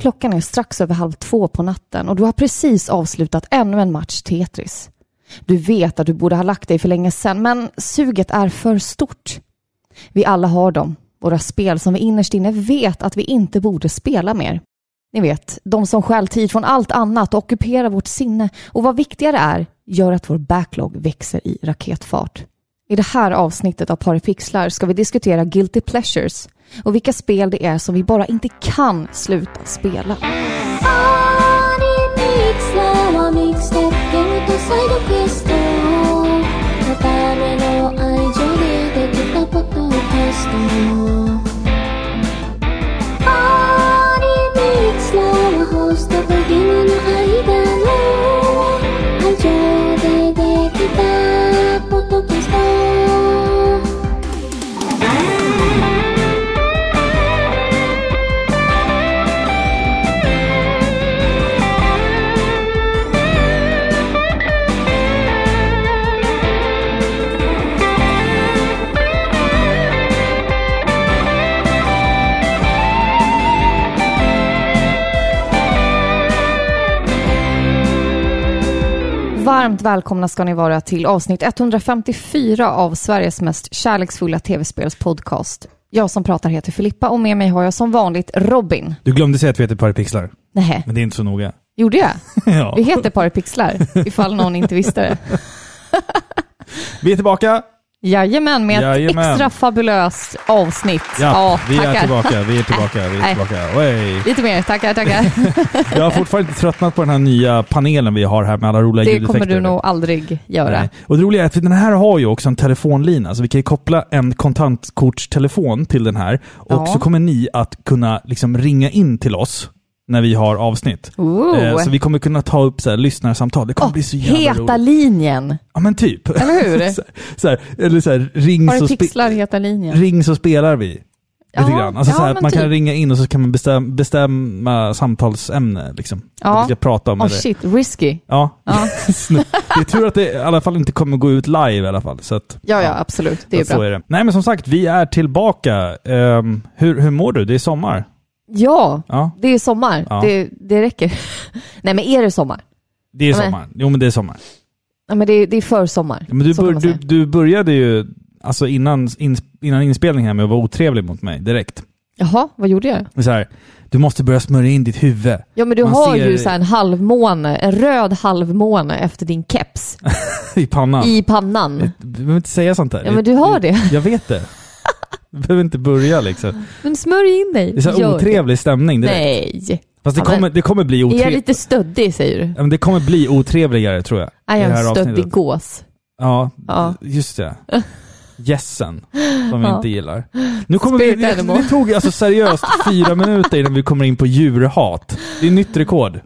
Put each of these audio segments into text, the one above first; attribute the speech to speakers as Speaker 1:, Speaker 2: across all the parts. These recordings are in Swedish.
Speaker 1: Klockan är strax över halv två på natten och du har precis avslutat ännu en match Tetris. Du vet att du borde ha lagt dig för länge sedan, men suget är för stort. Vi alla har dem, våra spel som vi innerst inne vet att vi inte borde spela mer. Ni vet, de som stjäl tid från allt annat och ockuperar vårt sinne och vad viktigare är, gör att vår backlog växer i raketfart. I det här avsnittet av Paripixlar ska vi diskutera Guilty Pleasures och vilka spel det är som vi bara inte kan sluta spela. Varmt välkomna ska ni vara till avsnitt 154 av Sveriges mest kärleksfulla tv-spelspodcast. Jag som pratar heter Filippa och med mig har jag som vanligt Robin.
Speaker 2: Du glömde säga att vi heter Paripixlar,
Speaker 1: Nähä,
Speaker 2: men det är inte så noga.
Speaker 1: gjorde jag?
Speaker 2: ja.
Speaker 1: Vi heter Paripixlar, ifall någon inte visste det.
Speaker 2: vi är tillbaka!
Speaker 1: Jajamän, med ett
Speaker 2: Jajamän.
Speaker 1: extra fabulöst avsnitt.
Speaker 2: Ja, vi är
Speaker 1: tackar.
Speaker 2: tillbaka, vi är tillbaka, vi är
Speaker 1: Nej.
Speaker 2: tillbaka. Oj.
Speaker 1: Lite mer, tackar, tackar.
Speaker 2: Jag har fortfarande inte tröttnat på den här nya panelen vi har här med alla roliga
Speaker 1: Det
Speaker 2: ljudeffekter.
Speaker 1: kommer du nog aldrig göra.
Speaker 2: Nej. Och det roliga är att den här har ju också en telefonlina, så vi kan ju koppla en kontantkortstelefon till den här. Och
Speaker 1: Ja.
Speaker 2: så kommer ni att kunna liksom ringa in till oss när vi har avsnitt.
Speaker 1: Ooh.
Speaker 2: Eh, Så vi kommer kunna ta upp så här, lyssnarsamtal. Det kommer
Speaker 1: Åh,
Speaker 2: bli så jävla
Speaker 1: heta
Speaker 2: roligt.
Speaker 1: linjen,
Speaker 2: Ja men typ.
Speaker 1: eller hur?
Speaker 2: så så här, eller så här, ring så spe-
Speaker 1: Paripixlar, heta linjen.
Speaker 2: ring så spelar vi. Lite
Speaker 1: Ja,
Speaker 2: grann. Alltså
Speaker 1: ja,
Speaker 2: så här,
Speaker 1: men
Speaker 2: man kan
Speaker 1: typ.
Speaker 2: ringa in och så kan man bestäm, bestämma samtalsämne. Liksom.
Speaker 1: Ja.
Speaker 2: Att vi ska prata om
Speaker 1: Åh
Speaker 2: det.
Speaker 1: shit, risky.
Speaker 2: Ja.
Speaker 1: Ja.
Speaker 2: det är tur att det i alla fall inte kommer gå ut live i alla fall. Så att,
Speaker 1: Ja, ja, absolut. Det är
Speaker 2: att så
Speaker 1: bra.
Speaker 2: är det. Nej men som sagt, vi är tillbaka. Ehm, hur, hur mår du? Det är sommar.
Speaker 1: Ja,
Speaker 2: Ja,
Speaker 1: det är sommar.
Speaker 2: Ja.
Speaker 1: Det, det räcker. Nej, men är det sommar?
Speaker 2: det är
Speaker 1: Ja, men-
Speaker 2: sommar. Jo men det är sommar.
Speaker 1: Ja, men det, är- det är för sommar.
Speaker 2: Men du,
Speaker 1: så kan
Speaker 2: bör,
Speaker 1: man
Speaker 2: du,
Speaker 1: säga.
Speaker 2: du började ju alltså innan, ins- innan inspelningen här med att vara otrevlig mot mig direkt.
Speaker 1: Jaha, vad gjorde jag?
Speaker 2: Så här, du måste börja smörja in ditt huvud.
Speaker 1: Ja, men du
Speaker 2: Man
Speaker 1: har
Speaker 2: ser-
Speaker 1: ju så här en halvmåne, en röd halvmåne efter din keps
Speaker 2: I pannan.
Speaker 1: i pannan.
Speaker 2: Du behöver inte säga sånt där.
Speaker 1: Ja, men du har det.
Speaker 2: Jag vet det. Du behöver inte börja liksom.
Speaker 1: Men smörj in dig.
Speaker 2: Det är så
Speaker 1: Gör
Speaker 2: här otrevlig stämning direkt.
Speaker 1: Nej.
Speaker 2: Fast det
Speaker 1: Ja, men-
Speaker 2: kommer, det kommer bli
Speaker 1: Är jag
Speaker 2: otrevligt.
Speaker 1: lite stöddig, säger du?
Speaker 2: Det kommer bli otrevligare tror jag.
Speaker 1: Nej,
Speaker 2: i
Speaker 1: jag
Speaker 2: det här
Speaker 1: är en stöddig
Speaker 2: avsnittet.
Speaker 1: gås.
Speaker 2: Ja,
Speaker 1: Ja.
Speaker 2: just det. Gässen, som jag
Speaker 1: Ja.
Speaker 2: inte gillar. Nu kommer vi,
Speaker 1: Spirit
Speaker 2: det,
Speaker 1: animal.
Speaker 2: det tog alltså seriöst fyra minuter innan vi kommer in på djurhat. Det är nytt rekord.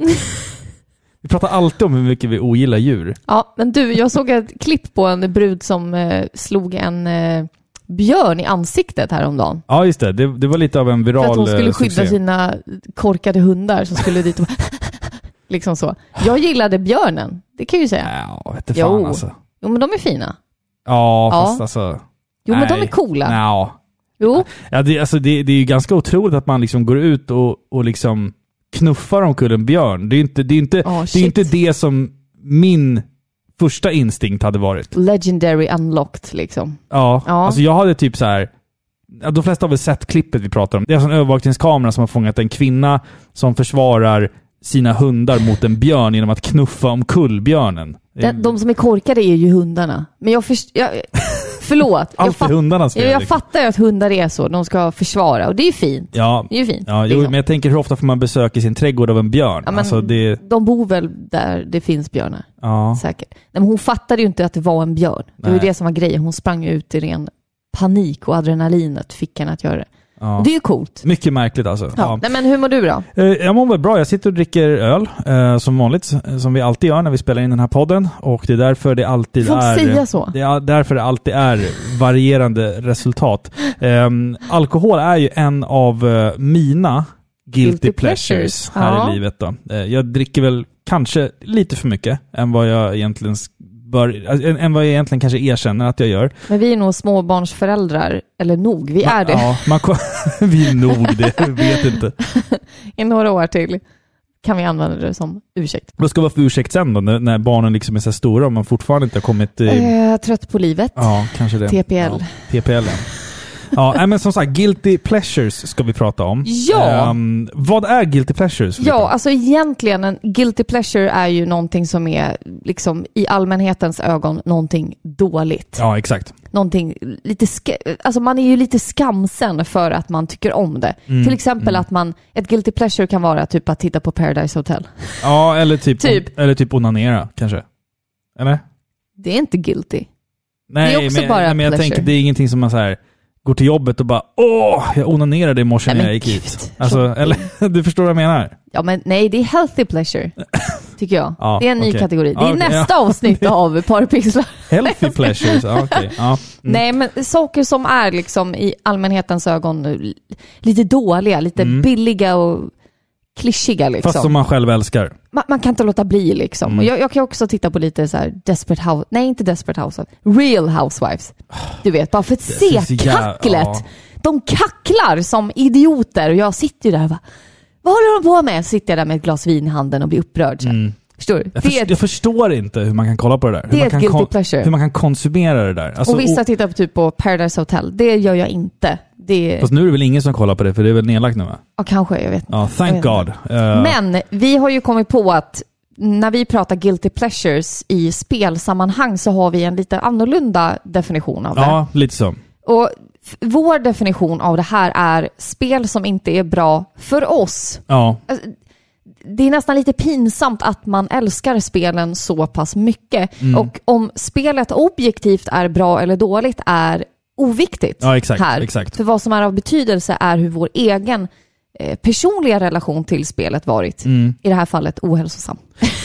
Speaker 2: Vi pratar alltid om hur mycket vi ogillar djur.
Speaker 1: Ja, men du, jag såg ett klipp på en brud som eh, slog en eh, björn i ansiktet häromdagen.
Speaker 2: Ja, just det. Det, det var lite av en viral
Speaker 1: För att hon skulle
Speaker 2: eh,
Speaker 1: skydda
Speaker 2: succé.
Speaker 1: sina korkade hundar som skulle dit och liksom så. Jag gillade björnen, det kan jag ju säga.
Speaker 2: Ja, vete fan
Speaker 1: Jo.
Speaker 2: alltså.
Speaker 1: Jo men de är fina.
Speaker 2: Ja,
Speaker 1: Ja.
Speaker 2: fast alltså...
Speaker 1: Jo men de
Speaker 2: Nej.
Speaker 1: är coola.
Speaker 2: Nja.
Speaker 1: Jo,
Speaker 2: Ja, det, alltså, det, det är ju ganska otroligt att man liksom går ut och, och liksom knuffar omkull en björn. Det är ju inte det, är inte,
Speaker 1: oh,
Speaker 2: det, är
Speaker 1: shit.
Speaker 2: inte det som min första instinkt hade varit.
Speaker 1: Legendary unlocked liksom.
Speaker 2: Ja.
Speaker 1: Ja.
Speaker 2: Alltså jag hade typ så här. ja, De flesta har väl sett klippet vi pratar om. Det är alltså en övervakningskamera som har fångat en kvinna som försvarar sina hundar mot en björn genom att knuffa omkull björnen.
Speaker 1: Den, de som är korkade är ju hundarna. Men jag förstår... Jag, förlåt. jag,
Speaker 2: Allt är
Speaker 1: fatt,
Speaker 2: hundarnas fel.
Speaker 1: jag, jag
Speaker 2: liksom.
Speaker 1: fattar ju att hundar är så. De ska försvara och det är ju fint.
Speaker 2: Ja,
Speaker 1: Det är ju fint.
Speaker 2: ja jo,
Speaker 1: liksom.
Speaker 2: men jag tänker hur ofta får man besök i sin trädgård av en björn?
Speaker 1: Ja, men-
Speaker 2: Alltså det...
Speaker 1: De bor väl där det finns björnar,
Speaker 2: Ja.
Speaker 1: säkert. Nej, men hon fattade ju inte att det var en björn. Det var ju
Speaker 2: Nej.
Speaker 1: det som var grejen. Hon sprang ju ut i ren panik och adrenalinet fick henne att göra det.
Speaker 2: ja.
Speaker 1: Det är ju coolt.
Speaker 2: Mycket märkligt alltså.
Speaker 1: Ja. Nej, men hur mår du då?
Speaker 2: Eh, Jag mår väl bra. Jag sitter och dricker öl, eh, som vanligt, eh, som vi alltid gör när vi spelar in den här podden. Och det är därför det alltid
Speaker 1: Får man
Speaker 2: är...
Speaker 1: säga så?
Speaker 2: Det är därför det alltid är varierande resultat. Ehm, alkohol är ju en av eh, mina guilty,
Speaker 1: Guilty
Speaker 2: pleasures,
Speaker 1: pleasures.
Speaker 2: här
Speaker 1: Ja.
Speaker 2: i livet. Då. Eh, jag dricker väl kanske lite för mycket än vad jag egentligen s- bör, alltså, än, än vad jag egentligen kanske erkänner att jag gör.
Speaker 1: Men vi är nog småbarnsföräldrar, eller nog, vi är det
Speaker 2: Ja, man, ko- vi är nog det, vet inte.
Speaker 1: i några år till. Kan vi använda det som ursäkt?
Speaker 2: Vad ska vara för ursäkt sen då, när, när barnen liksom är så här stora och man fortfarande inte har kommit... Eh,
Speaker 1: Eh, trött på livet,
Speaker 2: Ja, kanske det.
Speaker 1: TPL.
Speaker 2: Ja, TPL. ja. Ja, nej, men som sagt, guilty pleasures ska vi prata om.
Speaker 1: Ja.
Speaker 2: Ehm, vad är guilty pleasures?
Speaker 1: Ja, alltså egentligen en guilty pleasure är ju någonting som är liksom i allmänhetens ögon någonting dåligt.
Speaker 2: Ja, exakt.
Speaker 1: Någonting lite sk- alltså man är ju lite skamsen för att man tycker om det.
Speaker 2: Mm,
Speaker 1: Till exempel att man, ett guilty pleasure kan vara typ att titta på Paradise Hotel.
Speaker 2: Ja, eller typ,
Speaker 1: Typ.
Speaker 2: Eller typ onanera kanske. Eller?
Speaker 1: Det är inte guilty.
Speaker 2: Nej,
Speaker 1: Det är också
Speaker 2: men,
Speaker 1: bara
Speaker 2: men jag
Speaker 1: pleasure.
Speaker 2: tänker, det är ingenting som man så här går till jobbet och bara åh, jag onanerade i morse
Speaker 1: Nej,
Speaker 2: när
Speaker 1: men
Speaker 2: jag gick
Speaker 1: gud.
Speaker 2: hit. Alltså, eller, du förstår vad jag menar?
Speaker 1: Ja men nej, det är healthy pleasure. Tycker jag.
Speaker 2: Ja,
Speaker 1: det är en ny
Speaker 2: okej.
Speaker 1: kategori. Det är
Speaker 2: Ja, okej,
Speaker 1: nästa avsnitt av Parpixlar.
Speaker 2: Healthy pleasures, ja, okej. Ja. Mm.
Speaker 1: Nej, men saker som är liksom i allmänhetens ögon nu lite dåliga, lite billiga och klyschiga liksom.
Speaker 2: Mm. Fast som man själv älskar.
Speaker 1: man, man kan inte låta bli liksom.
Speaker 2: Mm.
Speaker 1: Och jag, jag kan också titta på lite så här Desperate House, nej inte Desperate Housewives, Real Housewives.
Speaker 2: Ah,
Speaker 1: Du vet, bara för att
Speaker 2: är så
Speaker 1: se
Speaker 2: jävla-
Speaker 1: kacklet.
Speaker 2: ja.
Speaker 1: De kacklar som idioter och jag sitter ju där och bara, vad håller de på med? Så sitter jag där med ett glas vin i handen och blir upprörd. så här. Förstår du?
Speaker 2: Mm. Jag,
Speaker 1: Det är
Speaker 2: först, jag förstår inte hur man kan kolla på det där.
Speaker 1: Det
Speaker 2: hur,
Speaker 1: är
Speaker 2: man
Speaker 1: ett
Speaker 2: kan
Speaker 1: guilty
Speaker 2: kon-
Speaker 1: pleasure.
Speaker 2: hur man kan konsumera det där. Alltså,
Speaker 1: och vissa
Speaker 2: och-
Speaker 1: tittar på, typ på Paradise Hotel. Det gör jag inte. Det,
Speaker 2: fast nu är det väl ingen som kollar på det, för det är väl nedlagt nu va?
Speaker 1: ja, kanske, jag vet inte.
Speaker 2: Ja, thank
Speaker 1: Jag
Speaker 2: God. Eh,
Speaker 1: Men vi har ju kommit på att när vi pratar guilty pleasures i spelsammanhang så har vi en lite annorlunda definition av det.
Speaker 2: ja, lite så.
Speaker 1: Och f- vår definition av det här är spel som inte är bra för oss.
Speaker 2: Ja,
Speaker 1: Det är nästan lite pinsamt att man älskar spelen så pass mycket.
Speaker 2: Mm.
Speaker 1: Och om spelet objektivt är bra eller dåligt är oviktigt
Speaker 2: ja exakt.
Speaker 1: här.
Speaker 2: exakt.
Speaker 1: För vad som är av betydelse är hur vår egen eh, personliga relation till spelet varit.
Speaker 2: Mm.
Speaker 1: I det här fallet ohälsosam.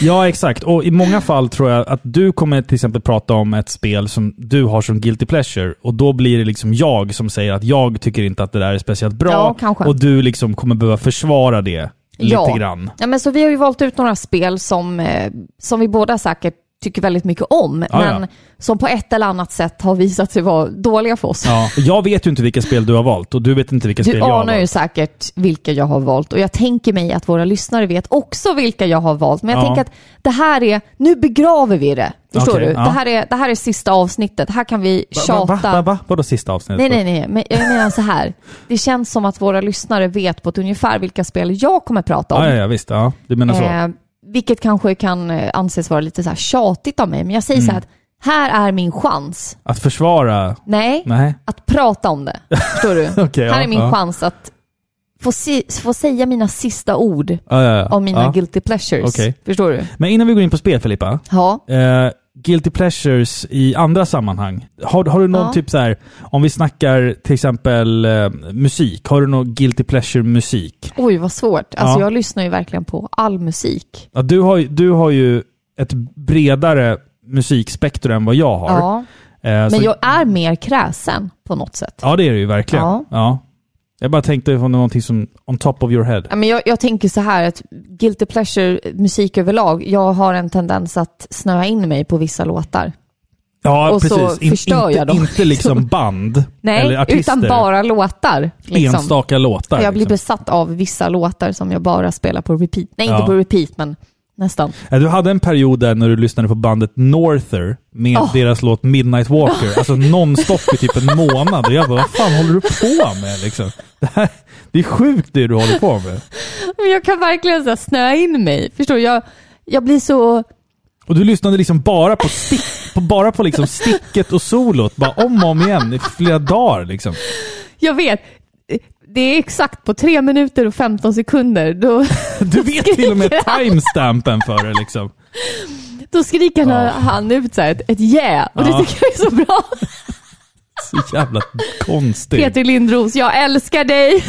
Speaker 2: Ja, exakt. Och i många fall tror jag att du kommer till exempel prata om ett spel som du har som guilty pleasure och då blir det liksom jag som säger att jag tycker inte att det där är speciellt bra
Speaker 1: Ja, kanske.
Speaker 2: och du liksom kommer behöva försvara det lite
Speaker 1: Ja.
Speaker 2: grann.
Speaker 1: Ja, men så vi har ju valt ut några spel som, eh, som vi båda säkert tycker väldigt mycket om,
Speaker 2: Ja,
Speaker 1: men
Speaker 2: ja.
Speaker 1: som på ett eller annat sätt har visat sig vara dåliga för oss.
Speaker 2: Ja. Jag vet ju inte vilka spel du har valt och du vet inte vilka spel
Speaker 1: Du
Speaker 2: jag har
Speaker 1: anar ju
Speaker 2: valt.
Speaker 1: säkert vilka jag har valt och jag tänker mig att våra lyssnare vet också vilka jag har valt. Men jag
Speaker 2: Ja.
Speaker 1: tänker att det här är, nu begraver vi det. Förstår
Speaker 2: Okej,
Speaker 1: du?
Speaker 2: ja.
Speaker 1: Det, här är, det här är sista avsnittet. Här kan vi tjata.
Speaker 2: Va, va, va, va? Vadå sista avsnittet?
Speaker 1: Nej, nej, nej. Men jag menar så här. Det känns som att våra lyssnare vet på ett ungefär vilka spel jag kommer prata om.
Speaker 2: Ja, ja, ja, visst. Ja, du menar så.
Speaker 1: Eh, vilket kanske kan eh, anses vara lite så här tjatigt av mig, men jag säger så här
Speaker 2: Mm.
Speaker 1: att här är min chans.
Speaker 2: Att försvara?
Speaker 1: Nej,
Speaker 2: Nej.
Speaker 1: att prata om det. Förstår du?
Speaker 2: Okej,
Speaker 1: här
Speaker 2: ja,
Speaker 1: är min
Speaker 2: ja.
Speaker 1: chans att få, si, få säga mina sista ord
Speaker 2: Ja, ja, ja.
Speaker 1: om mina
Speaker 2: ja.
Speaker 1: guilty pleasures.
Speaker 2: Okej.
Speaker 1: Förstår du?
Speaker 2: Men innan vi går in på spel, Filippa.
Speaker 1: Ja.
Speaker 2: Eh, guilty pleasures i andra sammanhang. Har, har du någon
Speaker 1: Ja.
Speaker 2: typ så här, om vi snackar till exempel eh, musik, har du någon guilty pleasure musik?
Speaker 1: Oj, vad svårt. Alltså
Speaker 2: Ja.
Speaker 1: jag lyssnar ju verkligen på all musik.
Speaker 2: Ja, du, har, ju- du har ju ett bredare musikspektrum än vad jag har.
Speaker 1: Ja.
Speaker 2: Eh,
Speaker 1: Men
Speaker 2: så-
Speaker 1: jag är mer kräsen på något sätt.
Speaker 2: ja, det är du ju verkligen.
Speaker 1: Ja.
Speaker 2: Ja. Jag bara tänkte på någonting som on top of your head.
Speaker 1: Ja, men jag, jag tänker så här att guilty pleasure, musik överlag, jag har en tendens att snöa in mig på vissa låtar.
Speaker 2: Ja,
Speaker 1: Och så
Speaker 2: precis.
Speaker 1: förstör
Speaker 2: inte,
Speaker 1: jag dem.
Speaker 2: inte liksom band eller
Speaker 1: Nej,
Speaker 2: artister.
Speaker 1: utan bara låtar. Liksom.
Speaker 2: Enstaka låtar.
Speaker 1: jag blir
Speaker 2: liksom.
Speaker 1: besatt av vissa låtar som jag bara spelar på repeat. Nej,
Speaker 2: Ja.
Speaker 1: inte på repeat, men nästan.
Speaker 2: Ja, Äh, Du hade en period där när du lyssnade på bandet Norther med
Speaker 1: Oh.
Speaker 2: deras låt Midnight Walker, alltså nonstop i typ en månad. Och jag bara, vad fan håller du på med liksom? Det, här, det är sjukt det du håller på med.
Speaker 1: Men jag kan verkligen så här, snöa in mig. Förstår du? Jag, jag blir så...
Speaker 2: Och du lyssnade liksom bara på, stick, på, bara på liksom sticket och solot, bara om och om igen i flera dagar liksom.
Speaker 1: Jag vet. Det är exakt på 3 minuter och 15 sekunder. Då,
Speaker 2: Du vet till och med timestampen för det liksom.
Speaker 1: då skriker
Speaker 2: Ja.
Speaker 1: han ut så här, ett, ett yeah. Och
Speaker 2: Ja.
Speaker 1: det tycker jag är så bra.
Speaker 2: Så jävla konstigt.
Speaker 1: Peter Lindros, jag älskar dig.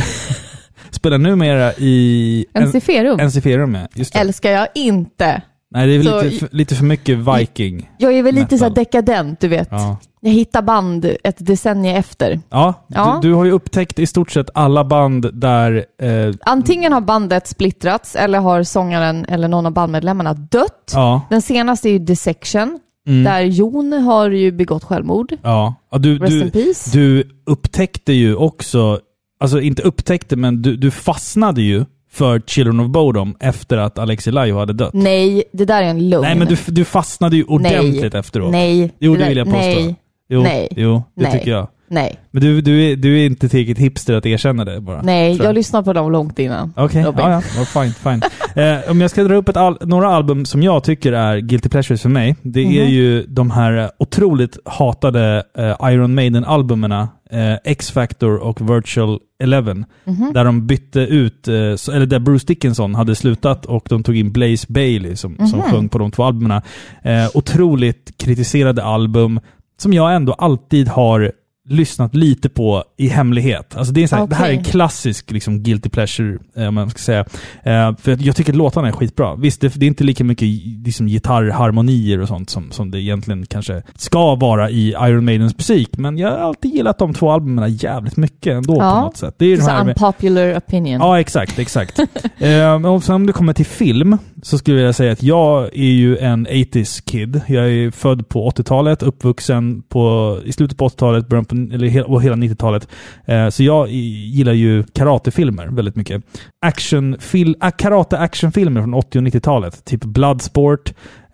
Speaker 2: Spelar numera i
Speaker 1: NC Ferum.
Speaker 2: NC Ferum, ja. Just det.
Speaker 1: älskar jag inte.
Speaker 2: Nej, det är
Speaker 1: Så-
Speaker 2: väl lite, för- lite för mycket Viking.
Speaker 1: Jag är väl lite så här
Speaker 2: Metal.
Speaker 1: dekadent, du vet.
Speaker 2: Ja.
Speaker 1: Jag hittar band ett decennium efter.
Speaker 2: Ja,
Speaker 1: Ja.
Speaker 2: Du, du har ju upptäckt i stort sett alla band där... Eh,
Speaker 1: Antingen har bandet splittrats eller har sångaren eller någon av bandmedlemmarna dött.
Speaker 2: ja,
Speaker 1: Den senaste är ju Dissection.
Speaker 2: Mm.
Speaker 1: Där Jon har ju begått självmord.
Speaker 2: Ja. ja du,
Speaker 1: Rest
Speaker 2: du,
Speaker 1: in peace.
Speaker 2: du upptäckte ju också, alltså inte upptäckte, men du, du fastnade ju för Children of Bodom efter att Alexi Laiho hade dött.
Speaker 1: Nej, det där är en lögn.
Speaker 2: Nej, men du, du fastnade ju ordentligt efteråt.
Speaker 1: Nej.
Speaker 2: Jo, det
Speaker 1: där-
Speaker 2: vill jag påstå.
Speaker 1: Nej,
Speaker 2: Jo,
Speaker 1: Nej.
Speaker 2: jo det
Speaker 1: Nej.
Speaker 2: tycker jag.
Speaker 1: nej,
Speaker 2: Men du, du, är, du är inte tillräckligt hipster att erkänna det bara.
Speaker 1: nej.
Speaker 2: tror jag.
Speaker 1: Jag lyssnar på dem långt innan.
Speaker 2: Okej,
Speaker 1: Robin.
Speaker 2: ja, ja. Well, fine, fine. eh, om jag ska dra upp ett al- några album som jag tycker är guilty pleasures för mig, det är
Speaker 1: Mhm.
Speaker 2: ju de här eh, otroligt hatade eh, Iron Maiden-albumerna, eh, X-Factor och Virtual Eleven,
Speaker 1: Mhm.
Speaker 2: där de bytte ut, eh, så- eller där Bruce Dickinson hade slutat och de tog in Blaze Bailey som, som
Speaker 1: Mhm.
Speaker 2: sjöng på de två albumen. Eh, otroligt kritiserade album som jag ändå alltid har lyssnat lite på i hemlighet. Alltså det, är så här, det här är en
Speaker 1: Okej.
Speaker 2: klassisk liksom, guilty pleasure, eh, om man ska säga. Eh, för jag tycker låtarna är skitbra. Visst, det, det är inte lika mycket liksom, gitarrharmonier och sånt som, som det egentligen kanske ska vara i Iron Maidens musik, men jag har alltid gillat de två albumen jävligt mycket ändå på
Speaker 1: Ja.
Speaker 2: något sätt. Det är de
Speaker 1: Så
Speaker 2: här med,
Speaker 1: unpopular opinion.
Speaker 2: Ja, exakt. exakt. Ehm, och sen om det kommer till film så skulle jag säga att jag är ju en 80s kid. Jag är född på 80-talet, uppvuxen på, i slutet på 80-talet början på, eller, he- och hela 90-talet. Eh, så jag i- gillar ju karatefilmer väldigt mycket. Action, fil, äh, karate-actionfilmer från 80 och 90-talet. Typ Bloodsport,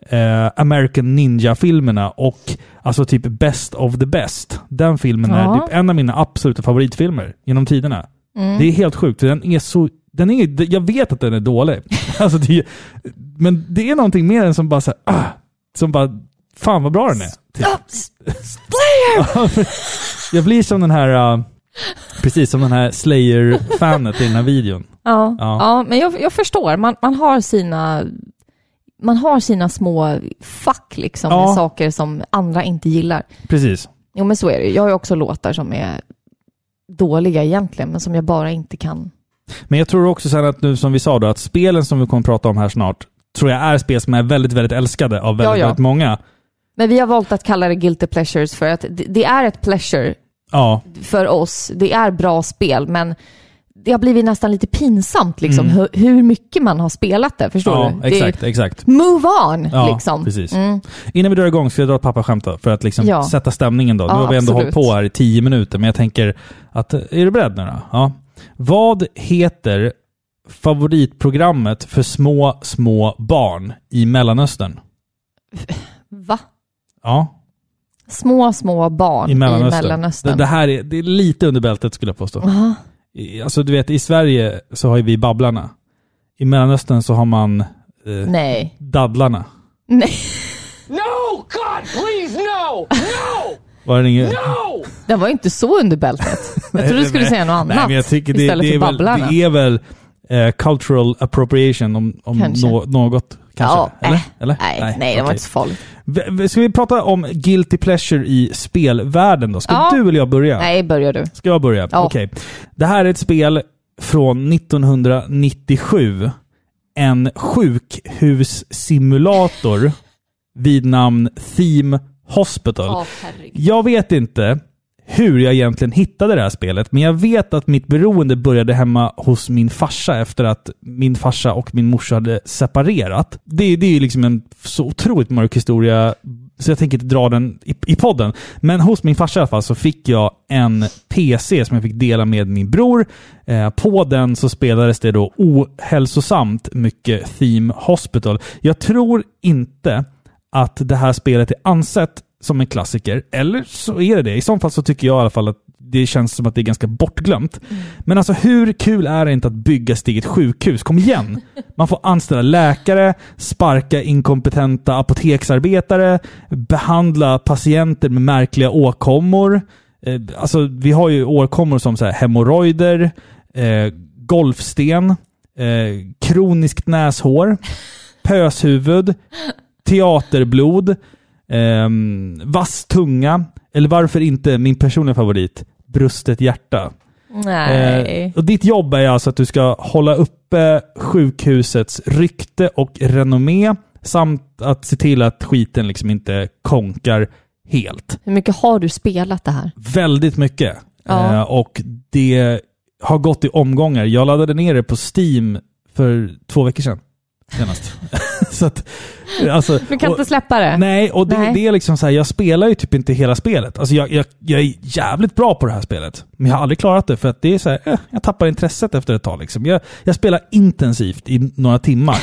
Speaker 2: eh, American Ninja-filmerna och alltså typ Best of the Best. Den filmen är
Speaker 1: Ja.
Speaker 2: typ en av mina absoluta favoritfilmer genom tiderna.
Speaker 1: Mm.
Speaker 2: Det är helt sjukt, för den är så... Den är, jag vet att den är dålig. Alltså det, är- men det är någonting mer än som bara så här, ah, som bara, fan vad bra den är. Typ.
Speaker 1: Ah, s- Slayer!
Speaker 2: Jag blir som den här, ah, precis som den här Slayer-fanet i den här videon.
Speaker 1: Ja,
Speaker 2: Ja.
Speaker 1: ja. men jag, jag förstår. Man, man, har sina, man har sina små fack liksom,
Speaker 2: Ja.
Speaker 1: med saker som andra inte gillar.
Speaker 2: Precis.
Speaker 1: Jo, men så är det ju. Jag har ju också låtar som är dåliga egentligen, men som jag bara inte kan.
Speaker 2: Men jag tror också sen att nu som vi sa då, att spelen som vi kommer prata om här snart, tror jag är spel som är väldigt, väldigt älskade av väldigt,
Speaker 1: Ja, ja.
Speaker 2: väldigt många.
Speaker 1: Men vi har valt att kalla det guilty pleasures för att det, det är ett pleasure
Speaker 2: Ja,
Speaker 1: för oss. Det är bra spel, men det har blivit nästan lite pinsamt liksom,
Speaker 2: Mm.
Speaker 1: hur, hur mycket man har spelat det. Förstår
Speaker 2: ja
Speaker 1: du? Det är-
Speaker 2: exakt, exakt.
Speaker 1: Move on!
Speaker 2: Ja,
Speaker 1: liksom.
Speaker 2: precis.
Speaker 1: Mm.
Speaker 2: Innan vi drar igång ska jag dra ett pappaskämt då, för att liksom
Speaker 1: Ja.
Speaker 2: sätta stämningen. Då. Nu
Speaker 1: Ja,
Speaker 2: har vi ändå
Speaker 1: absolut.
Speaker 2: hållit på här i tio minuter, men jag tänker att, är du beredd nu då? Ja. Vad heter favoritprogrammet för små, små barn i Mellanöstern?
Speaker 1: Va?
Speaker 2: Ja,
Speaker 1: Små, små barn
Speaker 2: i Mellanöstern.
Speaker 1: I Mellanöstern.
Speaker 2: Det, det här är, det är lite under bältet skulle jag påstå.
Speaker 1: Aha.
Speaker 2: I- Alltså du vet, i Sverige så har ju vi Babblarna. I Mellanöstern så har man eh,
Speaker 1: Nej.
Speaker 2: Dadlarna.
Speaker 1: Nej.
Speaker 3: No! God, please, no! No!
Speaker 2: Var det ingen...
Speaker 3: No!
Speaker 1: Den var ju inte så under bältet. Jag trodde du skulle
Speaker 2: Nej.
Speaker 1: säga något annat
Speaker 2: Nej, men jag tycker det,
Speaker 1: istället
Speaker 2: det
Speaker 1: för
Speaker 2: är väl,
Speaker 1: Babblarna.
Speaker 2: det är väl eh, cultural appropriation om, om
Speaker 1: Kanske.
Speaker 2: nå- något. Kanske?
Speaker 1: Ja,
Speaker 2: Eller?
Speaker 1: äh.
Speaker 2: Eller?
Speaker 1: Nej, nej, det var
Speaker 2: okej.
Speaker 1: inte så farligt.
Speaker 2: V- v- Ska vi prata om guilty pleasure i spelvärlden då? Ska
Speaker 1: Ja.
Speaker 2: du eller jag börja?
Speaker 1: Nej, börjar du.
Speaker 2: Ska jag börja?
Speaker 1: Ja.
Speaker 2: Okej. Det här är ett spel från 1997. En sjukhussimulator vid namn Theme Hospital.
Speaker 1: herregud.
Speaker 2: Jag vet inte hur jag egentligen hittade det här spelet, men jag vet att mitt beroende började hemma hos min farsa efter att min farsa och min morsa hade separerat. Det, det är ju liksom en så otroligt mörk historia, så jag tänker inte dra den i, i podden. Men hos min farsa i alla fall så fick jag en PC som jag fick dela med min bror. Eh, på den så spelades det då ohälsosamt mycket Theme Hospital. Jag tror inte att det här spelet är ansett som en klassiker, eller så är det det. I så fall så tycker jag i alla fall att det känns som att det är ganska bortglömt. Men alltså hur kul är det inte att bygga sitt eget sjukhus? Kom igen! Man får anställa läkare, sparka inkompetenta apoteksarbetare, behandla patienter med märkliga åkommor. Eh, Alltså vi har ju åkommor som så här hemorrojder, eh, golfsten, eh, kroniskt näshår, pöshuvud, teaterblod, eh, vass tunga, eller varför inte min personliga favorit, brustet hjärta.
Speaker 1: Nej.
Speaker 2: Eh, och ditt jobb är alltså att du ska hålla uppe sjukhusets rykte och renommé samt att se till att skiten liksom inte konkar helt.
Speaker 1: Hur mycket har du spelat det här?
Speaker 2: Väldigt mycket.
Speaker 1: Ja.
Speaker 2: Eh, och det har gått i omgångar. Jag laddade ner det på Steam för två veckor sedan. Senast. så att, alltså,
Speaker 1: Du kan
Speaker 2: och-
Speaker 1: inte släppa det.
Speaker 2: Nej, och det,
Speaker 1: Nej.
Speaker 2: det är liksom så här, jag spelar ju typ inte hela spelet. Alltså jag, jag, jag är jävligt bra på det här spelet, men jag har aldrig klarat det för att det är så här, eh, jag tappar intresset efter ett tag. Liksom. Jag, jag spelar intensivt i några timmar.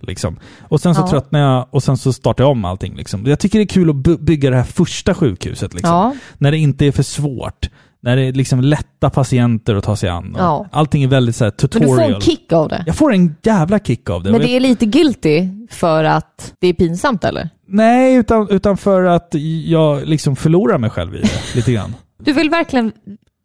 Speaker 2: Liksom. Och sen så
Speaker 1: Ja.
Speaker 2: tröttnar jag och sen så startar jag om allting. Liksom. Jag tycker det är kul att by- bygga det här första sjukhuset. Liksom.
Speaker 1: Ja.
Speaker 2: När det inte är för svårt. När det är liksom lätta patienter att ta sig an. Och
Speaker 1: Ja.
Speaker 2: Allting är väldigt så här
Speaker 1: Men du
Speaker 2: tutorial.
Speaker 1: får en kick av det.
Speaker 2: Jag får en jävla kick av det.
Speaker 1: Men
Speaker 2: Och jag-
Speaker 1: det är lite guilty för att det är pinsamt eller?
Speaker 2: Nej, utan, utan för att jag liksom förlorar mig själv i det lite grann.
Speaker 1: Du vill verkligen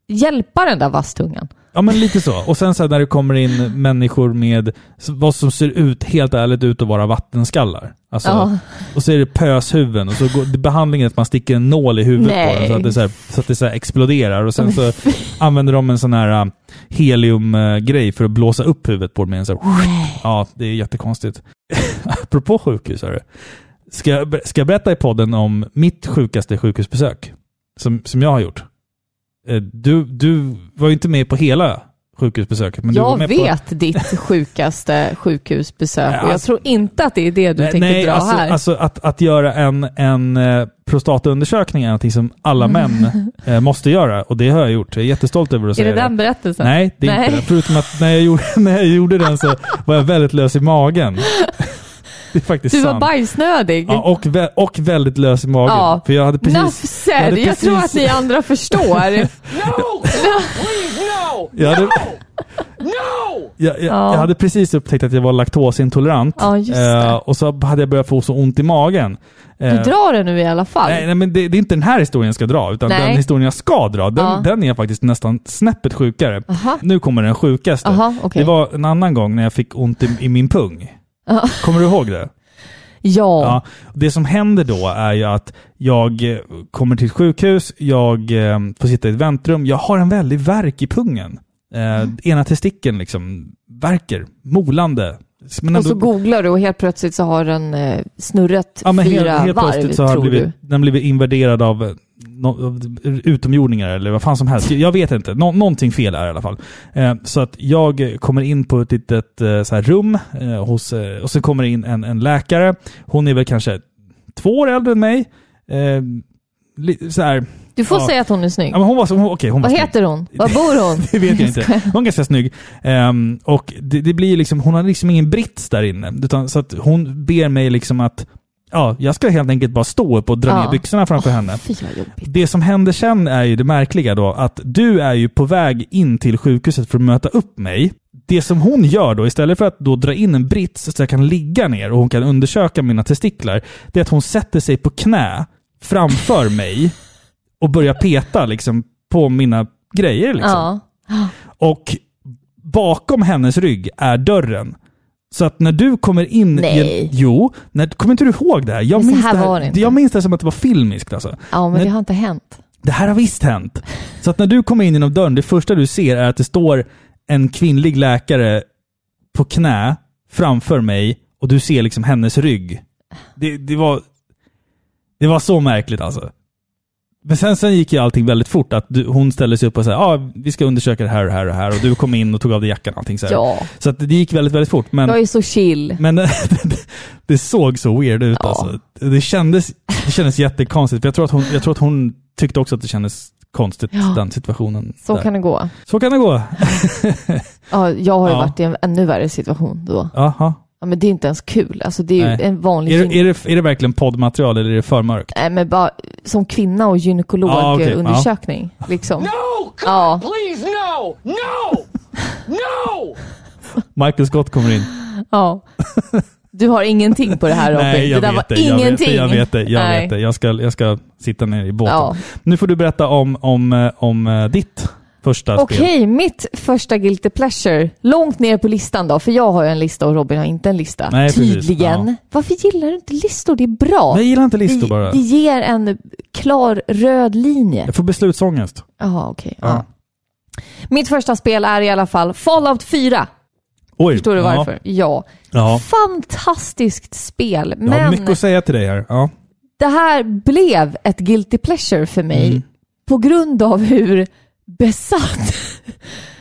Speaker 1: hjälpa den där vasstungan.
Speaker 2: Ja, men lite så. Och sen så här, när det kommer in människor med s- vad som ser ut, helt ärligt, ut att vara vattenskallar. Alltså,
Speaker 1: Ja.
Speaker 2: Och så är det pöshuvuden och så går det- behandlingen är att man sticker en nål i huvudet på den så att det, så här, så att det så här exploderar. Och sen så använder de en sån här äh, heliumgrej för att blåsa upp huvudet på dem med en så här, Ja, det är jättekonstigt. Apropå sjukhus, hörru. Ska jag, ber- ska jag berätta i podden om mitt sjukaste sjukhusbesök? Som, som jag har gjort. Eh, Du, du var ju inte med på hela sjukhusbesöket. Men du var
Speaker 1: jag
Speaker 2: med På,
Speaker 1: vet ditt sjukaste sjukhusbesök
Speaker 2: Nej,
Speaker 1: och jag
Speaker 2: alltså-
Speaker 1: tror inte att det är det du
Speaker 2: Nej,
Speaker 1: tänker
Speaker 2: nej,
Speaker 1: dra
Speaker 2: alltså,
Speaker 1: här.
Speaker 2: alltså att, att göra en, en eh, prostataundersökning är någonting som alla män eh, måste göra. Och det har jag gjort. Jag är jättestolt över att
Speaker 1: Mm. är
Speaker 2: säga
Speaker 1: det den berättelsen?
Speaker 2: Nej, det är
Speaker 1: Nej.
Speaker 2: inte det. Förutom att när jag, gjorde, när jag gjorde den så var jag väldigt lös i magen. Det är faktiskt
Speaker 1: du var
Speaker 2: sant.
Speaker 1: bajsnödig.
Speaker 2: Ja, och, vä- och väldigt lös i magen.
Speaker 1: Ja.
Speaker 2: För jag hade precis... jag
Speaker 1: Nafser,
Speaker 2: hade
Speaker 1: jag tror att
Speaker 2: precis-
Speaker 1: ni andra förstår.
Speaker 3: No! God, please, no!
Speaker 2: Jag hade,
Speaker 3: No!
Speaker 2: jag, jag,
Speaker 1: Ja.
Speaker 2: jag hade precis upptäckt att jag var laktosintolerant.
Speaker 1: Ja, just det.
Speaker 2: Eh, och så hade jag börjat få så ont i magen. Eh,
Speaker 1: Du drar det nu i alla fall.
Speaker 2: Nej, nej men det, det är inte den här historien jag ska dra, utan
Speaker 1: Nej.
Speaker 2: den historien jag ska dra, den,
Speaker 1: Ja.
Speaker 2: den är faktiskt nästan snäppet sjukare.
Speaker 1: Aha.
Speaker 2: Nu kommer den sjukaste.
Speaker 1: Aha, okej.
Speaker 2: Det var en annan gång när jag fick ont i, i min pung.
Speaker 1: Ja.
Speaker 2: Kommer du ihåg det?
Speaker 1: Ja.
Speaker 2: Ja. Det som händer då är ju att jag eh, kommer till ett sjukhus, jag eh, får sitta i ett väntrum, jag har en väldig värk i pungen. Eh,
Speaker 1: Mm.
Speaker 2: Ena testikeln liksom värker, molande. Men
Speaker 1: och så googlar du och helt plötsligt så har den eh, snurrat
Speaker 2: men
Speaker 1: fyra
Speaker 2: helt, helt
Speaker 1: varv,
Speaker 2: plötsligt så har
Speaker 1: tror
Speaker 2: jag
Speaker 1: du.
Speaker 2: blivit, den blivit invaderad av eh, nå- av utomjordingar eller vad fan som helst. Jag vet inte. Nå, någonting fel är det i alla fall. Eh, så att jag kommer in på ett litet eh, så här, rum eh, hos, eh, och så kommer det in en, en läkare. Hon är väl kanske två år äldre än mig. Eh, li, så här.
Speaker 1: Du får
Speaker 2: Ja.
Speaker 1: säga att hon är snygg.
Speaker 2: Ja, men hon var, så- hon, okej, hon var
Speaker 1: Vad
Speaker 2: snygg.
Speaker 1: heter hon? Var bor hon?
Speaker 2: Det vet jag inte. Hon är ganska snygg. Ehm, och det, det blir liksom, hon har liksom ingen brits där inne. Utan, så att hon ber mig liksom att ja, jag ska helt enkelt bara stå upp och dra
Speaker 1: Ja.
Speaker 2: ner byxorna framför henne.
Speaker 1: Fy vad jobbigt.
Speaker 2: Det som händer sen är ju det märkliga då, att du är ju på väg in till sjukhuset för att möta upp mig. Det som hon gör då, istället för att då dra in en brits så att jag kan ligga ner och hon kan undersöka mina testiklar, det är att hon sätter sig på knä framför mig och börjar peta liksom på mina grejer. Liksom.
Speaker 1: Ja.
Speaker 2: Och bakom hennes rygg är dörren. Så att när du kommer in...
Speaker 1: Nej.
Speaker 2: jo, när, kommer inte du ihåg det här? Jag,
Speaker 1: Men så
Speaker 2: minns
Speaker 1: här
Speaker 2: det här,
Speaker 1: var det inte.
Speaker 2: jag minns det som att det var filmiskt alltså.
Speaker 1: ja, men
Speaker 2: Men-
Speaker 1: det har inte hänt.
Speaker 2: Det här har visst hänt. Så att när du kommer in genom dörren, det första du ser är att det står en kvinnlig läkare på knä framför mig och du ser liksom hennes rygg. Det, det, var, det var så märkligt alltså. Men sen, sen gick ju allting väldigt fort. Att du, hon ställde sig upp och sa ah, vi ska undersöka det här och det här och det här. Och du kom in och tog av dig jackan och allting. Så, här.
Speaker 1: Ja.
Speaker 2: så att det gick väldigt, väldigt fort. Men,
Speaker 1: Jag är så chill.
Speaker 2: men det såg så weird ut
Speaker 1: Ja.
Speaker 2: alltså. Det kändes, det kändes jättekonstigt. För jag, tror att hon, jag tror att hon tyckte också att det kändes konstigt,
Speaker 1: Ja.
Speaker 2: den situationen.
Speaker 1: Så
Speaker 2: där.
Speaker 1: kan det gå.
Speaker 2: så kan det gå.
Speaker 1: Ja, jag har ju
Speaker 2: Ja.
Speaker 1: varit i en ännu värre situation då.
Speaker 2: Jaha.
Speaker 1: Ja, men det är inte ens kul. Alltså, det är ju
Speaker 2: Nej.
Speaker 1: en vanlig...
Speaker 2: Är,
Speaker 1: gyn-
Speaker 2: det- är, det, är det verkligen poddmaterial eller är det för mörkt?
Speaker 1: Nej, men bara som kvinna och
Speaker 2: Ja, okej,
Speaker 1: gynekologundersökning. Liksom.
Speaker 3: No!
Speaker 1: Ja.
Speaker 3: God, please, no! No! No!
Speaker 2: Michael Scott kommer in.
Speaker 1: Ja. Du har ingenting på det här Robin.
Speaker 2: Nej, jag
Speaker 1: det där
Speaker 2: vet
Speaker 1: var
Speaker 2: det. Jag vet
Speaker 1: ingenting.
Speaker 2: det. Jag vet det. Jag,
Speaker 1: Nej.
Speaker 2: vet det. jag, ska, jag ska sitta ner i båten.
Speaker 1: Ja.
Speaker 2: Nu får du berätta om, om, eh, om eh, ditt första
Speaker 1: Okej,
Speaker 2: spel.
Speaker 1: mitt första guilty pleasure. Långt ner på listan då, för jag har ju en lista och Robin har inte en lista.
Speaker 2: Nej, precis.
Speaker 1: Tydligen.
Speaker 2: Ja.
Speaker 1: Varför gillar du inte listor? Det är bra.
Speaker 2: Nej, Jag gillar inte listor
Speaker 1: det,
Speaker 2: bara.
Speaker 1: det ger en klar röd linje.
Speaker 2: Jag får beslutsångest.
Speaker 1: Jaha, okej.
Speaker 2: Ja.
Speaker 1: ja. Mitt första spel är i alla fall Fallout 4.
Speaker 2: Oj.
Speaker 1: Förstår du varför? Ja.
Speaker 2: Ja.
Speaker 1: Fantastiskt spel,
Speaker 2: ja. Jag har
Speaker 1: men
Speaker 2: mycket att säga till dig här. Ja.
Speaker 1: det här blev ett guilty pleasure för mig på grund av hur besatt,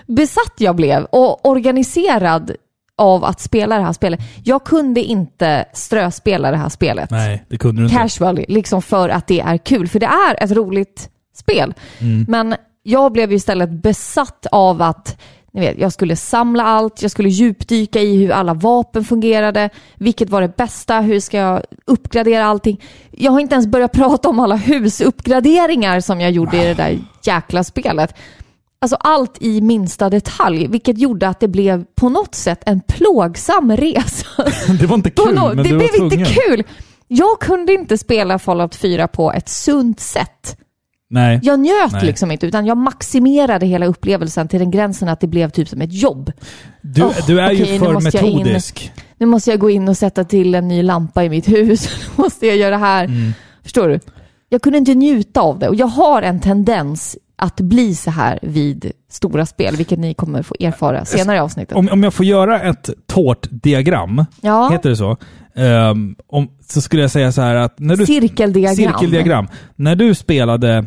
Speaker 1: besatt jag blev och organiserad av att spela det här spelet. Jag kunde inte ströspela det här spelet
Speaker 2: Nej, det kunde du inte.
Speaker 1: casually, liksom för att det är kul. För det är ett roligt spel. Men jag blev ju istället besatt av att ni vet, jag skulle samla allt, jag skulle djupdyka i hur alla vapen fungerade, vilket var det bästa, hur ska jag uppgradera allting. Jag har inte ens börjat prata om alla husuppgraderingar som jag gjorde i det där jäkla spelet. Alltså allt i minsta detalj, vilket gjorde att det blev på något sätt en plågsam resa.
Speaker 2: Det var inte
Speaker 1: På
Speaker 2: kul,
Speaker 1: nå-
Speaker 2: men
Speaker 1: det
Speaker 2: du var
Speaker 1: blev inte
Speaker 2: tvungen.
Speaker 1: kul. Jag kunde inte spela Fallout 4 på ett sunt sätt.
Speaker 2: Nej.
Speaker 1: Jag njöt
Speaker 2: Nej.
Speaker 1: liksom inte, utan jag maximerade hela upplevelsen till den gränsen att det blev typ som ett jobb.
Speaker 2: Du,
Speaker 1: Åh,
Speaker 2: du är
Speaker 1: okej,
Speaker 2: ju
Speaker 1: nu
Speaker 2: för
Speaker 1: måste jag in.
Speaker 2: metodisk.
Speaker 1: Nu måste jag gå in och sätta till en ny lampa i mitt hus. Nu måste jag göra det här.
Speaker 2: Mm.
Speaker 1: Förstår du? Jag kunde inte njuta av det och jag har en tendens att bli så här vid stora spel, vilket ni kommer få erfara senare i avsnittet.
Speaker 2: Om, om jag får göra ett tårtdiagram,
Speaker 1: Ja.
Speaker 2: heter det så? Ehm, om, så skulle jag säga så här att... När du,
Speaker 1: Cirkeldiagram.
Speaker 2: Cirkeldiagram. När du spelade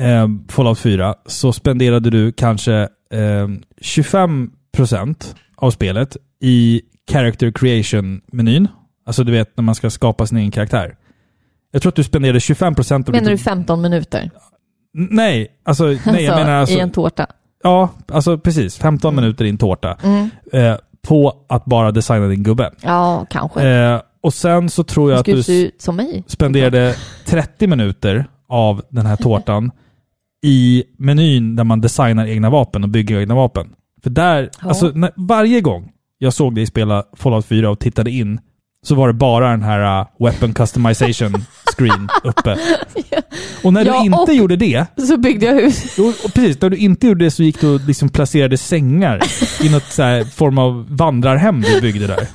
Speaker 2: ehm, Fallout 4 så spenderade du kanske ehm, 25% av spelet i character creation-menyn. Alltså du vet när man ska skapa sin egen karaktär. Jag tror att du spenderade 25% av
Speaker 1: Menar du
Speaker 2: ditt...
Speaker 1: 15 minuter?
Speaker 2: Nej, alltså, nej, jag
Speaker 1: Alltså,
Speaker 2: menar alltså,
Speaker 1: I en Mm. tårta?
Speaker 2: Ja, alltså precis. 15 minuter i en tårta.
Speaker 1: Mm.
Speaker 2: Eh, på att bara designa din gubbe.
Speaker 1: Ja, kanske.
Speaker 2: Eh, och sen så tror jag
Speaker 1: Du
Speaker 2: att
Speaker 1: skulle
Speaker 2: du
Speaker 1: se ut som mig.
Speaker 2: spenderade 30 minuter av den här tårtan i menyn där man designar egna vapen och bygger egna vapen. För där,
Speaker 1: Ja.
Speaker 2: alltså när, varje gång jag såg dig spela Fallout 4 och tittade in så var det bara den här uh, weapon customization screen uppe. Och när
Speaker 1: Ja,
Speaker 2: du inte
Speaker 1: och-
Speaker 2: gjorde det,
Speaker 1: Så byggde jag hus.
Speaker 2: Jo, och precis. När du inte gjorde det så gick du och liksom placerade sängar i något så här form av vandrarhem du byggde där.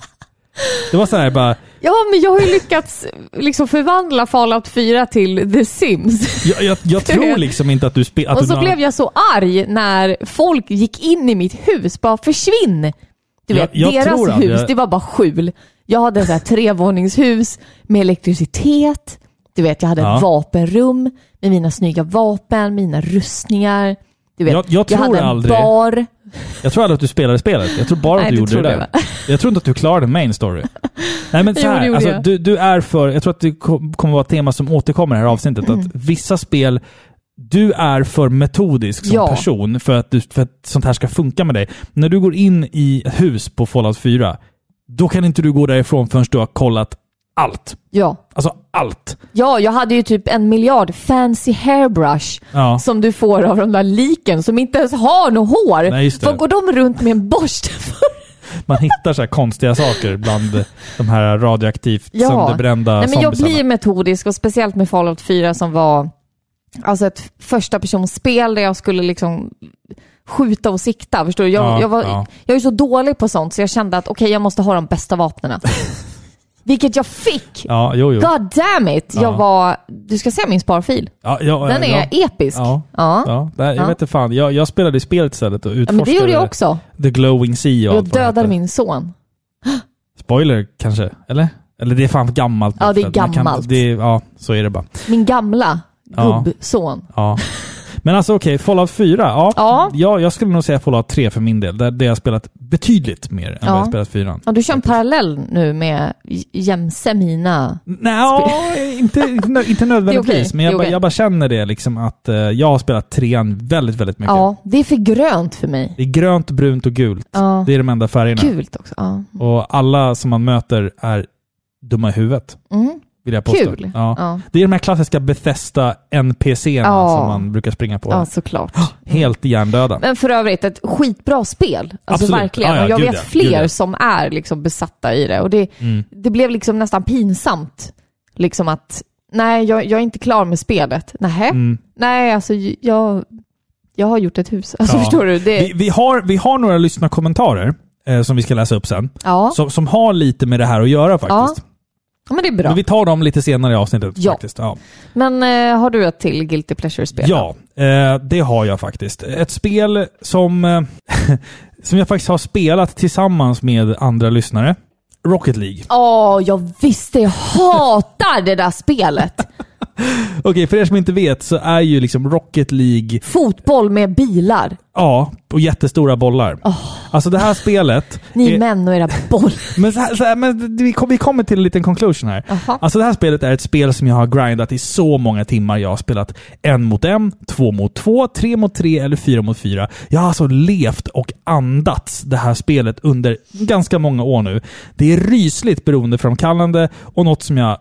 Speaker 2: Det var så här bara,
Speaker 1: Ja, men jag har ju lyckats liksom förvandla Fallout 4 till The Sims.
Speaker 2: jag, jag, jag tror liksom inte att du spelade...
Speaker 1: Och så blev jag så arg när folk gick in i mitt hus. Bara försvinn! Du
Speaker 2: Jag-
Speaker 1: vet,
Speaker 2: jag tror
Speaker 1: deras
Speaker 2: att
Speaker 1: hus,
Speaker 2: jag-
Speaker 1: det var bara skjul. Jag hade ett så här trevåningshus med elektricitet. Du vet, jag hade
Speaker 2: Ja.
Speaker 1: ett vapenrum med mina snygga vapen, mina rustningar. Du vet,
Speaker 2: Jag- jag tror
Speaker 1: hade en
Speaker 2: aldrig-
Speaker 1: bar.
Speaker 2: Jag tror aldrig att du spelade spelet. Jag tror bara
Speaker 1: Nej,
Speaker 2: att du
Speaker 1: det
Speaker 2: gjorde
Speaker 1: tror
Speaker 2: det
Speaker 1: jag,
Speaker 2: där. Jag tror inte att du klarade main story. Nej men så
Speaker 1: Jo, det
Speaker 2: här,
Speaker 1: gjorde
Speaker 2: alltså,
Speaker 1: jag.
Speaker 2: du, du är för... Jag tror att det kom- kommer vara ett tema som återkommer i det här avsnittet.
Speaker 1: Mm.
Speaker 2: Att vissa spel, du är för metodisk som
Speaker 1: Ja.
Speaker 2: person för att, du, för att sånt här ska funka med dig. När du går in i ett hus på Fallout 4, då kan inte du gå därifrån förrän du har kollat allt.
Speaker 1: Ja.
Speaker 2: Alltså allt.
Speaker 1: ja, jag hade ju typ en miljard fancy hairbrush.
Speaker 2: Ja.
Speaker 1: som du får av de där liken som inte ens har något hår.
Speaker 2: Nej, just det.
Speaker 1: Vad går de runt med en borste för?
Speaker 2: Man hittar så här konstiga saker bland de här radioaktivt
Speaker 1: Ja.
Speaker 2: sönderbrända
Speaker 1: Nej, men jag
Speaker 2: zombiesarna.
Speaker 1: blir metodisk och speciellt med Fallout 4 som var alltså ett första personspel där jag skulle liksom skjuta och sikta. Förstår du? Jag,
Speaker 2: Ja,
Speaker 1: jag, var,
Speaker 2: ja.
Speaker 1: jag är så dålig på sånt så jag kände att okej, jag måste ha de bästa vapnena. Vilket jag fick!
Speaker 2: Ja, jo, jo.
Speaker 1: God damn it!
Speaker 2: Ja.
Speaker 1: Jag var... Du ska se min sparfil.
Speaker 2: Ja, ja,
Speaker 1: Den är
Speaker 2: ja.
Speaker 1: episk.
Speaker 2: Ja.
Speaker 1: Ja.
Speaker 2: Ja, där, jag
Speaker 1: Ja.
Speaker 2: vet inte fan. Jag, jag spelade i spelet istället och
Speaker 1: Ja,
Speaker 2: utforskade
Speaker 1: men det gjorde jag också.
Speaker 2: The Glowing Sea och
Speaker 1: Jag
Speaker 2: allt vad det
Speaker 1: dödade
Speaker 2: hette.
Speaker 1: min son.
Speaker 2: Spoiler kanske? Eller? Eller det är fan gammalt.
Speaker 1: Ja, det är
Speaker 2: Man kan-
Speaker 1: gammalt.
Speaker 2: det, är- ja, så är det bara.
Speaker 1: Min gamla
Speaker 2: Ja.
Speaker 1: gubbson.
Speaker 2: Ja. Men alltså okej, Fallout 4. Ja,
Speaker 1: Ja.
Speaker 2: Jag, jag skulle nog säga Fallout 3 för min del. Där, där jag har spelat betydligt mer än vad
Speaker 1: Ja.
Speaker 2: jag spelat 4.
Speaker 1: Ja, du kör en parallell nu med j- jämse mina...
Speaker 2: Nej, inte, inte nödvändigtvis.
Speaker 1: Det är okej.
Speaker 2: Men jag,
Speaker 1: Det är
Speaker 2: bara-
Speaker 1: okej.
Speaker 2: jag bara känner det liksom att eh, jag har spelat trean väldigt, väldigt mycket.
Speaker 1: Ja, det är för grönt för mig.
Speaker 2: Det är grönt, brunt och gult.
Speaker 1: Ja.
Speaker 2: Det är de enda färgerna.
Speaker 1: Gult också. Ja.
Speaker 2: Och alla som man möter är dumma i huvudet.
Speaker 1: Mm.
Speaker 2: Vill jag påstå.
Speaker 1: Kul!
Speaker 2: Ja.
Speaker 1: ja.
Speaker 2: Det är de här klassiska Bethesda NPCerna
Speaker 1: Ja.
Speaker 2: som man brukar springa på.
Speaker 1: ja såklart.
Speaker 2: Helt hjärndöda.
Speaker 1: Men för övrigt, ett skitbra spel. Alltså
Speaker 2: Absolut.
Speaker 1: verkligen.
Speaker 2: Ja, ja,
Speaker 1: och jag
Speaker 2: gud
Speaker 1: vet
Speaker 2: ja,
Speaker 1: fler
Speaker 2: gud ja.
Speaker 1: som är liksom besatta i det. Och det,
Speaker 2: Mm.
Speaker 1: det blev liksom nästan pinsamt. Liksom att, nej, jag, jag är inte klar med spelet. Nähä?
Speaker 2: Mm.
Speaker 1: Nej, alltså j- jag, jag har gjort ett hus. Alltså
Speaker 2: Ja.
Speaker 1: förstår du? Det,
Speaker 2: Vi, vi, har, vi har några lyssnarkommentarer eh, som vi ska läsa upp sen.
Speaker 1: ja.
Speaker 2: Som, som har lite med det här att göra faktiskt.
Speaker 1: ja, men det är bra.
Speaker 2: Men vi tar dem lite senare i avsnittet.
Speaker 1: Ja.
Speaker 2: faktiskt. Ja.
Speaker 1: Men eh, har du ett till Guilty Pleasure-spel?
Speaker 2: Ja, eh, det har jag faktiskt. Ett spel som, eh, som jag faktiskt har spelat tillsammans med andra lyssnare. Rocket League.
Speaker 1: Åh, jag visste! Jag hatar det där spelet!
Speaker 2: Okej, för er som inte vet så är ju liksom Rocket League,
Speaker 1: Fotboll med bilar.
Speaker 2: ja, och jättestora bollar. Alltså det här spelet...
Speaker 1: Ni
Speaker 2: är-
Speaker 1: män och era boll.
Speaker 2: Men, så här, så här, men vi, kom, vi kommer till en liten conclusion här.
Speaker 1: Jaha.
Speaker 2: Alltså det här spelet är ett spel som jag har grindat i så många timmar. Jag har spelat en mot en, två mot två, tre mot tre eller fyra mot fyra. Jag har alltså levt och andats det här spelet under ganska många år nu. Det är rysligt beroendeframkallande och något som jag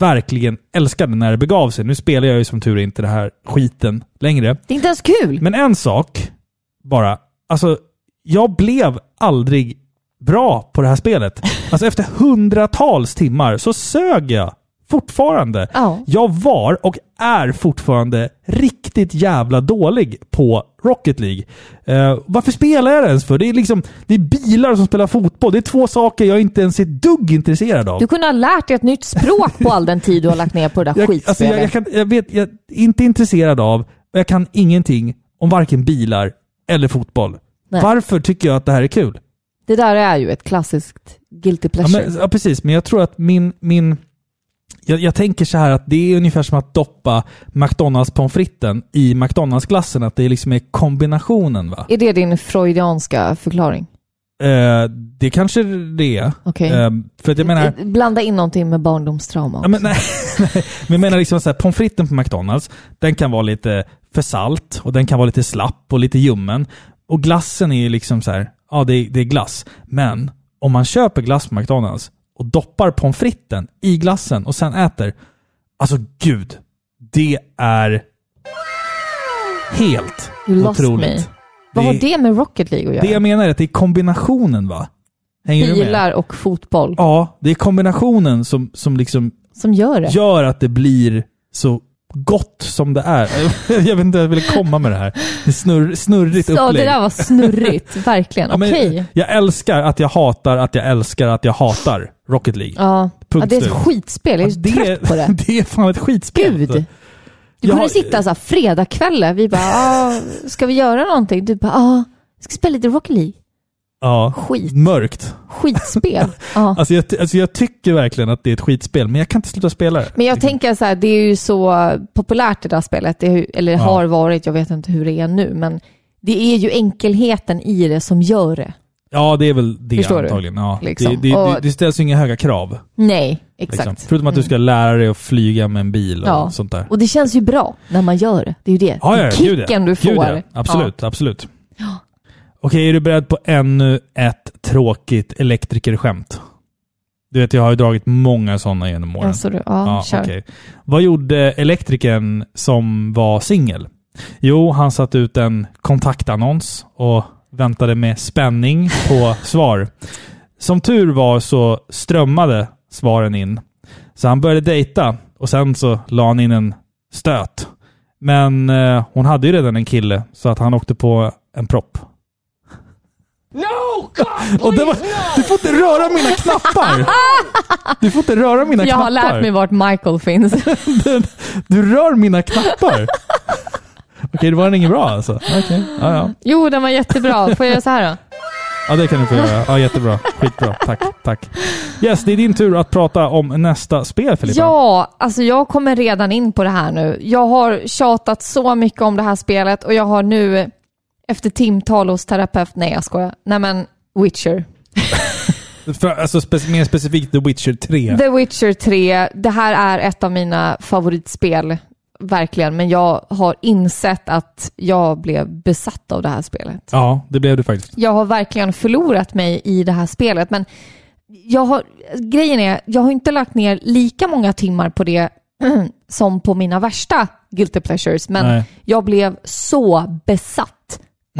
Speaker 2: verkligen älskade när det begav sig. Nu spelar jag ju som tur är inte det här skiten längre.
Speaker 1: Det är inte ens kul.
Speaker 2: Men en sak bara. Alltså, jag blev aldrig bra på det här spelet. Alltså efter hundratals timmar så sög jag fortfarande.
Speaker 1: Ja.
Speaker 2: Jag var och är fortfarande riktigt jävla dålig på Rocket League. Eh, varför spelar jag det ens för? Det är liksom det är bilar som spelar fotboll. Det är två saker jag inte ens är ett dugg intresserad av.
Speaker 1: Du kunde ha lärt dig ett nytt språk på all den tid du har lagt ner på det där
Speaker 2: Jag, alltså
Speaker 1: skitspelet.
Speaker 2: jag, jag, kan, jag, vet, jag är inte intresserad av, och jag kan ingenting om varken bilar eller fotboll.
Speaker 1: Nej.
Speaker 2: Varför tycker jag att det här är kul?
Speaker 1: Det där är ju ett klassiskt guilty
Speaker 2: Ja,
Speaker 1: pleasure.
Speaker 2: men, ja, precis. Men jag tror att min... min jag, jag tänker så här att det är ungefär som att doppa McDonalds pommes fritesen i McDonalds-glassen. Att det liksom är kombinationen. va?
Speaker 1: Är det din freudianska förklaring?
Speaker 2: Eh, det kanske det är.
Speaker 1: Okej.
Speaker 2: Eh, för att jag menar...
Speaker 1: Eh, Blanda in någonting med barndomstrauma.
Speaker 2: Ja, men, nej, nej. men jag menar liksom så här, pommes fritesen på McDonalds, den kan vara lite för salt och den kan vara lite slapp och lite ljummen. Och glassen är ju liksom så här, ja det är, det är glass. Men om man köper glass på McDonalds och doppar pommes fritesen i glassen och sen äter, alltså gud, det är helt
Speaker 1: You lost
Speaker 2: otroligt.
Speaker 1: me. Vad har
Speaker 2: det-
Speaker 1: det med Rocket League att göra?
Speaker 2: Det jag menar är att det är kombinationen va? Hänger du med?
Speaker 1: Bilar och fotboll
Speaker 2: Ja, det är kombinationen som, som liksom
Speaker 1: som gör det.
Speaker 2: gör att det blir så gott som det är. Jag vet inte hur jag ville komma med det här. Det är snurr, snurrigt
Speaker 1: Ja, det
Speaker 2: upplägg.
Speaker 1: där var snurrigt. Verkligen.
Speaker 2: Ja, men
Speaker 1: Okej.
Speaker 2: Jag älskar att jag hatar att jag älskar att jag hatar Rocket League.
Speaker 1: Ja.
Speaker 2: Punkt
Speaker 1: ja, det är ett
Speaker 2: slut.
Speaker 1: skitspel. Jag är
Speaker 2: det,
Speaker 1: trött på det.
Speaker 2: det är fan ett skitspel.
Speaker 1: Gud! Du
Speaker 2: Jag
Speaker 1: kunde
Speaker 2: har-
Speaker 1: sitta så här fredagkvällar. Vi bara, ah, ska vi göra någonting? Du bara, ah, ska spela lite Rocket League.
Speaker 2: Ja.
Speaker 1: Skit.
Speaker 2: Mörkt.
Speaker 1: Skitspel. Ja.
Speaker 2: Alltså jag, ty- alltså jag tycker verkligen att det är ett skitspel, men jag kan inte sluta spela det.
Speaker 1: Men jag
Speaker 2: Liksom.
Speaker 1: tänker så här, det är ju så populärt det där spelet, det är, ju- eller det har varit, jag vet inte hur det är nu, men det är ju enkelheten i det som gör det.
Speaker 2: Ja, det är väl det
Speaker 1: Förstår du?
Speaker 2: antagligen. Ja.
Speaker 1: Liksom.
Speaker 2: Det, det, det,
Speaker 1: Och-
Speaker 2: det ställs ju inga höga krav.
Speaker 1: Nej,
Speaker 2: Liksom.
Speaker 1: exakt. Mm.
Speaker 2: Förutom att du ska lära dig att flyga med en bil och
Speaker 1: Ja.
Speaker 2: sånt där.
Speaker 1: Och det känns ju bra när man gör det. Det är ju det.
Speaker 2: Ja, ja, ja.
Speaker 1: Kicken
Speaker 2: Gud, ja.
Speaker 1: du får.
Speaker 2: Gud, ja. Absolut, absolut. Okej, är du beredd på ännu ett tråkigt elektrikerskämt? Du vet, jag har ju dragit många sådana genom
Speaker 1: Ja,
Speaker 2: åren.
Speaker 1: alltså, du, ja, kör.
Speaker 2: okej. Vad gjorde elektrikern som var singel? Jo, han satte ut en kontaktannons och väntade med spänning på svar. Som tur var så strömmade svaren in. Så han började dejta och sen så la han in en stöt. Men eh, hon hade ju redan en kille så att han åkte på en propp.
Speaker 3: No! God,
Speaker 2: Och det var,
Speaker 3: please, no!
Speaker 2: du får inte röra mina knappar! Du får inte röra mina
Speaker 1: Jag
Speaker 2: knappar!
Speaker 1: har lärt mig vart Michael finns.
Speaker 2: Den, du rör mina knappar. Okej, det var den ingen bra alltså. Okej. Ja, ja.
Speaker 1: jo, den var jättebra. Får jag göra så här då?
Speaker 2: ja, det kan du få göra. Ja, jättebra. Skitbra. Tack, tack. Yes, det är din tur att prata om nästa spel, Filippa.
Speaker 1: Ja, alltså jag kommer redan in på det här nu. Jag har tjatat så mycket om det här spelet och jag har nu efter timtal hos terapeut, nej jag skojar, nej men Witcher.
Speaker 2: För, alltså, spe- mer specifikt The Witcher 3.
Speaker 1: The Witcher 3, det här är ett av mina favoritspel, verkligen, men jag har insett att jag blev besatt av det här spelet.
Speaker 2: Ja, det blev du faktiskt.
Speaker 1: jag har verkligen förlorat mig i det här spelet. Men jag har, grejen är, jag har inte lagt ner lika många timmar på det som på mina värsta guilty pleasures. Men
Speaker 2: Nej. Mm.
Speaker 1: jag blev så besatt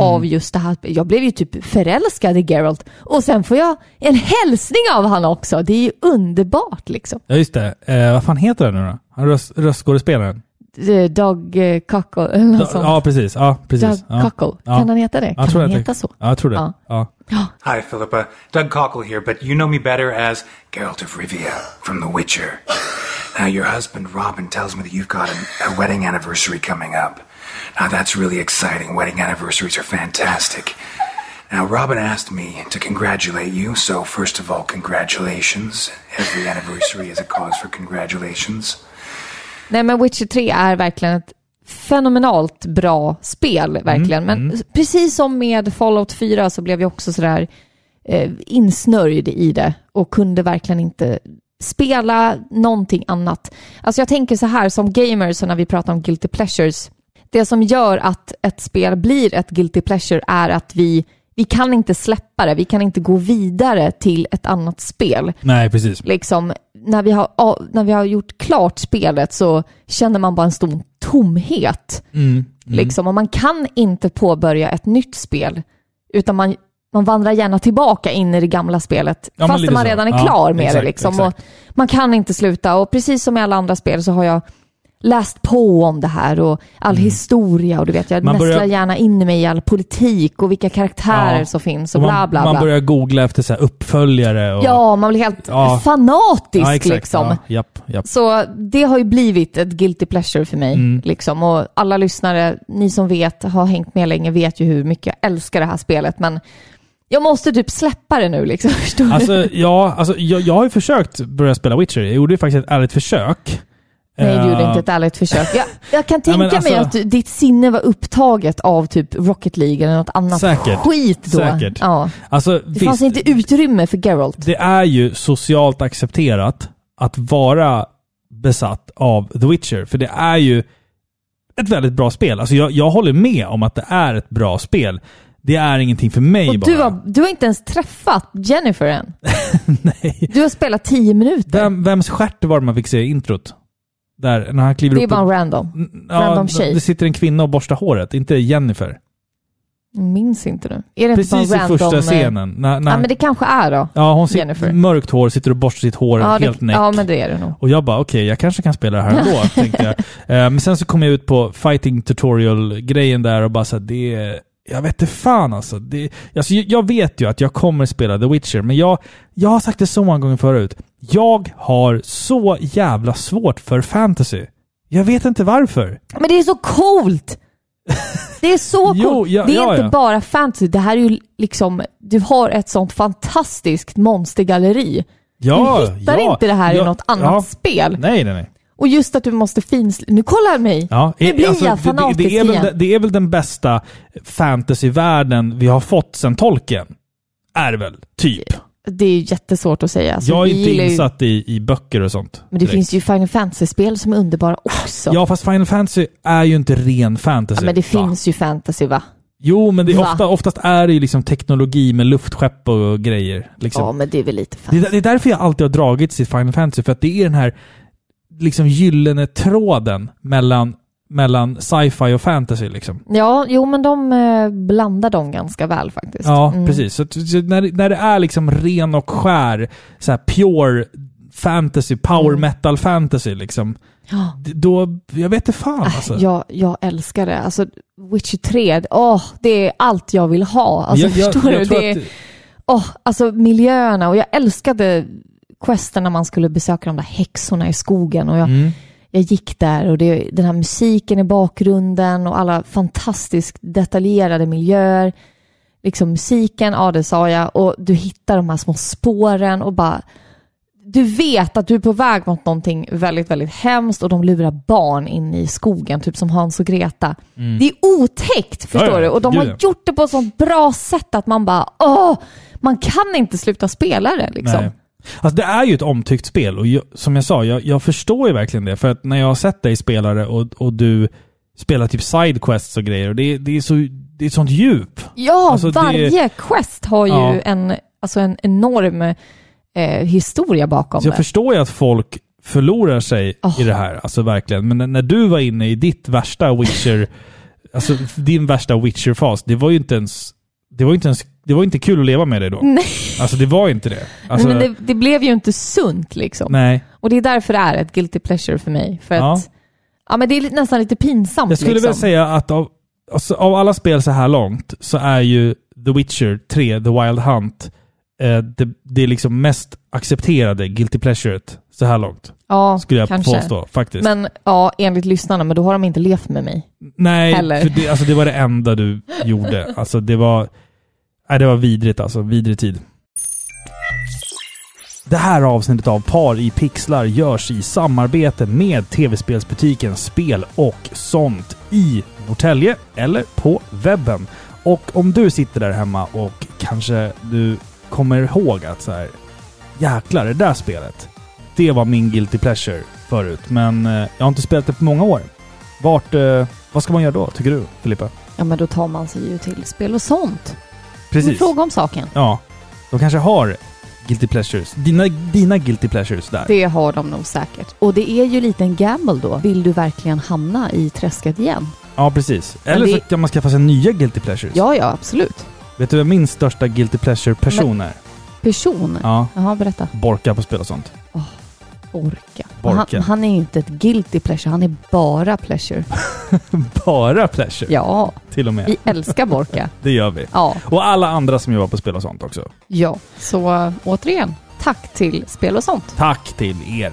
Speaker 1: av just det här. Jag blev ju typ förälskad i Geralt. Och sen får jag en hälsning av han också. Det är ju underbart liksom.
Speaker 2: Ja, just det. Eh, vad fan heter den nu då? Han Röst, röstskådespelaren?
Speaker 1: Eh, Doug eh, Cockle eller något sånt.
Speaker 2: Ja, precis. Ja, precis.
Speaker 1: Doug
Speaker 2: Ja.
Speaker 1: Cockle,
Speaker 2: Ja.
Speaker 1: kan han heta det?
Speaker 2: Ja, jag
Speaker 1: kan
Speaker 2: tror
Speaker 1: han
Speaker 2: att det-
Speaker 1: heta så?
Speaker 2: Ja, jag tror det.
Speaker 1: Ja.
Speaker 2: Ja.
Speaker 4: Hi, Philippa. Doug Cockle here, but you know me better as Geralt of Rivia from The Witcher. Now, your husband, Robin, tells me that you've got a, a wedding anniversary coming up. Now, that's really exciting. Wedding anniversaries are fantastic. Now, Robin asked me to congratulate you, so first of all, congratulations. Every anniversary is a cause for congratulations.
Speaker 1: Nej, men Witcher 3 är verkligen ett fenomenalt bra spel, verkligen. men precis som med Fallout 4 så blev jag också sådär eh, insnörjd i det och kunde verkligen inte spela någonting annat. Alltså jag tänker så här, som gamers och när vi pratar om guilty pleasures, det som gör att ett spel blir ett guilty pleasure är att vi, vi kan inte släppa det, vi kan inte gå vidare till ett annat spel
Speaker 2: Nej, precis.
Speaker 1: liksom, när vi, har, ja, när vi har gjort klart spelet så känner man bara en stor tomhet.
Speaker 2: Mm,
Speaker 1: Liksom. Och man kan inte påbörja ett nytt spel, utan man, man vandrar gärna tillbaka in i det gamla spelet,
Speaker 2: men
Speaker 1: fast
Speaker 2: lite
Speaker 1: man
Speaker 2: så.
Speaker 1: redan är
Speaker 2: Ja,
Speaker 1: klar med
Speaker 2: exakt,
Speaker 1: det. Liksom. Och
Speaker 2: exakt.
Speaker 1: man kan inte sluta. Och precis som i alla andra spel så har jag läst på om det här och all historia och du vet, jag
Speaker 2: Mm. Man
Speaker 1: nästlar
Speaker 2: börjar-
Speaker 1: gärna in mig i all politik och vilka karaktärer
Speaker 2: Ja.
Speaker 1: som finns och
Speaker 2: Och
Speaker 1: bla
Speaker 2: man,
Speaker 1: bla bla.
Speaker 2: man börjar googla efter så här uppföljare. Och,
Speaker 1: Ja, man blir helt
Speaker 2: Ja.
Speaker 1: fanatisk
Speaker 2: Ja, exakt.
Speaker 1: liksom.
Speaker 2: Ja, japp, japp.
Speaker 1: Så det har ju blivit ett guilty pleasure för mig.
Speaker 2: Mm.
Speaker 1: Liksom. Och alla lyssnare, ni som vet, har hängt med länge, vet ju hur mycket jag älskar det här spelet. Men jag måste typ släppa det nu liksom. Förstår du?
Speaker 2: Alltså, ja, alltså, jag, jag har ju försökt börja spela Witcher. Jag gjorde ju faktiskt ett ärligt försök.
Speaker 1: Nej, du gjorde
Speaker 2: Eh,
Speaker 1: inte ett ärligt försök. Jag, jag kan
Speaker 2: Ja,
Speaker 1: tänka
Speaker 2: men
Speaker 1: mig att
Speaker 2: alltså-
Speaker 1: du, ditt sinne var upptaget av typ Rocket League eller något annat
Speaker 2: Eh, Säkert.
Speaker 1: skit då.
Speaker 2: Säkert.
Speaker 1: Ja.
Speaker 2: Alltså,
Speaker 1: Det fanns
Speaker 2: visst,
Speaker 1: inte utrymme för Geralt.
Speaker 2: det är ju socialt accepterat att vara besatt av The Witcher. För det är ju ett väldigt bra spel. Alltså, jag, jag håller med om att det är ett bra spel. Det är ingenting för mig
Speaker 1: Och
Speaker 2: bara.
Speaker 1: du har, du har inte ens träffat Jennifer än.
Speaker 2: Nej.
Speaker 1: Du har spelat tio minuter.
Speaker 2: Vem, vems stjärt var det man fick se i introt? Där, när han kliver
Speaker 1: Det är
Speaker 2: upp
Speaker 1: bara
Speaker 2: och-
Speaker 1: en random. random tjej.
Speaker 2: Det sitter en kvinna och borstar håret, inte Jennifer.
Speaker 1: Minns inte nu. Är det
Speaker 2: Precis
Speaker 1: inte
Speaker 2: i
Speaker 1: bara en random?
Speaker 2: första
Speaker 1: eh,
Speaker 2: scenen. När, när,
Speaker 1: Ja, men det kanske är då.
Speaker 2: Ja, hon sitter,
Speaker 1: Jennifer.
Speaker 2: mörkt hår, sitter och borstar sitt hår
Speaker 1: Ja,
Speaker 2: helt
Speaker 1: det,
Speaker 2: näck.
Speaker 1: ja men det är det nog.
Speaker 2: Och jag bara, okej, jag kanske kan spela det här ändå, tänkte jag. Eh, Men sen så kom jag ut på fighting tutorial-grejen där och bara så här, det... är- Jag vet inte fan alltså. Det, alltså. jag- Jag vet ju att jag kommer spela The Witcher, men jag, jag har sagt det så många gånger förut. Jag har så jävla svårt för fantasy. Jag vet inte varför.
Speaker 1: Men det är så coolt! Det är så coolt.
Speaker 2: Jo, ja,
Speaker 1: det är
Speaker 2: ja,
Speaker 1: inte
Speaker 2: ja.
Speaker 1: bara fantasy. Det här är ju liksom, du har ett sånt fantastiskt monstergalleri.
Speaker 2: Ja,
Speaker 1: du hittar
Speaker 2: ja,
Speaker 1: inte det här
Speaker 2: ja,
Speaker 1: i något annat
Speaker 2: ja.
Speaker 1: spel.
Speaker 2: Nej, nej, nej.
Speaker 1: Och just att du måste fins... Nu kollar jag mig!
Speaker 2: Ja,
Speaker 1: nu
Speaker 2: eh,
Speaker 1: blir
Speaker 2: alltså,
Speaker 1: jag
Speaker 2: det- det,
Speaker 1: fanatisk
Speaker 2: det, är väl,
Speaker 1: igen.
Speaker 2: den- det är väl den bästa fantasyvärlden vi har fått sedan tolken. Är det väl, typ.
Speaker 1: Det är ju jättesvårt att säga. Alltså,
Speaker 2: jag är
Speaker 1: vi
Speaker 2: inte
Speaker 1: gillar ju-
Speaker 2: insatt i, i böcker och sånt.
Speaker 1: Men det
Speaker 2: direkt.
Speaker 1: finns ju Final Fantasy-spel som är underbara också.
Speaker 2: Ja, fast Final Fantasy är ju inte ren fantasy.
Speaker 1: Ja, men det
Speaker 2: va?
Speaker 1: finns ju fantasy va?
Speaker 2: Jo, men det är
Speaker 1: Va?
Speaker 2: ofta, oftast är det ju liksom teknologi med luftskepp och grejer. Liksom.
Speaker 1: Ja, men det är väl lite
Speaker 2: Det,
Speaker 1: fantasy.
Speaker 2: är- det är därför jag alltid har dragits till Final Fantasy, för att det är den här liksom gyllene tråden mellan, mellan sci-fi och fantasy. Liksom.
Speaker 1: Ja, jo men de eh, blandar dem ganska väl faktiskt.
Speaker 2: Ja,
Speaker 1: Mm.
Speaker 2: precis. Så, att- så när, det- när det är liksom ren och skär så här pure fantasy, power
Speaker 1: Mm.
Speaker 2: metal fantasy, liksom,
Speaker 1: Ja. Äh,
Speaker 2: d- då... Jag vet inte
Speaker 1: Ah,
Speaker 2: fan alltså.
Speaker 1: Jag, jag älskar det. Alltså, Witcher 3, åh, det är allt jag vill ha. Alltså,
Speaker 2: jag, jag,
Speaker 1: förstår
Speaker 2: jag
Speaker 1: du?
Speaker 2: tror
Speaker 1: Det är,
Speaker 2: att-
Speaker 1: åh, alltså miljöerna och jag älskade questen när man skulle besöka de där häxorna i skogen. Och jag,
Speaker 2: Mm.
Speaker 1: jag gick där och det, den här musiken i bakgrunden och alla fantastiskt detaljerade miljöer. Liksom musiken, ja det sa jag, och du hittar de här små spåren och bara du vet att du är på väg mot någonting väldigt, väldigt hemskt och de lurar barn in i skogen, typ som Hans och Greta. Det är otäckt, förstår
Speaker 2: Mm.
Speaker 1: du?
Speaker 2: ja,
Speaker 1: Och de
Speaker 2: gud,
Speaker 1: har
Speaker 2: ja.
Speaker 1: gjort det på ett sånt bra sätt att man bara, åh, man kan inte sluta spela det liksom.
Speaker 2: Nej. Alltså det är ju ett omtyckt spel och jag, som jag sa, jag, jag förstår ju verkligen det. För att när jag har sett dig spela det och, och du spelar typ sidequests och grejer, och det, det, är så, det är ett sånt djup.
Speaker 1: Ja,
Speaker 2: Alltså, det-
Speaker 1: varje quest har ju
Speaker 2: Ja.
Speaker 1: en, alltså en enorm eh, historia bakom
Speaker 2: Så jag
Speaker 1: det.
Speaker 2: förstår ju att folk förlorar sig i det här, alltså verkligen. Men när- när du var inne i ditt värsta Witcher, alltså din värsta Witcher-fas, det var ju inte ens, det var ju inte ens, det var inte kul att leva med det då.
Speaker 1: Nej.
Speaker 2: Alltså det var inte det. Alltså,
Speaker 1: Mm. Men det, det blev ju inte sunt liksom.
Speaker 2: nej.
Speaker 1: Och det är därför det är ett guilty pleasure för mig. För
Speaker 2: Ja.
Speaker 1: att, ja men det är li- nästan lite pinsamt
Speaker 2: Jag skulle
Speaker 1: liksom.
Speaker 2: väl säga att av, alltså, av alla spel så här långt så är ju The Witcher 3, The Wild Hunt, eh, det, det är liksom mest accepterade guilty pleasuret så här långt.
Speaker 1: ja,
Speaker 2: Skulle jag
Speaker 1: kanske.
Speaker 2: påstå faktiskt.
Speaker 1: Men ja, enligt lyssnarna, men då har de inte levt med mig.
Speaker 2: Nej,
Speaker 1: heller.
Speaker 2: för det, alltså, det var det enda du gjorde. Alltså det var... Nej, det var vidrigt alltså. Vidrig tid. Det här avsnittet av Par i pixlar görs i samarbete med tv-spelsbutiken Spel och sånt i Norrtälje eller på webben. Och om du sitter där hemma och kanske du kommer ihåg att så här, jäklar det där spelet, det var min guilty pleasure förut, men eh, jag har inte spelat det på många år. Vart, eh, vad ska man göra då, tycker du Filippa?
Speaker 1: Ja, men då tar man sig ju till spel och sånt. Fråga om saken.
Speaker 2: Ja. De kanske har guilty pleasures. Dina, dina guilty pleasures där.
Speaker 1: Det har de nog säkert. Och det är ju lite en gamble då. Vill du verkligen hamna i träsket igen?
Speaker 2: Ja, precis.
Speaker 1: Men
Speaker 2: Eller så
Speaker 1: det-
Speaker 2: kan man skaffa sig nya guilty pleasures.
Speaker 1: Ja, ja, absolut.
Speaker 2: Vet du vem min största guilty pleasure-person är?
Speaker 1: Person.
Speaker 2: Ja.
Speaker 1: Jaha, berätta.
Speaker 2: Borka på spel och sånt.
Speaker 1: Orka.
Speaker 2: Borka.
Speaker 1: Han, han är ju inte ett guilty pleasure, han är bara pleasure.
Speaker 2: Bara pleasure,
Speaker 1: Ja,
Speaker 2: till och med.
Speaker 1: vi älskar Borka.
Speaker 2: Det gör vi.
Speaker 1: Ja,
Speaker 2: Och alla andra som jobbar på spel och sånt också.
Speaker 1: ja. Så äh, återigen, tack till Spel och sånt.
Speaker 2: Tack till er.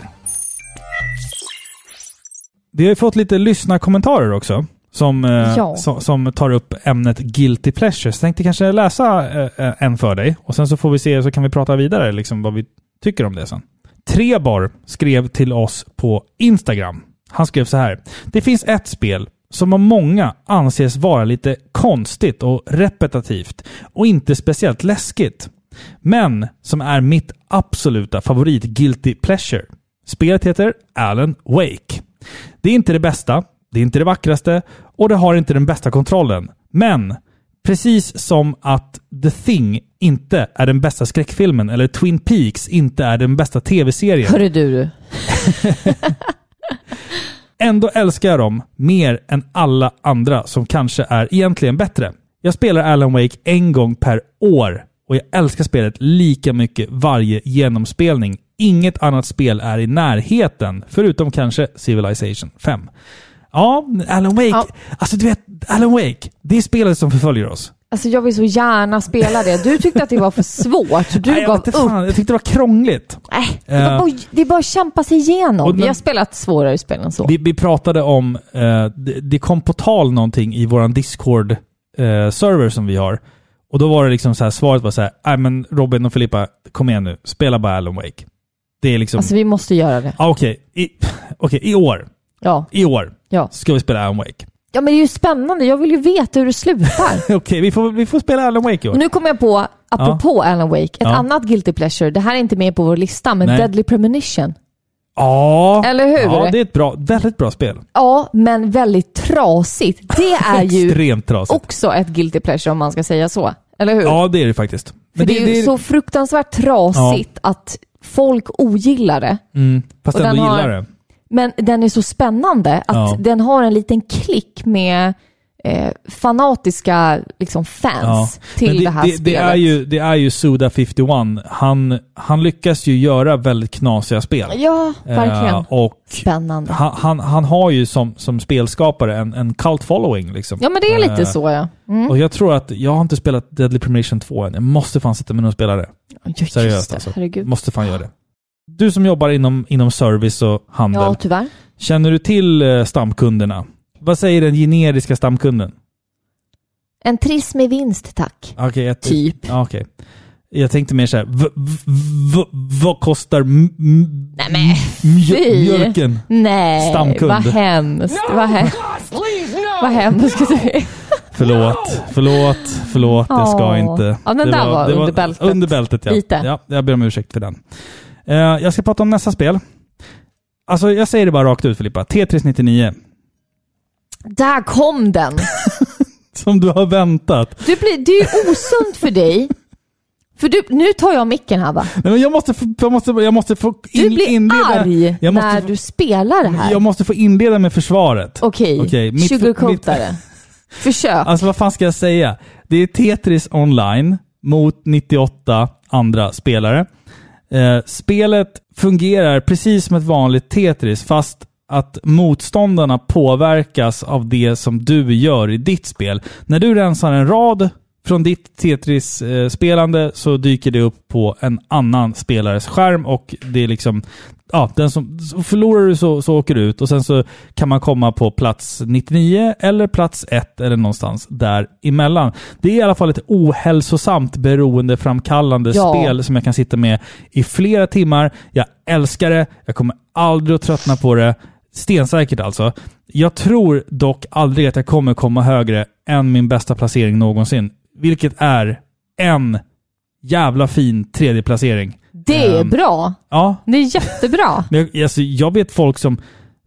Speaker 2: Vi har ju fått lite lyssnarkommentarer också. Som, eh,
Speaker 1: Ja.
Speaker 2: som, som tar upp ämnet guilty pleasures. Tänkte kanske läsa eh, eh, en för dig. Och sen så får vi se, så kan vi prata vidare liksom, vad vi tycker om det sen. Trebor skrev till oss på Instagram. Han skrev så här. Det finns ett spel som av många anses vara lite konstigt och repetitivt och inte speciellt läskigt. Men som är mitt absoluta favorit guilty pleasure. Spelet heter Alan Wake. Det är inte det bästa, det är inte det vackraste och det har inte den bästa kontrollen. Men precis som att The Thing inte är den bästa skräckfilmen eller Twin Peaks inte är den bästa tv-serien
Speaker 1: Hörru du,
Speaker 2: Ändå älskar jag dem mer än alla andra som kanske är egentligen bättre. Jag spelar Alan Wake en gång per år och jag älskar spelet lika mycket varje genomspelning. Inget annat spel är i närheten, förutom kanske Civilization 5. Ja, Alan Wake.
Speaker 1: Ja.
Speaker 2: Alltså du vet, Alan Wake. Det är spelet som förföljer oss.
Speaker 1: alltså jag vill så gärna spela det. Du tyckte att det var för svårt, du
Speaker 2: Nej, jag,
Speaker 1: gav upp.
Speaker 2: vet inte fan, jag tyckte det var krångligt.
Speaker 1: Nej, det,
Speaker 2: Eh.
Speaker 1: var bara, det är bara att kämpa sig igenom.
Speaker 2: Och men-
Speaker 1: Vi har spelat svårare spel än så.
Speaker 2: Vi, vi pratade om, eh, det, det kom på tal någonting i vår Discord-server som vi har. Och då var det liksom så här, svaret var så här, nej men Robin och Filippa, kom igen nu, spela bara Alan Wake. Det är liksom,
Speaker 1: Alltså vi måste göra det.
Speaker 2: ah, okej, i, okej, i år,
Speaker 1: Ja,
Speaker 2: i år
Speaker 1: ja.
Speaker 2: ska vi spela Alan Wake.
Speaker 1: Ja men det är ju spännande, jag vill ju veta hur det slutar.
Speaker 2: Okej, vi, får, vi får spela Alan Wake i år.
Speaker 1: Och nu kommer jag på, apropå Alan Wake, ett
Speaker 2: Ja.
Speaker 1: annat guilty pleasure. Det här är inte med på vår lista, men
Speaker 2: Nej.
Speaker 1: Deadly Premonition.
Speaker 2: Ja,
Speaker 1: Eller hur?
Speaker 2: Ja, det är ett bra, väldigt bra spel.
Speaker 1: Ja, men väldigt trasigt. Det är ju
Speaker 2: Extremt trasigt.
Speaker 1: också ett guilty pleasure om man ska säga så. Eller hur?
Speaker 2: Ja, det är det faktiskt.
Speaker 1: För det, är ju så fruktansvärt trasigt att folk ogillar det.
Speaker 2: mm, fast
Speaker 1: och
Speaker 2: ändå
Speaker 1: den har-
Speaker 2: gillar det.
Speaker 1: Men den är så spännande att
Speaker 2: Ja.
Speaker 1: den har en liten klick med eh, fanatiska liksom, fans till
Speaker 2: Men
Speaker 1: det, här
Speaker 2: det,
Speaker 1: spelet.
Speaker 2: det är ju, det är ju Suda 51. Han, han lyckas ju göra väldigt knasiga spel.
Speaker 1: Ja, verkligen.
Speaker 2: Eh, och
Speaker 1: Spännande.
Speaker 2: han, han, han har ju som, som spelskapare en, en cult following. Liksom.
Speaker 1: Ja, men det är lite
Speaker 2: Eh,
Speaker 1: så ja.
Speaker 2: Och jag tror att, jag har inte spelat Deadly Premonition 2 än. Jag måste fan sätta mig ner och spela det.
Speaker 1: Ja, Just
Speaker 2: Seriöst
Speaker 1: det,
Speaker 2: alltså.
Speaker 1: herregud.
Speaker 2: Måste fan göra det. Du som jobbar inom, inom service och handel,
Speaker 1: Ja, tyvärr.
Speaker 2: känner du till eh, stamkunderna? Vad säger den generiska stamkunden?
Speaker 1: En triss med vinst tack.
Speaker 2: Okej, jag-
Speaker 1: Typ.
Speaker 2: Ja, Okej. Jag tänkte mer såhär, v- v- v- vad kostar m- m-
Speaker 1: Nej, men
Speaker 2: mjö-
Speaker 1: fy.
Speaker 2: mjölken?
Speaker 1: Nej,
Speaker 2: Stamkund.
Speaker 1: vad hemskt.
Speaker 3: No,
Speaker 1: Vad, he-
Speaker 3: God, please, no.
Speaker 1: vad hemskt.
Speaker 2: Förlåt, förlåt, förlåt, jag ska
Speaker 1: Åh.
Speaker 2: inte.
Speaker 1: Ja, den där var under bältet.
Speaker 2: Under bältet, ja.
Speaker 1: Lite.
Speaker 2: ja. Jag ber om ursäkt för den. Eh, jag ska prata om nästa spel. Alltså, jag säger det bara rakt ut Filippa. Tetris 99.
Speaker 1: Där kom den.
Speaker 2: Som du har väntat.
Speaker 1: Du blir, det är ju osunt för dig. För du, nu tar jag micken här va?
Speaker 2: Nej, men jag måste få, jag måste, jag måste få in,
Speaker 1: Du blir
Speaker 2: inleda,
Speaker 1: arg
Speaker 2: jag måste,
Speaker 1: när
Speaker 2: få-
Speaker 1: du spelar det här.
Speaker 2: Jag måste få inleda med försvaret.
Speaker 1: Okej,
Speaker 2: Okej, mitt-
Speaker 1: sugarcoatare. Försök.
Speaker 2: Alltså vad fan ska jag säga? Det är Tetris online mot 98 andra spelare. Eh, spelet fungerar precis som ett vanligt Tetris fast att motståndarna påverkas av det som du gör i ditt spel. När du rensar en rad Från ditt Tetris-spelande eh, så dyker det upp på en annan spelares skärm och det är liksom... Ja, den som, så förlorar du så, så åker du ut och sen så kan man komma på plats 99 eller plats 1 eller någonstans däremellan. Det är i alla fall ett ohälsosamt beroendeframkallande
Speaker 1: Ja.
Speaker 2: spel som jag kan sitta med i flera timmar. Jag älskar det. Jag kommer aldrig att tröttna på det. Stensäkert alltså. Jag tror dock aldrig att jag kommer komma högre än min bästa placering någonsin. Vilket är en jävla fin tredje placering.
Speaker 1: Det är
Speaker 2: Ehm.
Speaker 1: bra.
Speaker 2: Ja,
Speaker 1: Det är jättebra.
Speaker 2: men jag, alltså, jag vet folk som,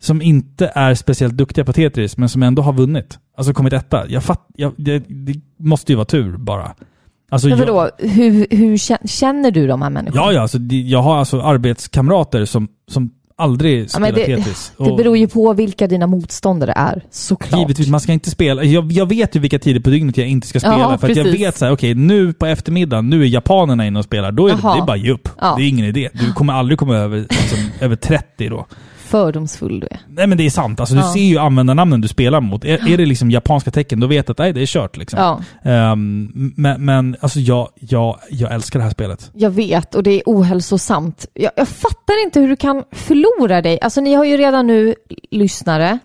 Speaker 2: som inte är speciellt duktiga på Tetris, men som ändå har vunnit. Alltså kommit etta. Jag fatt, jag, det, det måste ju vara tur bara. Alltså,
Speaker 1: Men
Speaker 2: jag-
Speaker 1: vadå, hur, hur kä- känner du de här människorna?
Speaker 2: Ja, ja. Alltså, det- jag har alltså arbetskamrater som, som aldrig spelar
Speaker 1: men det-
Speaker 2: Tetris.
Speaker 1: Det beror ju på vilka dina motståndare är, såklart.
Speaker 2: Givetvis, man ska inte spela. Jag, jag vet ju vilka tider på dygnet jag inte ska spela.
Speaker 1: Ja,
Speaker 2: för att jag
Speaker 1: precis.
Speaker 2: vet så här, okej nu på eftermiddagen, nu är japanerna inne och spelar. Då är det,
Speaker 1: Jaha.
Speaker 2: det är bara ge upp.
Speaker 1: Ja.
Speaker 2: Det är ingen idé. Du kommer aldrig komma över, liksom, över 30 då.
Speaker 1: Fördomsfull du är.
Speaker 2: Nej men det är sant. Alltså, du
Speaker 1: Ja.
Speaker 2: ser ju användarnamnen du spelar mot. Är, är det liksom japanska tecken, då vet du att nej, det är kört. Liksom.
Speaker 1: Ja,
Speaker 2: Ehm, men men alltså, jag, jag, jag älskar det här spelet.
Speaker 1: jag vet och det är ohälsosamt. Jag, jag fattar inte hur du kan förlora dig. Alltså ni har ju redan nu, lyssnare,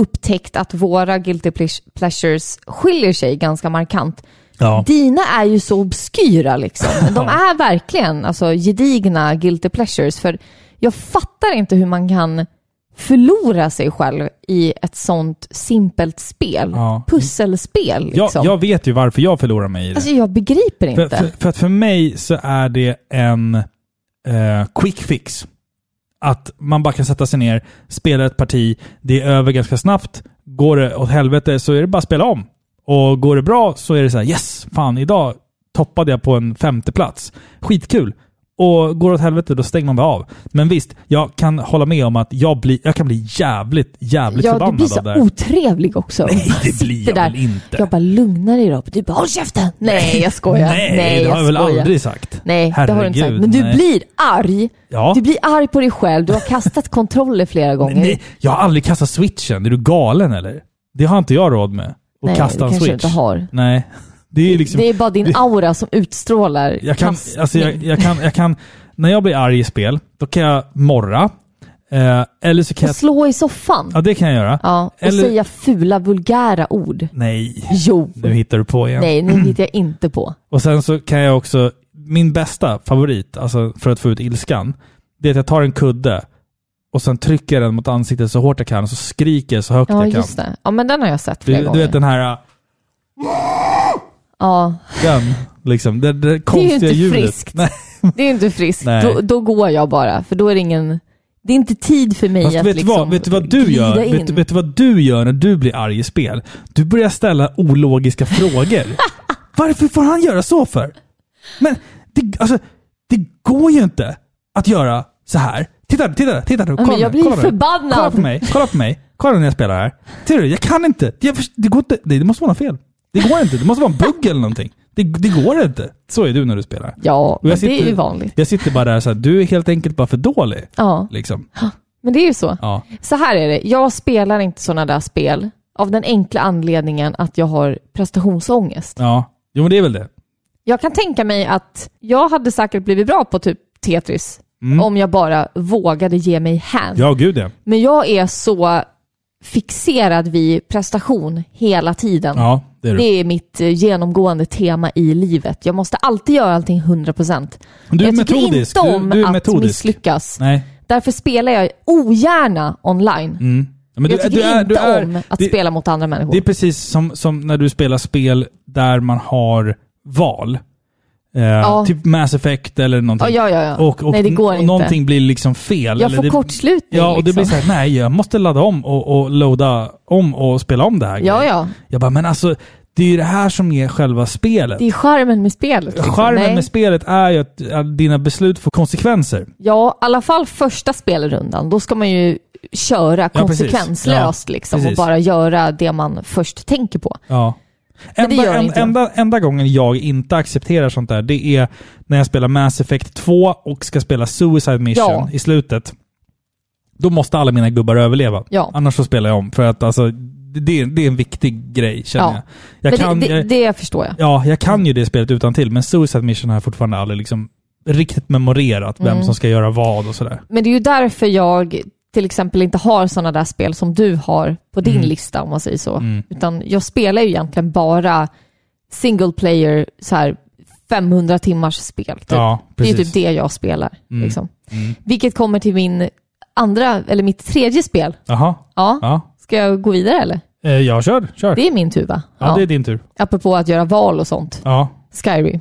Speaker 1: upptäckt att våra guilty pleas- pleasures skiljer sig ganska markant.
Speaker 2: Ja.
Speaker 1: Dina är ju så obskyra liksom. De är verkligen alltså, gedigna guilty pleasures. För jag fattar inte hur man kan förlora sig själv i ett sånt simpelt spel.
Speaker 2: Ja.
Speaker 1: Pusselspel
Speaker 2: Jag,
Speaker 1: liksom.
Speaker 2: jag vet ju varför jag förlorar mig i det.
Speaker 1: Alltså jag begriper
Speaker 2: För,
Speaker 1: inte.
Speaker 2: för, för att för mig så är det en eh, quick fix. Att man bara kan sätta sig ner, spela ett parti, det är över ganska snabbt. Går det åt helvete så är det bara att spela om. Och går det bra så är det så här yes, fan idag toppade jag på en femte plats. Skitkul. Och går det åt helvete då stänger man bara av. Men visst, jag kan hålla med om att jag, blir, jag kan bli jävligt, jävligt
Speaker 1: ja, du
Speaker 2: förbannad
Speaker 1: blir
Speaker 2: av det
Speaker 1: så
Speaker 2: här.
Speaker 1: otrevlig också.
Speaker 2: Nej, det
Speaker 1: Sitter
Speaker 2: blir jag
Speaker 1: där.
Speaker 2: väl inte.
Speaker 1: Jag bara lugnar dig Robert. Du bara håll käften! Nej, jag skojar.
Speaker 2: Nej, det
Speaker 1: jag
Speaker 2: har jag väl
Speaker 1: skojar.
Speaker 2: aldrig sagt.
Speaker 1: Nej, det har du inte sagt.
Speaker 2: Herregud,
Speaker 1: Men du
Speaker 2: nej.
Speaker 1: blir arg.
Speaker 2: Ja.
Speaker 1: Du blir arg på dig själv. Du har kastat kontroller flera gånger.
Speaker 2: Nej, jag har aldrig kastat switchen. Är du galen eller? Det har inte jag råd med. Att
Speaker 1: Nej,
Speaker 2: kasta
Speaker 1: det
Speaker 2: en
Speaker 1: kanske
Speaker 2: switch.
Speaker 1: du inte har.
Speaker 2: Nej. Det är liksom...
Speaker 1: Det är bara din aura som utstrålar
Speaker 2: jag, kan,
Speaker 1: kastning.
Speaker 2: alltså jag, jag, kan, jag kan... När jag blir arg i spel, då kan jag morra. Eh, eller så kan
Speaker 1: Och
Speaker 2: jag...
Speaker 1: slå i soffan.
Speaker 2: Ja, det kan jag göra.
Speaker 1: Ja, och
Speaker 2: eller-
Speaker 1: säga fula vulgära ord.
Speaker 2: Nej,
Speaker 1: Jo.
Speaker 2: nu hittar du på igen.
Speaker 1: Nej, nu hittar jag inte på.
Speaker 2: Och sen så kan jag också... Min bästa favorit, alltså för att få ut ilskan, det är att jag tar en kudde och sen trycker jag den mot ansiktet så hårt jag kan och så skriker jag så högt
Speaker 1: Ja,
Speaker 2: jag kan.
Speaker 1: just det. Ja, men den har jag sett flera
Speaker 2: Du, du
Speaker 1: gånger.
Speaker 2: vet den här... eh,
Speaker 1: Ja,
Speaker 2: Den, liksom. Det, det
Speaker 1: det är ju
Speaker 2: konstiga
Speaker 1: inte
Speaker 2: ljudet.
Speaker 1: friskt.
Speaker 2: Nej.
Speaker 1: Det är inte friskt.
Speaker 2: Nej.
Speaker 1: Då, då går jag bara, för då är det ingen... Det är inte tid för mig
Speaker 2: Fast
Speaker 1: att
Speaker 2: vet, du
Speaker 1: liksom
Speaker 2: vad, vet du vad du
Speaker 1: glida
Speaker 2: gör?
Speaker 1: in.
Speaker 2: Vet, du- vet du vad du gör när du blir arg i spel? Du börjar ställa ologiska frågor. Varför får han göra så för? Men det, alltså, det går ju inte att göra så här. Titta, titta, titta nu. Kolla,
Speaker 1: men jag
Speaker 2: nu,
Speaker 1: blir
Speaker 2: kolla nu.
Speaker 1: förbannad.
Speaker 2: Kolla på mig. Kolla på mig. Kolla när jag spelar här. Ser du? Jag kan inte. Jag, först- det går inte. Nej, det måste vara något fel. Det går inte. Det måste vara en bugg eller någonting. Det, det går inte. Så är du när du spelar.
Speaker 1: Ja,
Speaker 2: Och
Speaker 1: men
Speaker 2: jag sitter-
Speaker 1: det är ju vanligt.
Speaker 2: Jag sitter bara där så här, du är helt enkelt bara för dålig.
Speaker 1: Ja,
Speaker 2: Liksom.
Speaker 1: men det är ju så.
Speaker 2: Ja.
Speaker 1: Så här är det, jag spelar inte sådana där spel av den enkla anledningen att jag har prestationsångest.
Speaker 2: ja. Jo men det är väl det.
Speaker 1: Jag kan tänka mig att jag hade säkert blivit bra på typ Tetris om jag bara vågade ge mig hän.
Speaker 2: Mm. Ja, gud ja.
Speaker 1: Men jag är så fixerad vid prestation hela tiden.
Speaker 2: Ja, det är du.
Speaker 1: Det är mitt eh, genomgående tema i livet. Jag måste alltid göra allting 100%.
Speaker 2: Men du är
Speaker 1: jag
Speaker 2: metodisk.
Speaker 1: tycker
Speaker 2: Du-
Speaker 1: inte om
Speaker 2: du är
Speaker 1: att
Speaker 2: metodisk.
Speaker 1: misslyckas.
Speaker 2: Nej.
Speaker 1: Därför spelar jag ogärna online.
Speaker 2: Mm. Ja, Men
Speaker 1: Jag tycker inte om att
Speaker 2: det,
Speaker 1: spela mot andra människor.
Speaker 2: Det är precis som, som när du spelar spel där man har val. Eh, Typ Mass Effect eller någonting.
Speaker 1: Ja, ja, ja.
Speaker 2: Och, och,
Speaker 1: Nej, det går
Speaker 2: och
Speaker 1: inte.
Speaker 2: någonting blir liksom
Speaker 1: Jag
Speaker 2: fel. eller
Speaker 1: får
Speaker 2: det,
Speaker 1: kortslutning,
Speaker 2: Ja, och det
Speaker 1: liksom.
Speaker 2: blir så här, nej, jag måste ladda om och, och loada om och spela om det här.
Speaker 1: Ja,
Speaker 2: grejen.
Speaker 1: ja.
Speaker 2: Jag bara, men alltså, det är ju det här som är själva spelet.
Speaker 1: Det är charmen med spelet. Liksom.
Speaker 2: Charmen
Speaker 1: Nej.
Speaker 2: med spelet är ju att, att dina beslut får konsekvenser.
Speaker 1: Ja, i alla fall första spelrundan. Då ska man ju köra
Speaker 2: Ja, precis.
Speaker 1: konsekvenslöst
Speaker 2: Ja,
Speaker 1: liksom, och
Speaker 2: precis.
Speaker 1: bara göra det man först tänker på.
Speaker 2: Ja.
Speaker 1: Men det
Speaker 2: Enda,
Speaker 1: gör
Speaker 2: en,
Speaker 1: inte jag.
Speaker 2: enda, enda gången jag inte accepterar sånt där, det är när jag spelar Mass Effect 2 och ska spela Suicide Mission
Speaker 1: Ja.
Speaker 2: i slutet. Då måste alla mina gubbar överleva.
Speaker 1: Ja.
Speaker 2: Annars så spelar jag om. För att alltså, det, är- det är en viktig grej känner
Speaker 1: Ja.
Speaker 2: jag.
Speaker 1: Men
Speaker 2: Jag kan,
Speaker 1: det, det,
Speaker 2: jag,
Speaker 1: det förstår jag.
Speaker 2: ja, jag kan ju det spelet utan till men Suicide Mission har jag fortfarande aldrig liksom riktigt memorerat
Speaker 1: Mm.
Speaker 2: vem som ska göra vad och sådär.
Speaker 1: Men det är ju därför jag till exempel inte har sådana där spel som du har på din
Speaker 2: Mm.
Speaker 1: lista om man säger så. Utan jag spelar ju egentligen bara single player, så här 500 timmars spel. Typ.
Speaker 2: Ja,
Speaker 1: det är ju
Speaker 2: precis.
Speaker 1: typ det jag spelar.
Speaker 2: Mm.
Speaker 1: Liksom. Vilket kommer till min andra, eller mitt tredje spel.
Speaker 2: Jaha.
Speaker 1: Ja.
Speaker 2: Ja.
Speaker 1: Ska jag gå vidare eller?
Speaker 2: Eh, Ja, kör. kör.
Speaker 1: Det är min tur va?
Speaker 2: ja, det är din tur.
Speaker 1: Apropå att göra val och sånt.
Speaker 2: Ja.
Speaker 1: Skyrim.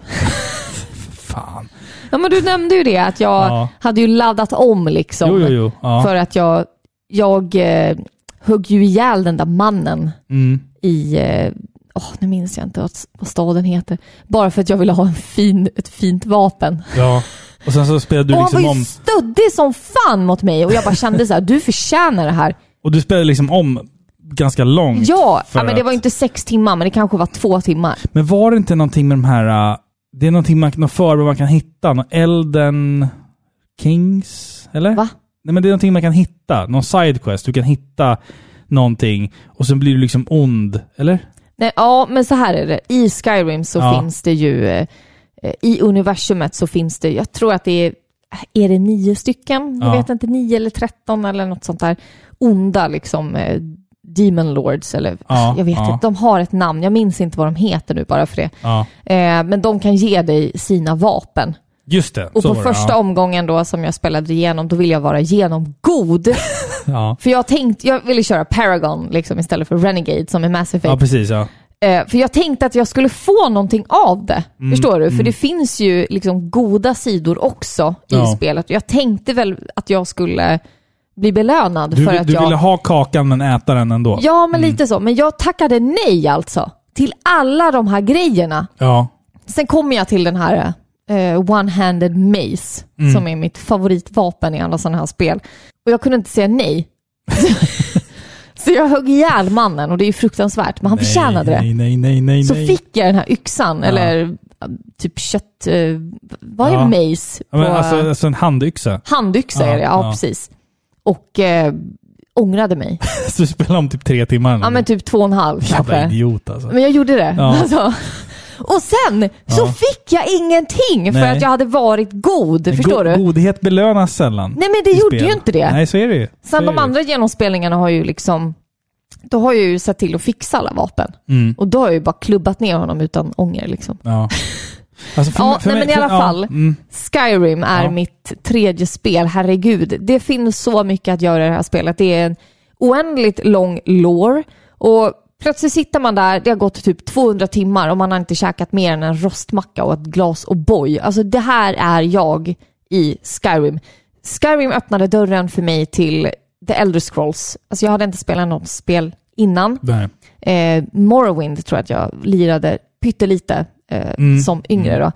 Speaker 2: Fan.
Speaker 1: Ja men du nämnde ju det att jag
Speaker 2: Ja.
Speaker 1: hade ju laddat om liksom.
Speaker 2: Jo, jo, jo. Ja.
Speaker 1: För att jag, jag eh, högg ju ihjäl den där mannen
Speaker 2: Mm.
Speaker 1: i, eh, åh, nu minns jag inte vad, vad staden heter, bara för att jag ville ha en fin, ett fint vapen.
Speaker 2: Ja. Och sen så spelade
Speaker 1: och
Speaker 2: du
Speaker 1: han var
Speaker 2: liksom
Speaker 1: ju
Speaker 2: om...
Speaker 1: stöddig som fan mot mig och jag bara kände så här, du förtjänar det här.
Speaker 2: Och du spelade liksom om ganska långt.
Speaker 1: Ja,
Speaker 2: För
Speaker 1: ja men det
Speaker 2: att-
Speaker 1: var ju inte sex timmar, men det kanske var två timmar.
Speaker 2: Men var det inte någonting med de här... äh, Det är någonting man, någon föremål man kan hitta. Någon Elden Kings? Eller?
Speaker 1: Va?
Speaker 2: Nej men det är någonting man kan hitta. Någon sidequest. Du kan hitta någonting och sen blir du liksom ond. Eller?
Speaker 1: Nej, ja, men så här är det. I Skyrim så
Speaker 2: Ja.
Speaker 1: finns det ju, eh, eh, i universumet så finns det, jag tror att det är, är det nio stycken? Jag
Speaker 2: Ja.
Speaker 1: vet inte, nio eller tretton eller något sånt där. Onda liksom, eh, Demon Lords eller,
Speaker 2: Ja,
Speaker 1: jag vet
Speaker 2: ja.
Speaker 1: inte. De har ett namn, jag minns inte vad de heter nu bara för det.
Speaker 2: Ja.
Speaker 1: Eh, men de kan ge dig sina vapen.
Speaker 2: Just det.
Speaker 1: Och
Speaker 2: så
Speaker 1: på
Speaker 2: var
Speaker 1: första
Speaker 2: det.
Speaker 1: omgången då som jag spelade igenom, då ville jag vara genomgod.
Speaker 2: Ja. Ja.
Speaker 1: för jag tänkte, jag ville köra Paragon liksom istället för Renegade som är Mass Effect.
Speaker 2: ja, precis. Ja.
Speaker 1: Eh, för jag tänkte att jag skulle få någonting av det.
Speaker 2: Mm,
Speaker 1: förstår du? För det finns ju liksom goda sidor också i
Speaker 2: Ja.
Speaker 1: spelet. Jag tänkte väl att jag skulle bli belönad
Speaker 2: Du,
Speaker 1: för att
Speaker 2: du
Speaker 1: jag...
Speaker 2: ville ha Mm. kakan men äta den ändå.
Speaker 1: Ja, men lite så. Men jag tackade nej alltså till alla de här grejerna.
Speaker 2: ja.
Speaker 1: Sen kommer jag till den här eh, one-handed mace
Speaker 2: Mm.
Speaker 1: som är mitt favoritvapen i alla sådana här spel. Och jag kunde inte säga nej. så jag högg ihjäl mannen och det är ju fruktansvärt, men han förtjänade det.
Speaker 2: Nej, nej, nej, nej.
Speaker 1: Så
Speaker 2: nej.
Speaker 1: fick jag den här yxan, eller äh, typ kött... eh, Vad är
Speaker 2: Ja.
Speaker 1: mace?
Speaker 2: Ja,
Speaker 1: På,
Speaker 2: men alltså, alltså en handyxa.
Speaker 1: handyxa är det, ja,
Speaker 2: Ja, ja.
Speaker 1: precis. Och eh, ångrade mig.
Speaker 2: Så du spelar om typ tre timmar.
Speaker 1: Ja men typ två och en halv
Speaker 2: Jävla
Speaker 1: kanske.
Speaker 2: idiot alltså.
Speaker 1: Men jag gjorde det.
Speaker 2: Ja.
Speaker 1: Alltså. Och sen så
Speaker 2: Ja.
Speaker 1: fick jag ingenting för
Speaker 2: Nej.
Speaker 1: att jag hade varit god.
Speaker 2: Men
Speaker 1: förstår
Speaker 2: go-
Speaker 1: du?
Speaker 2: Godhet belönas sällan.
Speaker 1: Nej men det
Speaker 2: i
Speaker 1: gjorde
Speaker 2: spel.
Speaker 1: ju inte det.
Speaker 2: Nej, så är det ju. Så är
Speaker 1: Sen de
Speaker 2: det.
Speaker 1: andra genomspelningarna har ju liksom, då har jag ju sett till att fixa alla vapen.
Speaker 2: Mm.
Speaker 1: Och då har jag ju bara klubbat ner honom utan ånger liksom.
Speaker 2: Ja. Alltså, för
Speaker 1: Ja,
Speaker 2: mig- för
Speaker 1: nej,
Speaker 2: mig-
Speaker 1: men i alla
Speaker 2: för,
Speaker 1: fall.
Speaker 2: Ja, mm,
Speaker 1: Skyrim är
Speaker 2: Ja.
Speaker 1: mitt tredje spel, herregud. Det finns så mycket att göra i det här spelet. Det är en oändligt lång lore och plötsligt sitter man där, det har gått typ 200 timmar och man har inte käkat mer än en rostmacka och ett glas O'boy. Alltså det här är jag i Skyrim. Skyrim öppnade dörren för mig till The Elder Scrolls. Alltså jag hade inte spelat något spel innan.
Speaker 2: nej.
Speaker 1: Eh, Morrowind tror jag att jag lirade pyttelite eh,
Speaker 2: Mm.
Speaker 1: som yngre. Då.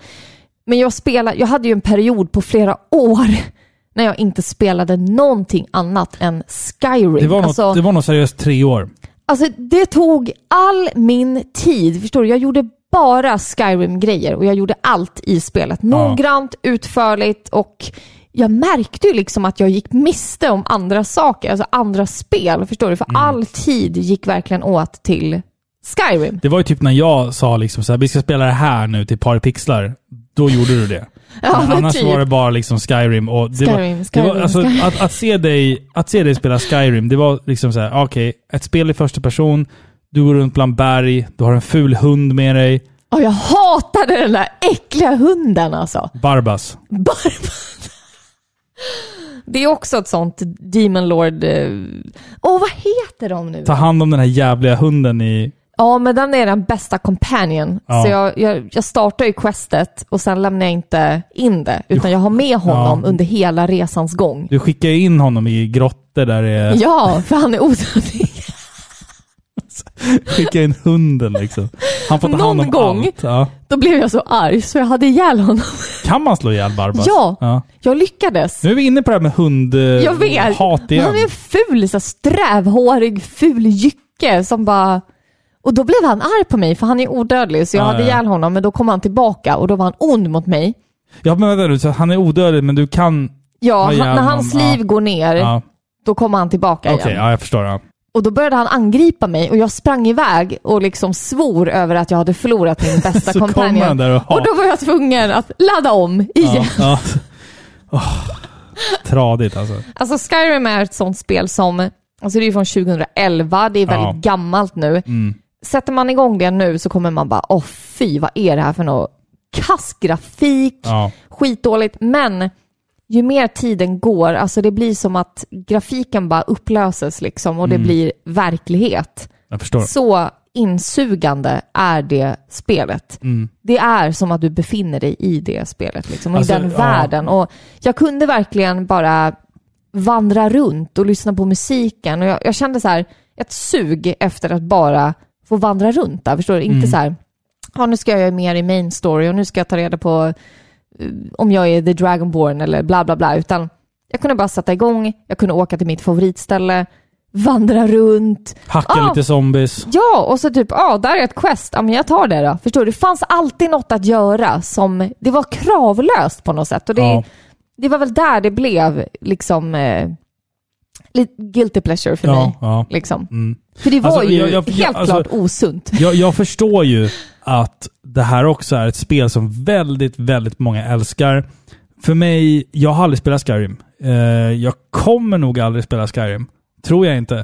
Speaker 1: Men jag, spelade, jag hade ju en period på flera år när jag inte spelade någonting annat än Skyrim.
Speaker 2: Det, var
Speaker 1: alltså,
Speaker 2: något, det var nog seriöst tre år.
Speaker 1: alltså, det tog all min tid. Förstår du? Jag gjorde bara Skyrim-grejer och jag gjorde allt i spelet. Noggrant, utförligt och jag märkte ju liksom att jag gick miste om andra saker, alltså andra spel. Förstår du?
Speaker 2: Mm.
Speaker 1: För all tid gick verkligen åt till Skyrim.
Speaker 2: Det var ju typ när jag sa liksom så här, vi ska spela det här nu till par pixlar. Då gjorde du det.
Speaker 1: Ja,
Speaker 2: Men
Speaker 1: men
Speaker 2: annars
Speaker 1: typ.
Speaker 2: var det bara liksom Skyrim. Och det
Speaker 1: Skyrim,
Speaker 2: var, det var,
Speaker 1: Skyrim,
Speaker 2: alltså,
Speaker 1: Skyrim.
Speaker 2: Att, att, se dig, att se dig spela Skyrim, det var liksom så här: okej, ett spel i första person, du går runt bland berg, du har en ful hund med dig,
Speaker 1: Ja, jag hatade den där äckliga hunden alltså.
Speaker 2: Barbas.
Speaker 1: Barbat. Det är också ett sånt Demon Lord... eh, Åh, vad heter de nu?
Speaker 2: Ta hand om den här jävliga hunden i...
Speaker 1: Ja, men den är den bästa companion.
Speaker 2: Ja.
Speaker 1: Så jag, jag, jag startar ju questet och sen lämnar jag inte in det, utan jag har med honom under hela resans gång.
Speaker 2: Du skickar ju in honom i grottor där det är...
Speaker 1: Ja, för han är odödlig.
Speaker 2: Skicka in hunden liksom. Han får ta hand om
Speaker 1: Någon gång.
Speaker 2: allt. Ja.
Speaker 1: Då blev jag så arg så jag hade ihjäl honom.
Speaker 2: Kan man slå ihjäl Barbas?
Speaker 1: Ja. Jag lyckades.
Speaker 2: Nu är vi inne på det här med
Speaker 1: Jag vet.
Speaker 2: hundhat Eh, igen.
Speaker 1: Han är en ful, så här, strävhårig, ful jycke som bara... Och då blev han arg på mig, för han är odödlig, så jag
Speaker 2: Ja,
Speaker 1: hade
Speaker 2: ja.
Speaker 1: ihjäl honom, men då kom han tillbaka och då var han ond mot mig.
Speaker 2: Ja, men vänta nu. Så han är odödlig, men du kan...
Speaker 1: Ja,
Speaker 2: Ja,
Speaker 1: han, när
Speaker 2: jävlar,
Speaker 1: hans
Speaker 2: ja.
Speaker 1: liv går ner,
Speaker 2: Ja.
Speaker 1: då kommer han tillbaka
Speaker 2: Okej,
Speaker 1: igen.
Speaker 2: ja, jag förstår. Ja.
Speaker 1: Och då började han angripa mig och jag sprang iväg och liksom svor över att jag hade förlorat min bästa
Speaker 2: Så kom
Speaker 1: companion.
Speaker 2: han där och ha-
Speaker 1: då var jag tvungen att ladda om igen.
Speaker 2: Ja. ja. Åh, tradigt alltså.
Speaker 1: Alltså Skyrim är ett sånt spel som, alltså det är ju från 2011, det är väldigt
Speaker 2: Ja. Mm.
Speaker 1: gammalt nu. Sätter man igång det nu så kommer man bara, åh fy, vad är det här för något? Kass grafik,
Speaker 2: Ja.
Speaker 1: skitdåligt, men ju mer tiden går, alltså det blir som att grafiken bara upplöses liksom
Speaker 2: Mm.
Speaker 1: och det blir verklighet.
Speaker 2: Jag förstår.
Speaker 1: Så insugande är det spelet.
Speaker 2: Mm.
Speaker 1: Det är som att du befinner dig i det spelet, liksom, och
Speaker 2: Alltså,
Speaker 1: i den
Speaker 2: ja.
Speaker 1: världen. Och jag kunde verkligen bara vandra runt och lyssna på musiken. Och jag, jag kände så här, ett sug efter att bara få vandra runt där. Förstår du? Inte
Speaker 2: Mm.
Speaker 1: så här, ja, nu ska jag göra mer i main story och nu ska jag ta reda på eh, om jag är the dragonborn eller bla bla bla. Utan jag kunde bara sätta igång, jag kunde åka till mitt favoritställe, vandra runt,
Speaker 2: Hacka
Speaker 1: Ah.
Speaker 2: lite zombies.
Speaker 1: Ja, och så typ, ja, där är ett quest. Ja, men jag tar det då. Förstår du? Det fanns alltid något att göra som, det var kravlöst på något sätt. Och det,
Speaker 2: Ja.
Speaker 1: det var väl där det blev liksom eh, lite guilty pleasure för
Speaker 2: Ja,
Speaker 1: mig.
Speaker 2: ja.
Speaker 1: Liksom. För det var
Speaker 2: Alltså,
Speaker 1: ju
Speaker 2: jag- jag-
Speaker 1: helt
Speaker 2: jag- alltså-
Speaker 1: klart osunt.
Speaker 2: Jag, jag förstår ju att det här också är ett spel som väldigt, väldigt många älskar. För mig, jag har aldrig spelat Skyrim. Eh, jag kommer nog aldrig spela Skyrim. Tror jag inte.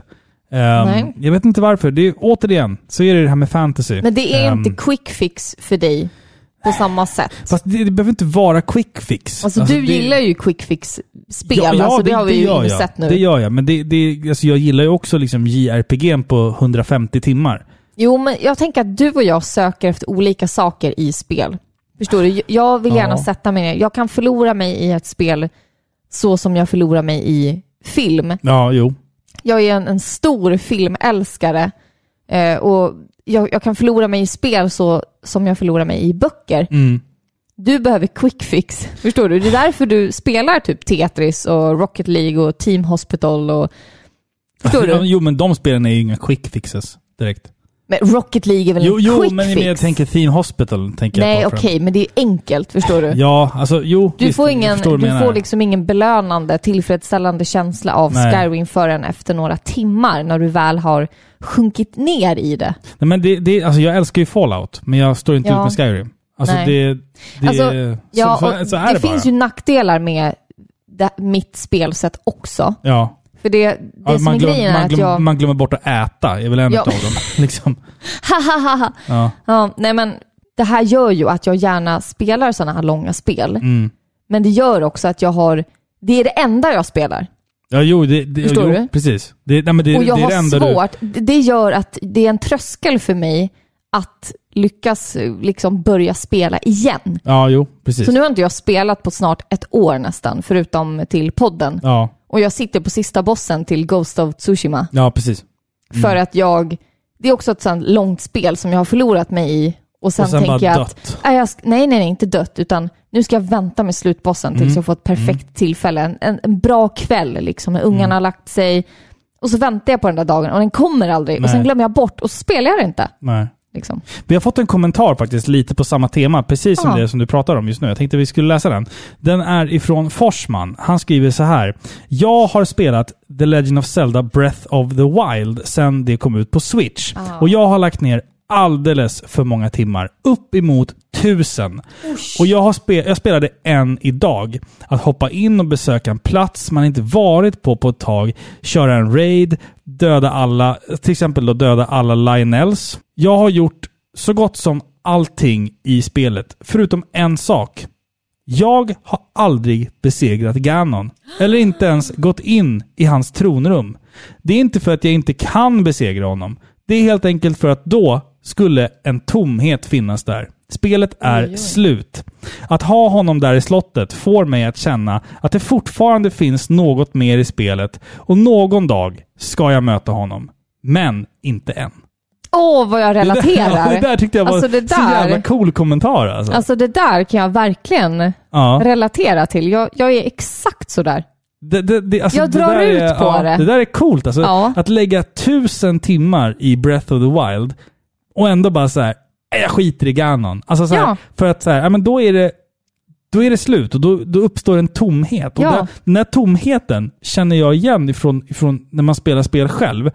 Speaker 2: Ehm,
Speaker 1: Nej.
Speaker 2: jag vet inte varför. Det är, återigen, så är det det här med fantasy.
Speaker 1: Men det är
Speaker 2: Ehm,
Speaker 1: inte quick fix för dig på samma sätt.
Speaker 2: Fast det, det behöver inte vara quick fix.
Speaker 1: alltså, du
Speaker 2: det-
Speaker 1: gillar ju quick fix-spel, alltså, det, har vi ju
Speaker 2: gör
Speaker 1: inte
Speaker 2: jag.
Speaker 1: sett nu.
Speaker 2: Det gör jag, men det, det, alltså jag gillar ju också liksom JRPG på 150 timmar.
Speaker 1: Jo, men jag tänker att du och jag söker efter olika saker i spel. Förstår du? Jag vill gärna
Speaker 2: Ja.
Speaker 1: sätta mig ner. Jag kan förlora mig i ett spel så som jag förlorar mig i film.
Speaker 2: Ja, jo.
Speaker 1: Jag är en, en stor filmälskare eh, och jag, jag kan förlora mig i spel så som jag förlorar mig i böcker.
Speaker 2: Mm.
Speaker 1: Du behöver quick fix, förstår du? Det är därför du spelar typ Tetris och Rocket League och Team Hospital och... Förstår du?
Speaker 2: Jo, men de spelen är ju inga quick fixes direkt.
Speaker 1: Men Rocket League är väl
Speaker 2: Jo,
Speaker 1: en
Speaker 2: jo
Speaker 1: quick
Speaker 2: men
Speaker 1: fix?
Speaker 2: jag tänker Theme Hospital. Tänker
Speaker 1: Nej,
Speaker 2: jag på
Speaker 1: okej,
Speaker 2: för dem.
Speaker 1: men det är enkelt, förstår du?
Speaker 2: Ja, alltså jo.
Speaker 1: Du
Speaker 2: visst,
Speaker 1: får,
Speaker 2: jag
Speaker 1: ingen,
Speaker 2: förstår vad
Speaker 1: du
Speaker 2: menar.
Speaker 1: får liksom ingen belönande, tillfredsställande känsla av
Speaker 2: Nej.
Speaker 1: Skyrim förrän efter några timmar när du väl har sjunkit ner i det.
Speaker 2: Nej, men det, det, alltså, jag älskar ju Fallout, men jag står inte
Speaker 1: Ja.
Speaker 2: ut med Skyrim. Alltså
Speaker 1: Nej.
Speaker 2: det... det
Speaker 1: Alltså,
Speaker 2: så,
Speaker 1: Ja,
Speaker 2: så,
Speaker 1: och
Speaker 2: så är det, bara.
Speaker 1: finns ju nackdelar med det, mitt spelsätt också.
Speaker 2: Ja.
Speaker 1: För det, det
Speaker 2: Ja,
Speaker 1: som är
Speaker 2: man, glöm,
Speaker 1: grejen är
Speaker 2: man,
Speaker 1: att
Speaker 2: glöm,
Speaker 1: jag...
Speaker 2: man glömmer bort att äta, är väl en
Speaker 1: Ja.
Speaker 2: av dem. Liksom.
Speaker 1: Hahaha.
Speaker 2: Ja.
Speaker 1: ja, nej men det här gör ju att jag gärna spelar sådana här långa spel.
Speaker 2: Mm.
Speaker 1: Men det gör också att jag har... Det är det enda jag spelar.
Speaker 2: Ja, jo, det, det,
Speaker 1: Förstår
Speaker 2: jo,
Speaker 1: du?
Speaker 2: precis. Det, nej, men det,
Speaker 1: och jag
Speaker 2: det är det
Speaker 1: har
Speaker 2: enda du...
Speaker 1: svårt. Det- Det gör att det är en tröskel för mig att lyckas eh, liksom börja spela igen.
Speaker 2: Ja, jo, precis.
Speaker 1: Så nu har inte jag spelat på snart ett år nästan, förutom till podden.
Speaker 2: Ja,
Speaker 1: Och jag sitter på sista bossen till Ghost of Tsushima.
Speaker 2: ja precis. Mm.
Speaker 1: För att jag, det är också ett sånt långt spel som jag har förlorat mig i. Och sen,
Speaker 2: Och sen
Speaker 1: tänker
Speaker 2: bara
Speaker 1: jag
Speaker 2: dött.
Speaker 1: att, nej, jag, sk- nej, nej, nej, inte dött, utan nu ska jag vänta med slutbossen
Speaker 2: Mm.
Speaker 1: tills jag får ett perfekt tillfälle. En, en, en bra kväll liksom, när
Speaker 2: Mm.
Speaker 1: ungarna har lagt sig. Och så väntar jag på den där dagen och den kommer aldrig. Och sen
Speaker 2: Nej.
Speaker 1: glömmer jag bort och så spelar jag det inte.
Speaker 2: Nej.
Speaker 1: Liksom.
Speaker 2: Vi har fått en kommentar faktiskt, lite på samma tema, precis som
Speaker 1: Ja.
Speaker 2: det som du pratar om just nu. Jag tänkte vi skulle läsa den. Den är ifrån Forsman. Han skriver så här. Jag har spelat The Legend of Zelda Breath of the Wild sedan det kom ut på Switch. Och jag har lagt ner alldeles för många timmar. Upp emot tusen. Och jag, har spe jag spelade en idag. Att hoppa in och besöka en plats man inte varit på på ett tag, köra en raid, döda alla, till exempel då döda alla Lionels. Jag har gjort så gott som allting i spelet, förutom en sak. Jag har aldrig besegrat Ganon, eller inte ens gått in i hans tronrum. Det är inte för att jag inte kan besegra honom. Det är helt enkelt för att då skulle en tomhet finnas där. Spelet är slut. Att ha honom där i slottet får mig att känna att det fortfarande finns något mer i spelet och någon dag ska jag möta honom. Men inte än.
Speaker 1: Åh, vad jag relaterar!
Speaker 2: det där tyckte jag var
Speaker 1: alltså, det
Speaker 2: så
Speaker 1: där,
Speaker 2: jävla cool kommentar alltså.
Speaker 1: alltså det där kan jag verkligen
Speaker 2: ja.
Speaker 1: relatera till. Jag, jag är exakt sådär.
Speaker 2: Det, det, det, alltså
Speaker 1: Jag
Speaker 2: det
Speaker 1: drar
Speaker 2: där
Speaker 1: ut
Speaker 2: är,
Speaker 1: på
Speaker 2: ja,
Speaker 1: det.
Speaker 2: Det där är coolt. Alltså,
Speaker 1: Ja.
Speaker 2: Att lägga tusen timmar i Breath of the Wild och ändå bara så här, "Äh, jag skiter i Ganon. Alltså så här,
Speaker 1: Ja.
Speaker 2: För att så här, ja, men då är det då är det slut och då, då uppstår en tomhet. Och
Speaker 1: Ja.
Speaker 2: där, den här tomheten känner jag igen ifrån, ifrån när man spelar spel själv.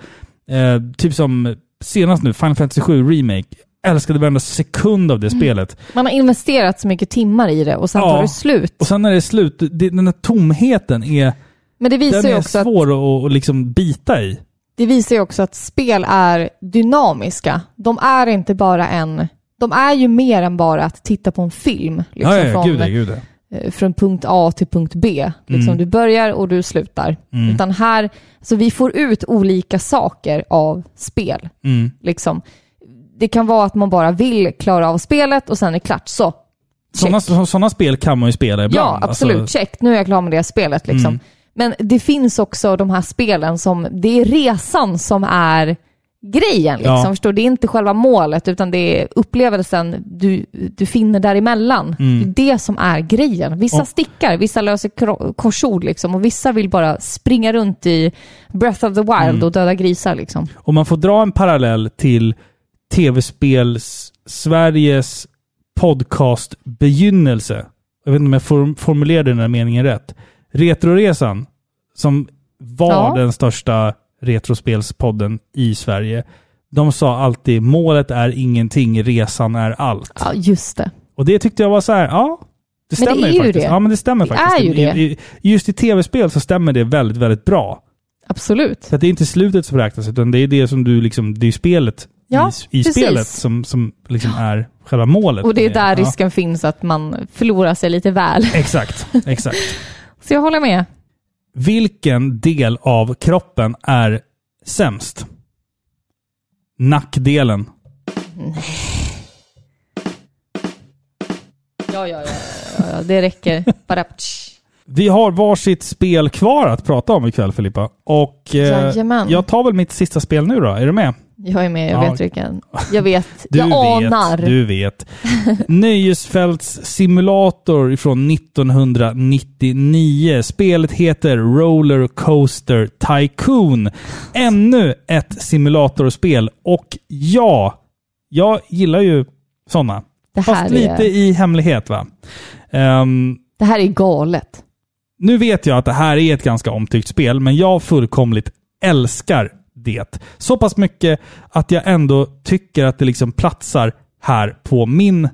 Speaker 2: Eh, typ som senast nu, Final Fantasy 7 Remake. Älskade varenda sekund av det
Speaker 1: Mm.
Speaker 2: spelet.
Speaker 1: Man har investerat så mycket timmar i det och sen
Speaker 2: Ja.
Speaker 1: tar det slut.
Speaker 2: Och sen när det är slut, det, den här tomheten är,
Speaker 1: Men det visar,
Speaker 2: den
Speaker 1: ju
Speaker 2: är
Speaker 1: också att,
Speaker 2: svår att, att liksom bita i.
Speaker 1: det visar ju också att spel är dynamiska. De är inte bara en... De är ju mer än bara att titta på en film. Liksom,
Speaker 2: Ja, ja, ja,
Speaker 1: från,
Speaker 2: gud Mm. ja, gud ja.
Speaker 1: eh, från punkt A till punkt B. Liksom, Du börjar och du slutar.
Speaker 2: Mm.
Speaker 1: Utan här, så vi får ut olika saker av spel.
Speaker 2: Mm.
Speaker 1: Liksom. Det kan vara att man bara vill klara av spelet och sen är det klart. Så,
Speaker 2: Sådana, så- sådana spel kan man ju spela ibland.
Speaker 1: Ja, absolut.
Speaker 2: Alltså, Mm.
Speaker 1: Check. Nu är jag klar med det spelet. Liksom. Men det finns också de här spelen som, det är resan som är grejen. Liksom,
Speaker 2: Ja.
Speaker 1: förstår? du? Det är inte själva målet, utan det är upplevelsen du, du finner däremellan. Det är det som är grejen. Vissa
Speaker 2: Mm. Och-
Speaker 1: stickar, vissa löser kro- korsord liksom, och vissa vill bara springa runt i Breath of the Wild
Speaker 2: Mm.
Speaker 1: och döda grisar. Liksom.
Speaker 2: om man får dra en parallell till tv-spels-Sveriges podcastbegynnelse. Jag vet inte om jag form formulerade den här meningen rätt. Retroresan, som var
Speaker 1: Ja.
Speaker 2: den största retrospelspodden i Sverige. De sa alltid målet är ingenting, resan är allt.
Speaker 1: Ja, just det.
Speaker 2: Och det tyckte jag var så här, ja. Det
Speaker 1: Men det
Speaker 2: stämmer
Speaker 1: är
Speaker 2: ju
Speaker 1: ju
Speaker 2: faktiskt.
Speaker 1: det.
Speaker 2: Ja, men det stämmer
Speaker 1: Det
Speaker 2: faktiskt.
Speaker 1: är ju det.
Speaker 2: I- i- Just i tv-spel så stämmer det väldigt, väldigt bra.
Speaker 1: Absolut.
Speaker 2: Så att det är inte slutet som räknas, utan det är det som du liksom, det är ju spelet
Speaker 1: Ja,
Speaker 2: i, i
Speaker 1: precis.
Speaker 2: spelet som, som liksom är själva målet.
Speaker 1: Och det är där
Speaker 2: Ja,
Speaker 1: risken finns att man förlorar sig lite väl.
Speaker 2: Exakt, exakt.
Speaker 1: Så jag håller med.
Speaker 2: Vilken del av kroppen är sämst? Nackdelen.
Speaker 1: Ja, ja, ja, ja, ja, det räcker. Bara, psch.
Speaker 2: Vi har varsitt spel kvar att prata om ikväll Filippa. Och eh,
Speaker 1: Jajamän.
Speaker 2: jag tar väl mitt sista spel nu då, är du med?
Speaker 1: jag är med, jag
Speaker 2: Ja.
Speaker 1: vet vilken. Jag vet,
Speaker 2: Du
Speaker 1: jag
Speaker 2: vet,
Speaker 1: anar.
Speaker 2: Du vet. Nöjesfälts simulator från 1999. Spelet heter Roller Coaster Tycoon. Ännu ett simulatorspel. Och ja, jag gillar ju sådana.
Speaker 1: Det, här
Speaker 2: Fast lite
Speaker 1: är,
Speaker 2: i hemlighet va? Ehm,
Speaker 1: det här är galet.
Speaker 2: nu vet jag att det här är ett ganska omtyckt spel, men jag fullkomligt älskar det. Så pass mycket att jag ändå tycker att det liksom platsar här på min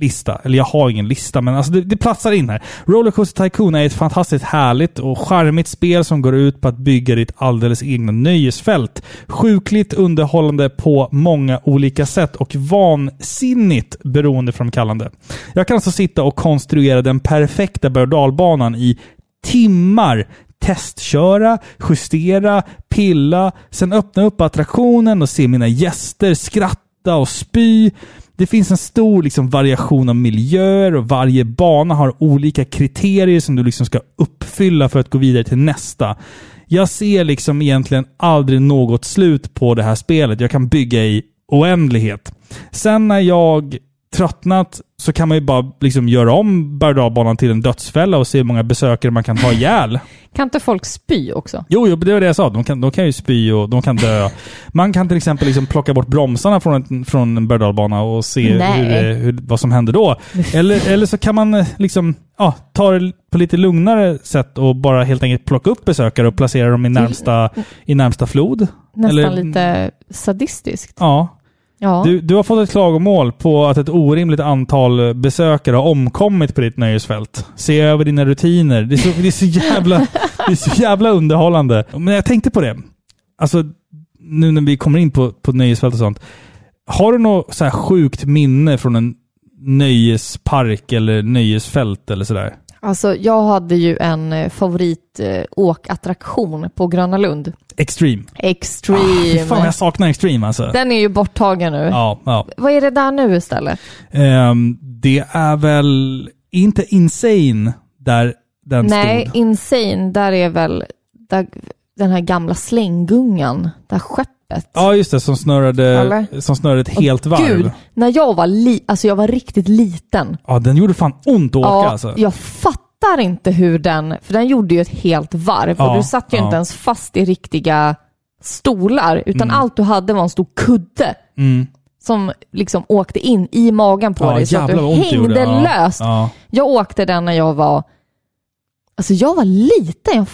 Speaker 2: lista. Eller jag har ingen lista, men alltså det, det platsar in här. Rollercoaster Tycoon är ett fantastiskt härligt och charmigt spel som går ut på att bygga ditt alldeles egna nöjesfält. Sjukligt underhållande på många olika sätt och vansinnigt beroendeframkallande. Jag kan alltså sitta och konstruera den perfekta berg och dalbanan i timmar testköra, justera, pilla, sen öppna upp attraktionen och se mina gäster skratta och spy. Det finns en stor liksom, variation av miljöer och varje bana har olika kriterier som du liksom ska uppfylla för att gå vidare till nästa. Jag ser liksom egentligen aldrig något slut på det här spelet. Jag kan bygga i oändlighet. Sen när jag tröttnat så kan man ju bara liksom göra om berg och dalbanan till en dödsfälla och se hur många besökare man kan ha ihjäl.
Speaker 1: Kan inte folk spy också?
Speaker 2: Jo, jo, det var det jag sa. De kan, de kan ju spy och de kan dö. Man kan till exempel liksom plocka bort bromsarna från en, från en berg och, och se
Speaker 1: Nej.
Speaker 2: hur, eh, hur, vad som händer då. Eller, eller så kan man eh, liksom, ja, ta det på lite lugnare sätt och bara helt enkelt plocka upp besökare och placera dem i närmsta, i närmsta flod.
Speaker 1: Nästan
Speaker 2: Eller-
Speaker 1: lite sadistiskt.
Speaker 2: Ja.
Speaker 1: Ja,
Speaker 2: Du, du har fått ett klagomål på att ett orimligt antal besökare har omkommit på ditt nöjesfält. Se över dina rutiner. Det är så, det är så, jävla, det är så jävla underhållande. Men jag tänkte på det. Alltså, nu när vi kommer in på, på nöjesfält och sånt. Har du något så här sjukt minne från en nöjespark eller nöjesfält eller sådär?
Speaker 1: alltså jag hade ju en eh, favorit eh, åkattraktion på Gröna Lund.
Speaker 2: Extreme. Ah, Fy
Speaker 1: Extreme.
Speaker 2: fan vad jag saknar Extreme alltså.
Speaker 1: Den är ju borttagen nu.
Speaker 2: Ja, ja.
Speaker 1: Vad är det där nu istället?
Speaker 2: Ehm, det är väl inte insane där den
Speaker 1: Nej,
Speaker 2: stod?
Speaker 1: Insane, där är väl där, den här gamla slänggungan, det här skeppet.
Speaker 2: Ja, just det. Som snurrade,
Speaker 1: Eller?
Speaker 2: som snurrade ett helt varv.
Speaker 1: Gud, när jag var, li- alltså jag var riktigt liten,
Speaker 2: Ja, den gjorde fan ont att åka alltså.
Speaker 1: jag fattar inte hur den, för den gjorde ju ett helt varv
Speaker 2: Ja,
Speaker 1: och du satt ju
Speaker 2: ja.
Speaker 1: inte ens fast i riktiga stolar, utan
Speaker 2: Mm.
Speaker 1: allt du hade var en stor kudde som liksom åkte in i magen på
Speaker 2: Ja,
Speaker 1: dig så att du
Speaker 2: jävlar vad ont det gjorde.
Speaker 1: hängde
Speaker 2: Ja,
Speaker 1: löst.
Speaker 2: ja.
Speaker 1: Jag åkte den när jag var, alltså jag var liten, jag,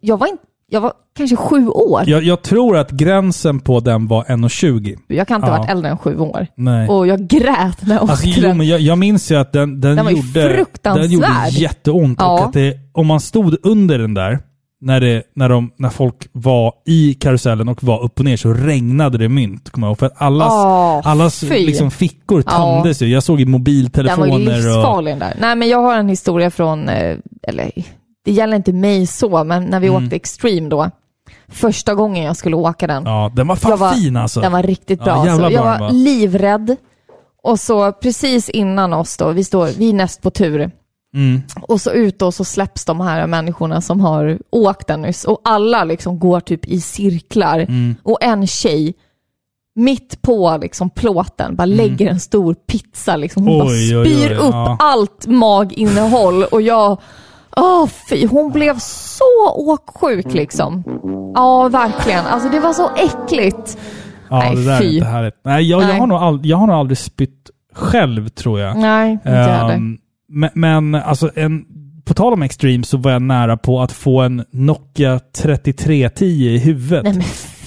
Speaker 1: jag var inte Jag var kanske sju år.
Speaker 2: Jag, jag tror att gränsen på den var 1,20.
Speaker 1: Jag kan inte ha
Speaker 2: Ja.
Speaker 1: varit äldre än sju år.
Speaker 2: Nej.
Speaker 1: Och jag grät när jag åkte
Speaker 2: Alltså, jo,
Speaker 1: den.
Speaker 2: men jag, jag minns ju att den, den,
Speaker 1: Den var ju
Speaker 2: gjorde, den
Speaker 1: fruktansvärd.
Speaker 2: gjorde jätteont. Och
Speaker 1: Ja.
Speaker 2: att det, om man stod under den där, när, det, när, de, när folk var i karusellen och var upp och ner så regnade det mynt. Kommer jag ihåg. För att allas,
Speaker 1: Åh,
Speaker 2: allas
Speaker 1: fy.
Speaker 2: liksom, fickor
Speaker 1: Ja.
Speaker 2: tömdes ju. Jag såg ju
Speaker 1: Den var ju
Speaker 2: mobiltelefoner och...
Speaker 1: livsfarlig den där. Nej men jag har en historia från, eh, eller det gäller inte mig så, men när vi
Speaker 2: Mm.
Speaker 1: åkte Extreme då. Första gången jag skulle åka den.
Speaker 2: Ja, den var fan
Speaker 1: Jag var-
Speaker 2: fin alltså.
Speaker 1: Den var riktigt
Speaker 2: Ja,
Speaker 1: bra.
Speaker 2: jävla
Speaker 1: alltså. Jag
Speaker 2: bra
Speaker 1: var
Speaker 2: den var.
Speaker 1: livrädd. Och så precis innan oss då, vi, står, vi är näst på tur.
Speaker 2: Mm.
Speaker 1: Och så ut då så släpps de här människorna som har åkt den nyss. Och alla liksom går typ i cirklar.
Speaker 2: Mm.
Speaker 1: Och en tjej mitt på liksom plåten bara lägger en stor pizza. Liksom. Hon bara
Speaker 2: Mm. Oj, oj, oj,
Speaker 1: spyr upp
Speaker 2: ja.
Speaker 1: allt maginnehåll. Och jag... Åh fy, hon blev så åksjuk liksom. Ja, verkligen. Alltså det var så äckligt.
Speaker 2: Ja,
Speaker 1: Nej,
Speaker 2: det där är
Speaker 1: fy.
Speaker 2: inte härligt. Nej, jag, Jag,
Speaker 1: Nej.
Speaker 2: har nog ald- jag har nog aldrig spytt själv, tror jag.
Speaker 1: Nej, inte jag heller.
Speaker 2: Ehm, men, men alltså, en, på tal om extreme så var jag nära på att få en Nokia 3310 i huvudet.
Speaker 1: Nej, men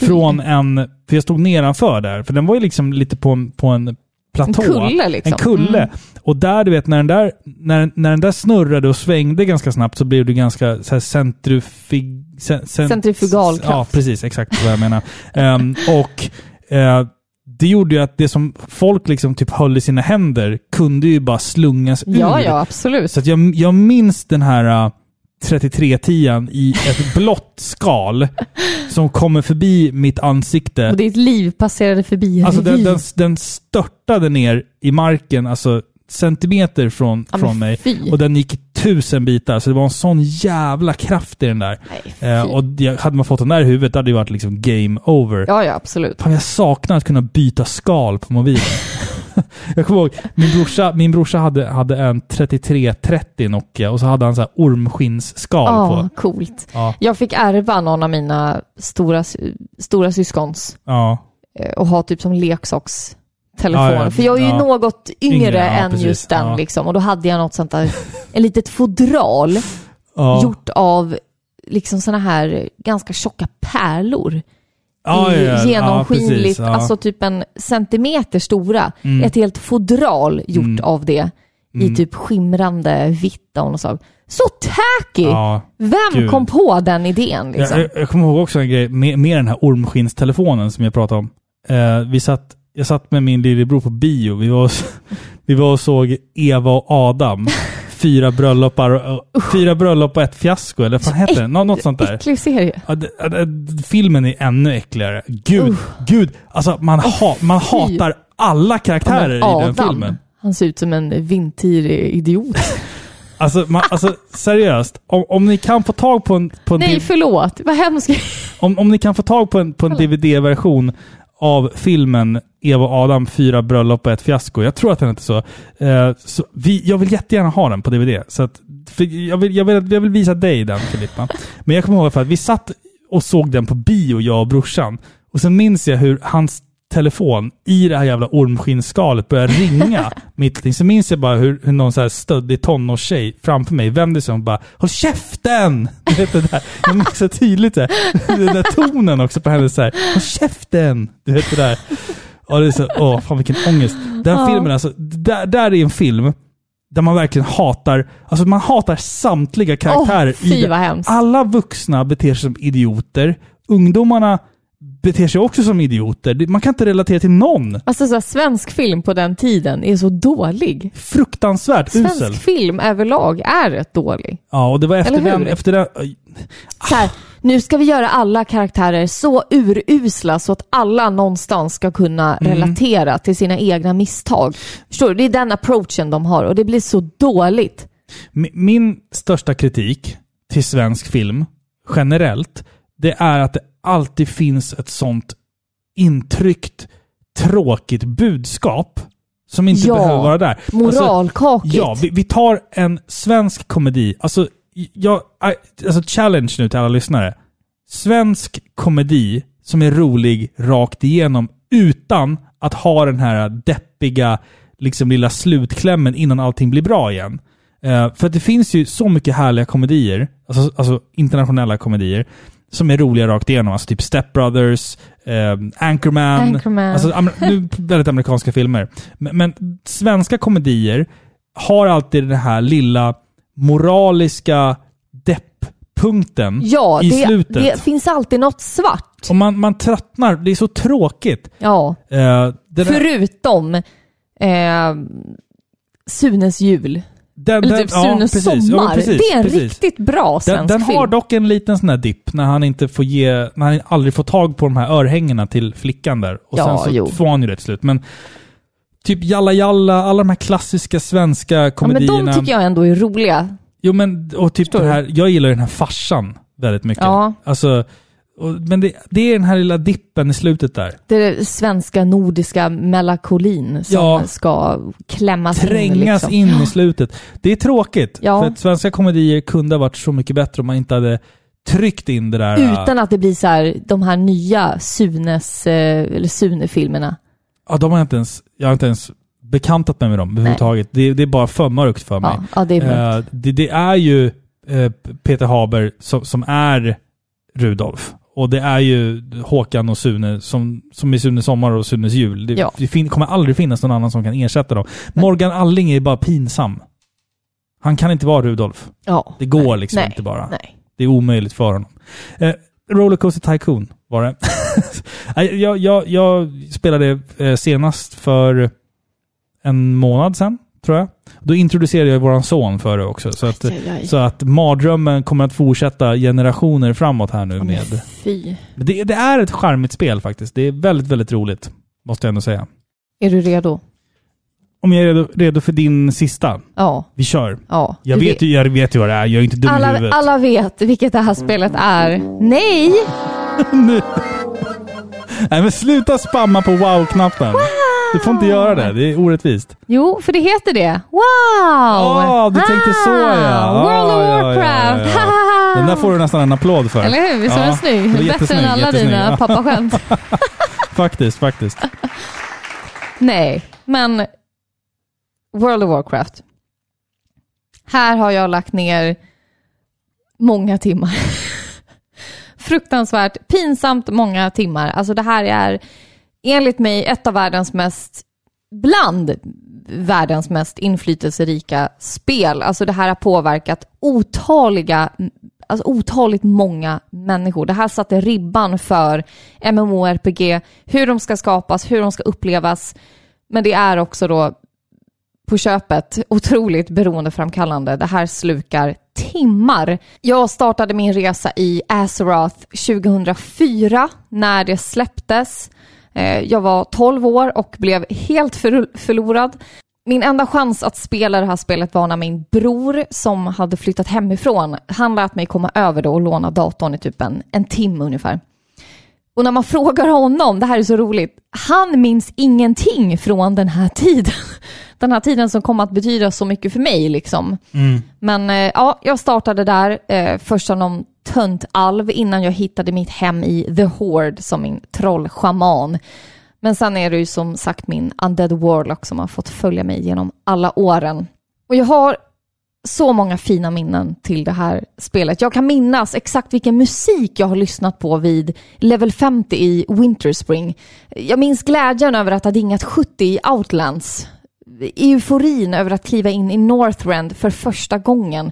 Speaker 2: från en, för jag stod nedanför där, för den var ju liksom lite på en, på en platå.
Speaker 1: En kulle liksom.
Speaker 2: En kulle. Och där, du vet, när den där, när, när den där snurrade och svängde ganska snabbt så blev det ganska så här centrifug... Cent,
Speaker 1: Centrifugalkraft.
Speaker 2: Ja, precis. Exakt vad jag menar. Ehm, och eh, det gjorde ju att det som folk liksom typ höll i sina händer kunde ju bara slungas
Speaker 1: Ja,
Speaker 2: ur.
Speaker 1: ja, absolut.
Speaker 2: Så att jag, jag minns den här äh, 3310 i ett blått skal som kommer förbi mitt ansikte.
Speaker 1: Och ditt liv passerade förbi
Speaker 2: Alltså den,
Speaker 1: revy.
Speaker 2: den, den störtade ner i marken, alltså centimeter från,
Speaker 1: Ja, men
Speaker 2: från mig.
Speaker 1: fy.
Speaker 2: Och den gick i tusen bitar, så det var en sån jävla kraft i den där.
Speaker 1: Nej, fy.
Speaker 2: Eh, och jag, hade man fått den där i huvudet hade det varit liksom game over.
Speaker 1: Ja, ja, absolut.
Speaker 2: Fan, jag saknar att kunna byta skal på mobilen. jag kommer ihåg, min brorsa, min brorsa hade, hade en 3330 Nokia och så hade han så här ormskinsskal
Speaker 1: Ja,
Speaker 2: på.
Speaker 1: coolt.
Speaker 2: Ja.
Speaker 1: Jag fick ärva någon av mina stora, sy- stora syskons
Speaker 2: Ja,
Speaker 1: eh, och ha typ som leksakstelefon.
Speaker 2: Ja, ja,
Speaker 1: För jag är ju
Speaker 2: ja.
Speaker 1: något yngre,
Speaker 2: Yngre, ja,
Speaker 1: än
Speaker 2: precis.
Speaker 1: just den
Speaker 2: Ja.
Speaker 1: liksom. Och då hade jag något sånt där, ett litet fodral
Speaker 2: ja.
Speaker 1: gjort av liksom såna här ganska tjocka pärlor.
Speaker 2: ja, ja, ja.
Speaker 1: I genomskinligt,
Speaker 2: precis, ja.
Speaker 1: alltså typ en centimeter stora.
Speaker 2: Mm.
Speaker 1: Ett helt fodral gjort av det i typ skimrande vitt av något slag. Så tacky!
Speaker 2: Ja.
Speaker 1: Vem
Speaker 2: Gud.
Speaker 1: kom på den idén liksom?
Speaker 2: Jag, jag, jag kommer ihåg också en grej med, med den här ormskinstelefonen som jag pratade om. Eh, vi satt, jag satt med min lillebror på bio. Vi var, och s- vi var och såg Eva och Adam. Fyra bröllopar och, och, fyra bröllop och ett fiasko, eller vad fan heter det? Nå, något sånt där.
Speaker 1: Äcklig serie.
Speaker 2: Ja, det, ja, det, filmen är ännu äckligare. Gud, gud. Alltså man, ha, man hatar alla karaktärer
Speaker 1: Men
Speaker 2: i den filmen.
Speaker 1: han ser ut som en vintirig idiot.
Speaker 2: Alltså, man, alltså seriöst, om, om ni kan få tag på en, på en,
Speaker 1: Nej,
Speaker 2: div-
Speaker 1: förlåt. Vad hemskt.
Speaker 2: om, om ni kan få tag på en, på en DVD-version av filmen Eva och Adam, fyra bröllop och ett fiasko. Jag tror att den heter så. Eh, så vi, jag vill jättegärna ha den på DVD. Så att, för jag, vill, jag, vill, jag vill visa dig den Filippa. Men jag kommer ihåg för att vi satt och såg den på bio, jag och brorsan. Och sen minns jag hur hans telefon i det här jävla ormskinnskalet började ringa. mitt i. Så minns jag bara hur, hur någon så här stöddig tonårstjej framför mig vände sig om och bara Håll käften! Du vet det där. Jag minns så tydligt det. Den där tonen också på henne så här Håll käften! Du vet det där. Ja, det är så, åh, fan vilken ångest. Den filmen alltså, där, där är en film där man verkligen hatar, alltså man hatar samtliga karaktärer.
Speaker 1: Åh, fy,
Speaker 2: i den. Ah.
Speaker 1: vad hemskt.
Speaker 2: Alla vuxna beter sig som idioter. Ungdomarna beter sig också som idioter. Det- Man kan inte relatera till någon.
Speaker 1: Alltså så här, svensk film på den tiden är så dålig.
Speaker 2: Fruktansvärt
Speaker 1: Svensk
Speaker 2: usel.
Speaker 1: film överlag är rätt dålig.
Speaker 2: Ja, och det var efter
Speaker 1: Eller hur?
Speaker 2: den, efter den...
Speaker 1: Så
Speaker 2: Ah.
Speaker 1: här, nu ska vi göra alla karaktärer så urusla så att alla någonstans ska kunna
Speaker 2: Mm.
Speaker 1: relatera till sina egna misstag. Förstår du? Det är den approachen de har och det blir så dåligt.
Speaker 2: Mi- Min största kritik till svensk film, generellt, det är att det alltid finns ett sånt intryckt, tråkigt budskap som inte
Speaker 1: Ja.
Speaker 2: behöver vara där. Alltså,
Speaker 1: Moralkakigt.
Speaker 2: Ja, vi, vi tar en svensk komedi. Alltså, jag, I- alltså, challenge nu till alla lyssnare. Svensk komedi som är rolig rakt igenom utan att ha den här deppiga liksom, lilla slutklämmen innan allting blir bra igen. Eh, för att det finns ju så mycket härliga komedier, alltså, alltså internationella komedier, som är roliga rakt igenom. Alltså typ Step Brothers, ehm, Anchorman.
Speaker 5: Anchorman.
Speaker 2: Alltså, amer- nu, väldigt amerikanska filmer. Men, men svenska komedier har alltid den här lilla moraliska depp-punkten
Speaker 1: Ja,
Speaker 2: i
Speaker 1: det,
Speaker 2: slutet.
Speaker 1: det finns alltid något svart.
Speaker 2: Och man, man tröttnar. Det är så tråkigt.
Speaker 1: Ja,
Speaker 2: Eh, det där-
Speaker 1: förutom eh, Sunes jul.
Speaker 2: den-
Speaker 1: Eller
Speaker 2: den-
Speaker 1: typ
Speaker 2: ja,
Speaker 1: Sunes
Speaker 2: precis.
Speaker 1: sommar.
Speaker 2: Ja, men precis,
Speaker 1: det är en
Speaker 2: precis.
Speaker 1: riktigt bra
Speaker 2: Den,
Speaker 1: svensk
Speaker 2: den har
Speaker 1: film.
Speaker 2: dock en liten sån här dipp när han inte får ge, när han aldrig får tag på de här örhängena till flickan där. Och
Speaker 1: Ja,
Speaker 2: sen så
Speaker 1: jo.
Speaker 2: får han ju det till slut. Men typ Jalla Jalla, alla de här klassiska svenska
Speaker 1: ja, men
Speaker 2: komedierna.
Speaker 1: de tycker jag ändå är roliga.
Speaker 2: Jo men, och typ
Speaker 1: Förstår
Speaker 2: den här, jag gillar ju den här farsan väldigt mycket.
Speaker 1: Ja.
Speaker 2: Alltså, och, men det, det är den här lilla dippen i slutet där.
Speaker 1: Det är det svenska nordiska melankolin som
Speaker 2: Ja.
Speaker 1: ska klämmas in.
Speaker 2: Trängas
Speaker 1: Liksom.
Speaker 2: in i slutet. Det är tråkigt.
Speaker 1: Ja.
Speaker 2: För att svenska komedier kunde ha varit så mycket bättre om man inte hade tryckt in det där. äh,
Speaker 1: Utan att det blir så här, de här nya Sunes, eh, eller Sune-filmerna.
Speaker 2: Ja, de har jag inte ens, jag har inte ens bekantat mig med dem överhuvudtaget. Det, det är bara för mörkt för mig.
Speaker 1: Ja, ja, det är mörkt.
Speaker 2: Eh, det, det är ju eh, Peter Haber som, som är Rudolf. Och det är ju Håkan och Sune som, som är Sunes sommar och Sunes jul. Det,
Speaker 1: Ja.
Speaker 2: det fin, kommer aldrig finnas någon annan som kan ersätta dem. Morgan Alling är bara pinsam. Han kan inte vara Rudolf.
Speaker 1: Ja.
Speaker 2: Det går liksom
Speaker 1: Nej.
Speaker 2: inte bara.
Speaker 1: Nej.
Speaker 2: Det är omöjligt för honom. Eh, Rollercoaster Tycoon var det. Nej, jag, jag, jag spelade eh, senast för en månad sedan, tror jag. Då introducerade jag vår son för det också. Så att,
Speaker 1: Aj, aj, aj.
Speaker 2: så att mardrömmen kommer att fortsätta generationer framåt här nu.
Speaker 1: Men
Speaker 2: Med.
Speaker 1: Fy.
Speaker 2: Men Det, det är ett charmigt spel faktiskt. Det är väldigt, väldigt roligt. Måste jag ändå säga.
Speaker 1: Är du redo?
Speaker 2: Om jag är redo, redo för din sista.
Speaker 1: Ja.
Speaker 2: Vi kör.
Speaker 1: ja.
Speaker 2: Jag
Speaker 1: Du
Speaker 2: vet, ju, jag vet ju vad det är. Jag är inte dum i
Speaker 1: alla,
Speaker 2: huvudet.
Speaker 1: alla vet vilket det här spelet är. Nej!
Speaker 2: nu. Nej men sluta spamma på wow-knappen. Du får inte göra det, det är orättvist.
Speaker 1: Jo, för det heter det. Wow! Ah!
Speaker 2: Åh, Ah, du tänkte så ja! Ah,
Speaker 1: World of
Speaker 2: ja,
Speaker 1: Warcraft!
Speaker 2: ja, ja. Den där får du nästan en applåd för.
Speaker 1: Ah. Eller hur? Visst var
Speaker 2: Ja,
Speaker 1: den snygg?
Speaker 2: det var
Speaker 1: Bättre
Speaker 2: jättesnygg,
Speaker 1: än alla
Speaker 2: jättesnygg.
Speaker 1: dina
Speaker 2: Ja,
Speaker 1: pappaskämt.
Speaker 2: Faktiskt, faktiskt.
Speaker 1: Nej, men World of Warcraft. Här har jag lagt ner många timmar. Fruktansvärt, pinsamt många timmar. Alltså det här är enligt mig ett av världens mest, bland världens mest inflytelserika spel. Alltså det här har påverkat otaliga, alltså otaligt många människor. Det här satte ribban för MMORPG, hur de ska skapas, hur de ska upplevas. Men det är också då på köpet otroligt beroendeframkallande. Det här slukar timmar. Jag startade min resa i Azeroth 2004 när det släpptes. Eh, Jag var 12 år och blev helt förl- förlorad. Min enda chans att spela det här spelet var när min bror som hade flyttat hemifrån, han lät mig komma över då och låna datorn i typ en, en timme ungefär. Och när man frågar honom, det här är så roligt, han minns ingenting från den här tiden. Den här tiden som kom att betyda så mycket för mig liksom. Men eh, ja, jag startade där eh, först som någon töntalv innan jag hittade mitt hem i The Horde som min trollschaman. Men sen är det ju som sagt min Undead Warlock som har fått följa mig genom alla åren. Och jag har så många fina minnen till det här spelet. Jag kan minnas exakt vilken musik jag har lyssnat på vid level 50 i Winterspring. Jag minns glädjen över att ha dingat 70 i Outlands. Euforin över att kliva in i Northrend för första gången.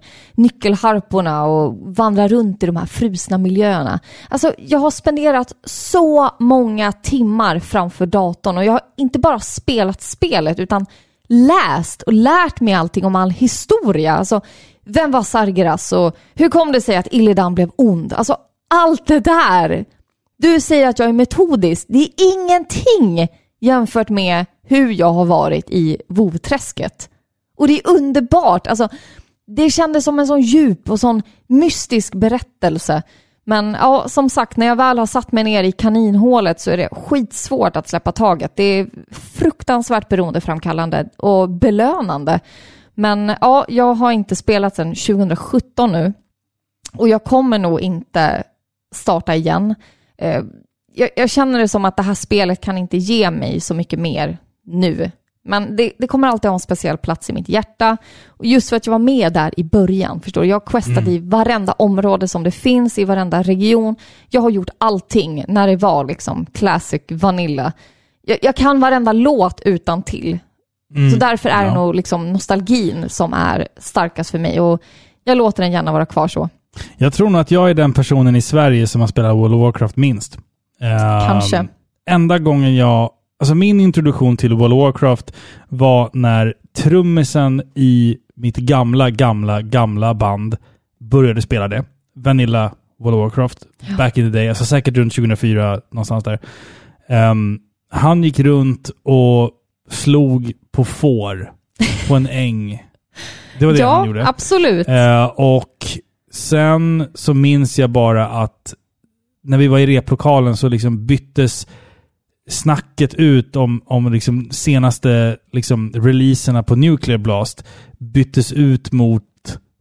Speaker 1: Nyckelharporna och vandra runt i de här frusna miljöerna. Alltså, jag har spenderat så många timmar framför datorn och jag har inte bara spelat spelet utan läst och lärt mig allting om all historia. Alltså, vem var Sargeras och hur kom det sig att Illidan blev ond? Alltså, allt det där. Du säger att jag är metodisk. Det är ingenting jämfört med hur jag har varit i vovträsket. Och det är underbart. Alltså, det kändes som en sån djup och sån mystisk berättelse. Men ja, som sagt, när jag väl har satt mig ner i kaninhålet så är det skitsvårt att släppa taget. Det är fruktansvärt beroendeframkallande och belönande. Men ja, jag har inte spelat sedan 2017 nu och jag kommer nog inte starta igen. Eh, jag, jag känner det som att det här spelet kan inte ge mig så mycket mer nu. Men det, det kommer alltid ha en speciell plats i mitt hjärta. Och Just för att jag var med där i början, förstår du? Jag questade
Speaker 2: Mm.
Speaker 1: i varenda område som det finns, i varenda region. Jag har gjort allting när det var liksom classic vanilla. Jag, jag kan varenda låt utan till.
Speaker 2: Mm.
Speaker 1: Så därför är det
Speaker 6: Ja.
Speaker 1: nog liksom nostalgin som är starkast för mig och jag låter den gärna vara kvar så.
Speaker 2: Jag tror nog att jag är den personen i Sverige som har spelat World of Warcraft minst. Ehm,
Speaker 1: Kanske.
Speaker 2: Enda gången jag... Alltså min introduktion till World of Warcraft var när trummisen i mitt gamla, gamla, gamla band började spela det. Vanilla World of Warcraft. Back in the day. Alltså säkert runt 2004, någonstans där. Ehm, han gick runt och slog på får på en äng. Det var det han gjorde.
Speaker 1: Ja, absolut.
Speaker 2: Eh, och sen så minns jag bara att när vi var i replokalen så liksom byttes snacket ut om, om liksom senaste liksom releaserna på Nuclear Blast byttes ut mot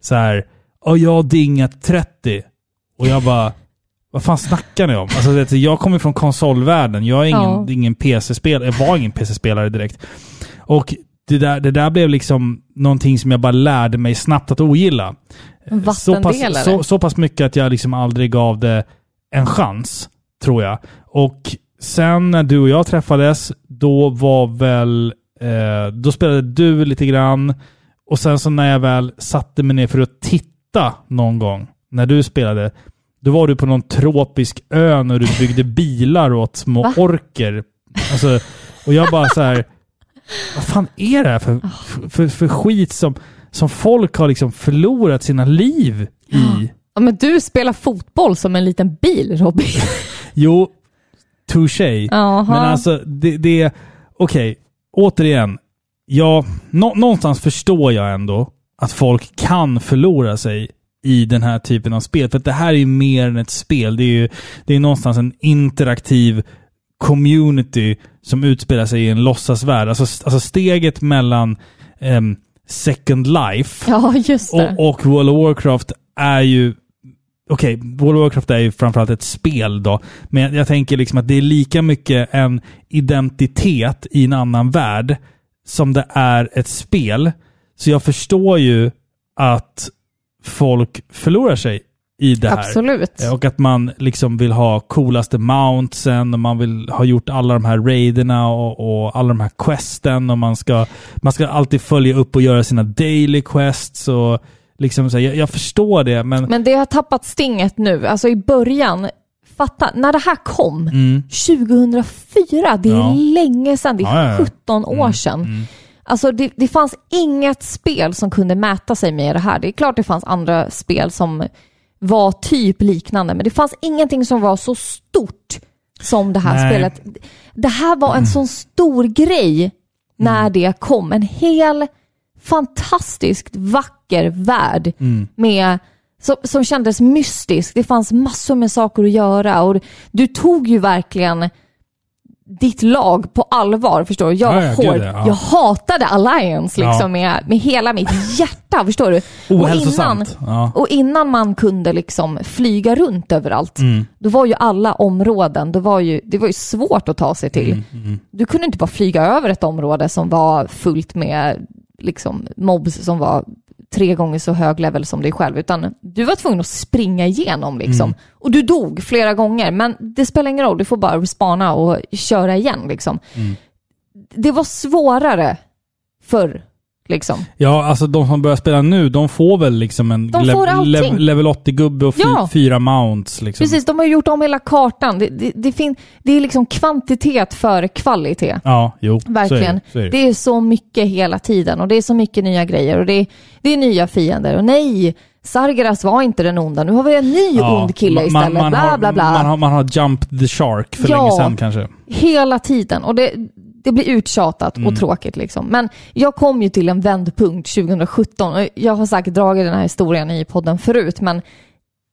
Speaker 2: så här, "Ja, jag har dingat 30. Och jag bara, vad fan snackar ni om? Alltså, det- jag kommer från konsolvärlden. Jag är ingen,
Speaker 1: Ja.
Speaker 2: ingen PC-spelare, jag var ingen PC-spelare direkt. Och det där, det där blev liksom någonting som jag bara lärde mig snabbt att ogilla.
Speaker 1: En
Speaker 2: Så
Speaker 1: vattendelare.
Speaker 2: pass, så, så pass mycket att jag liksom aldrig gav det en chans, tror jag. Och sen när du och jag träffades, då var väl... Eh, då spelade du lite grann. Och sen så när jag väl satte mig ner för att titta någon gång, när du spelade, då var du på någon tropisk ö när du byggde bilar åt små
Speaker 1: Va?
Speaker 2: orker. Alltså, och jag bara så här... Vad fan är det här
Speaker 1: Ah.
Speaker 2: för, för, för skit som, som folk har liksom förlorat sina liv i?
Speaker 1: Ja, men du spelar fotboll som en liten bil, Robin.
Speaker 2: Jo, touché.
Speaker 1: Jaha.
Speaker 2: Men alltså, det... det Okej, återigen. Ja, nå, någonstans förstår jag ändå att folk kan förlora sig i den här typen av spel. För att det här är ju mer än ett spel. Det är ju det är någonstans en interaktiv community som utspelar sig i en låtsasvärld. Alltså, alltså steget mellan ehm, Second Life
Speaker 1: ja, just det.
Speaker 2: och, och World of Warcraft är ju... Okej, World of Warcraft är ju framförallt ett spel då. Men jag, jag tänker liksom att det är lika mycket en identitet i en annan värld som det är ett spel. Så jag förstår ju att folk förlorar sig i det här.
Speaker 1: Absolut.
Speaker 2: Eh, Och att man liksom vill ha coolaste mountsen och man vill ha gjort alla de här raiderna och, och alla de här questen och man ska, man ska alltid följa upp och göra sina daily quests och liksom så här, jag, jag förstår det men,
Speaker 1: Men det har tappat stinget nu. Alltså i början, fatta, när det här kom, 2004, det är
Speaker 2: Mm. Ja.
Speaker 1: länge sedan, det är
Speaker 2: Ja, Mm, ja, ja.
Speaker 1: 17 år sedan. Alltså det, det fanns inget spel som kunde mäta sig med det här. Det är klart det fanns andra spel som var typ liknande, men det fanns ingenting som var så stort som det här
Speaker 2: Nej. Mm.
Speaker 1: spelet. Det här var en sån stor grej när det kom. En hel fantastiskt vacker värld
Speaker 2: Mm.
Speaker 1: med, som, som kändes mystisk. Det fanns massor med saker att göra och du tog ju verkligen ditt lag på allvar. Förstår du? Jag
Speaker 2: Ja,
Speaker 1: var
Speaker 2: ja, gud,
Speaker 1: hård.
Speaker 2: ja.
Speaker 1: Jag hatade Alliance liksom,
Speaker 2: Ja.
Speaker 1: med, med hela mitt hjärta. förstår du?
Speaker 2: Ohälsosamt,
Speaker 1: Och innan,
Speaker 2: ja.
Speaker 1: och innan man kunde liksom flyga runt överallt,
Speaker 2: Mm.
Speaker 1: då var ju alla områden, då var ju, det var ju svårt att ta sig till.
Speaker 2: Mm,
Speaker 1: Du kunde inte bara flyga över ett område som var fullt med liksom, mobs som var tre gånger så hög level som dig själv, utan du var tvungen att springa igenom liksom.
Speaker 2: Mm.
Speaker 1: Och du dog flera gånger, men det spelar ingen roll, du får bara respawna och köra igen liksom.
Speaker 2: Mm.
Speaker 1: Det var svårare förr, liksom.
Speaker 2: ja alltså de som börjar spela nu de får väl liksom en
Speaker 1: De får allting.
Speaker 2: level 80-gubbe och fy,
Speaker 1: Ja.
Speaker 2: fyra mounts liksom.
Speaker 1: Precis, de har ju gjort om hela kartan. Det, det, det, fin- det är liksom kvantitet före kvalitet.
Speaker 2: Ja, jo. så är det,
Speaker 1: Verkligen.
Speaker 2: så är det.
Speaker 1: det är så mycket hela tiden och det är så mycket nya grejer och det är, det är nya fiender. Och nej, Sargeras var inte den onda. Nu har vi en ny
Speaker 2: Ja,
Speaker 1: ond kille
Speaker 2: man-
Speaker 1: istället.
Speaker 2: Man, man,
Speaker 1: bla,
Speaker 2: har,
Speaker 1: bla, bla.
Speaker 2: Man, har, man har jumped the shark för
Speaker 1: Ja.
Speaker 2: länge sedan kanske.
Speaker 1: Hela tiden. Och det, det blir uttjatat
Speaker 2: Mm.
Speaker 1: och tråkigt. Liksom. Men jag kom ju till en vändpunkt 2017. Och Jag har säkert dragit den här historien i podden förut, men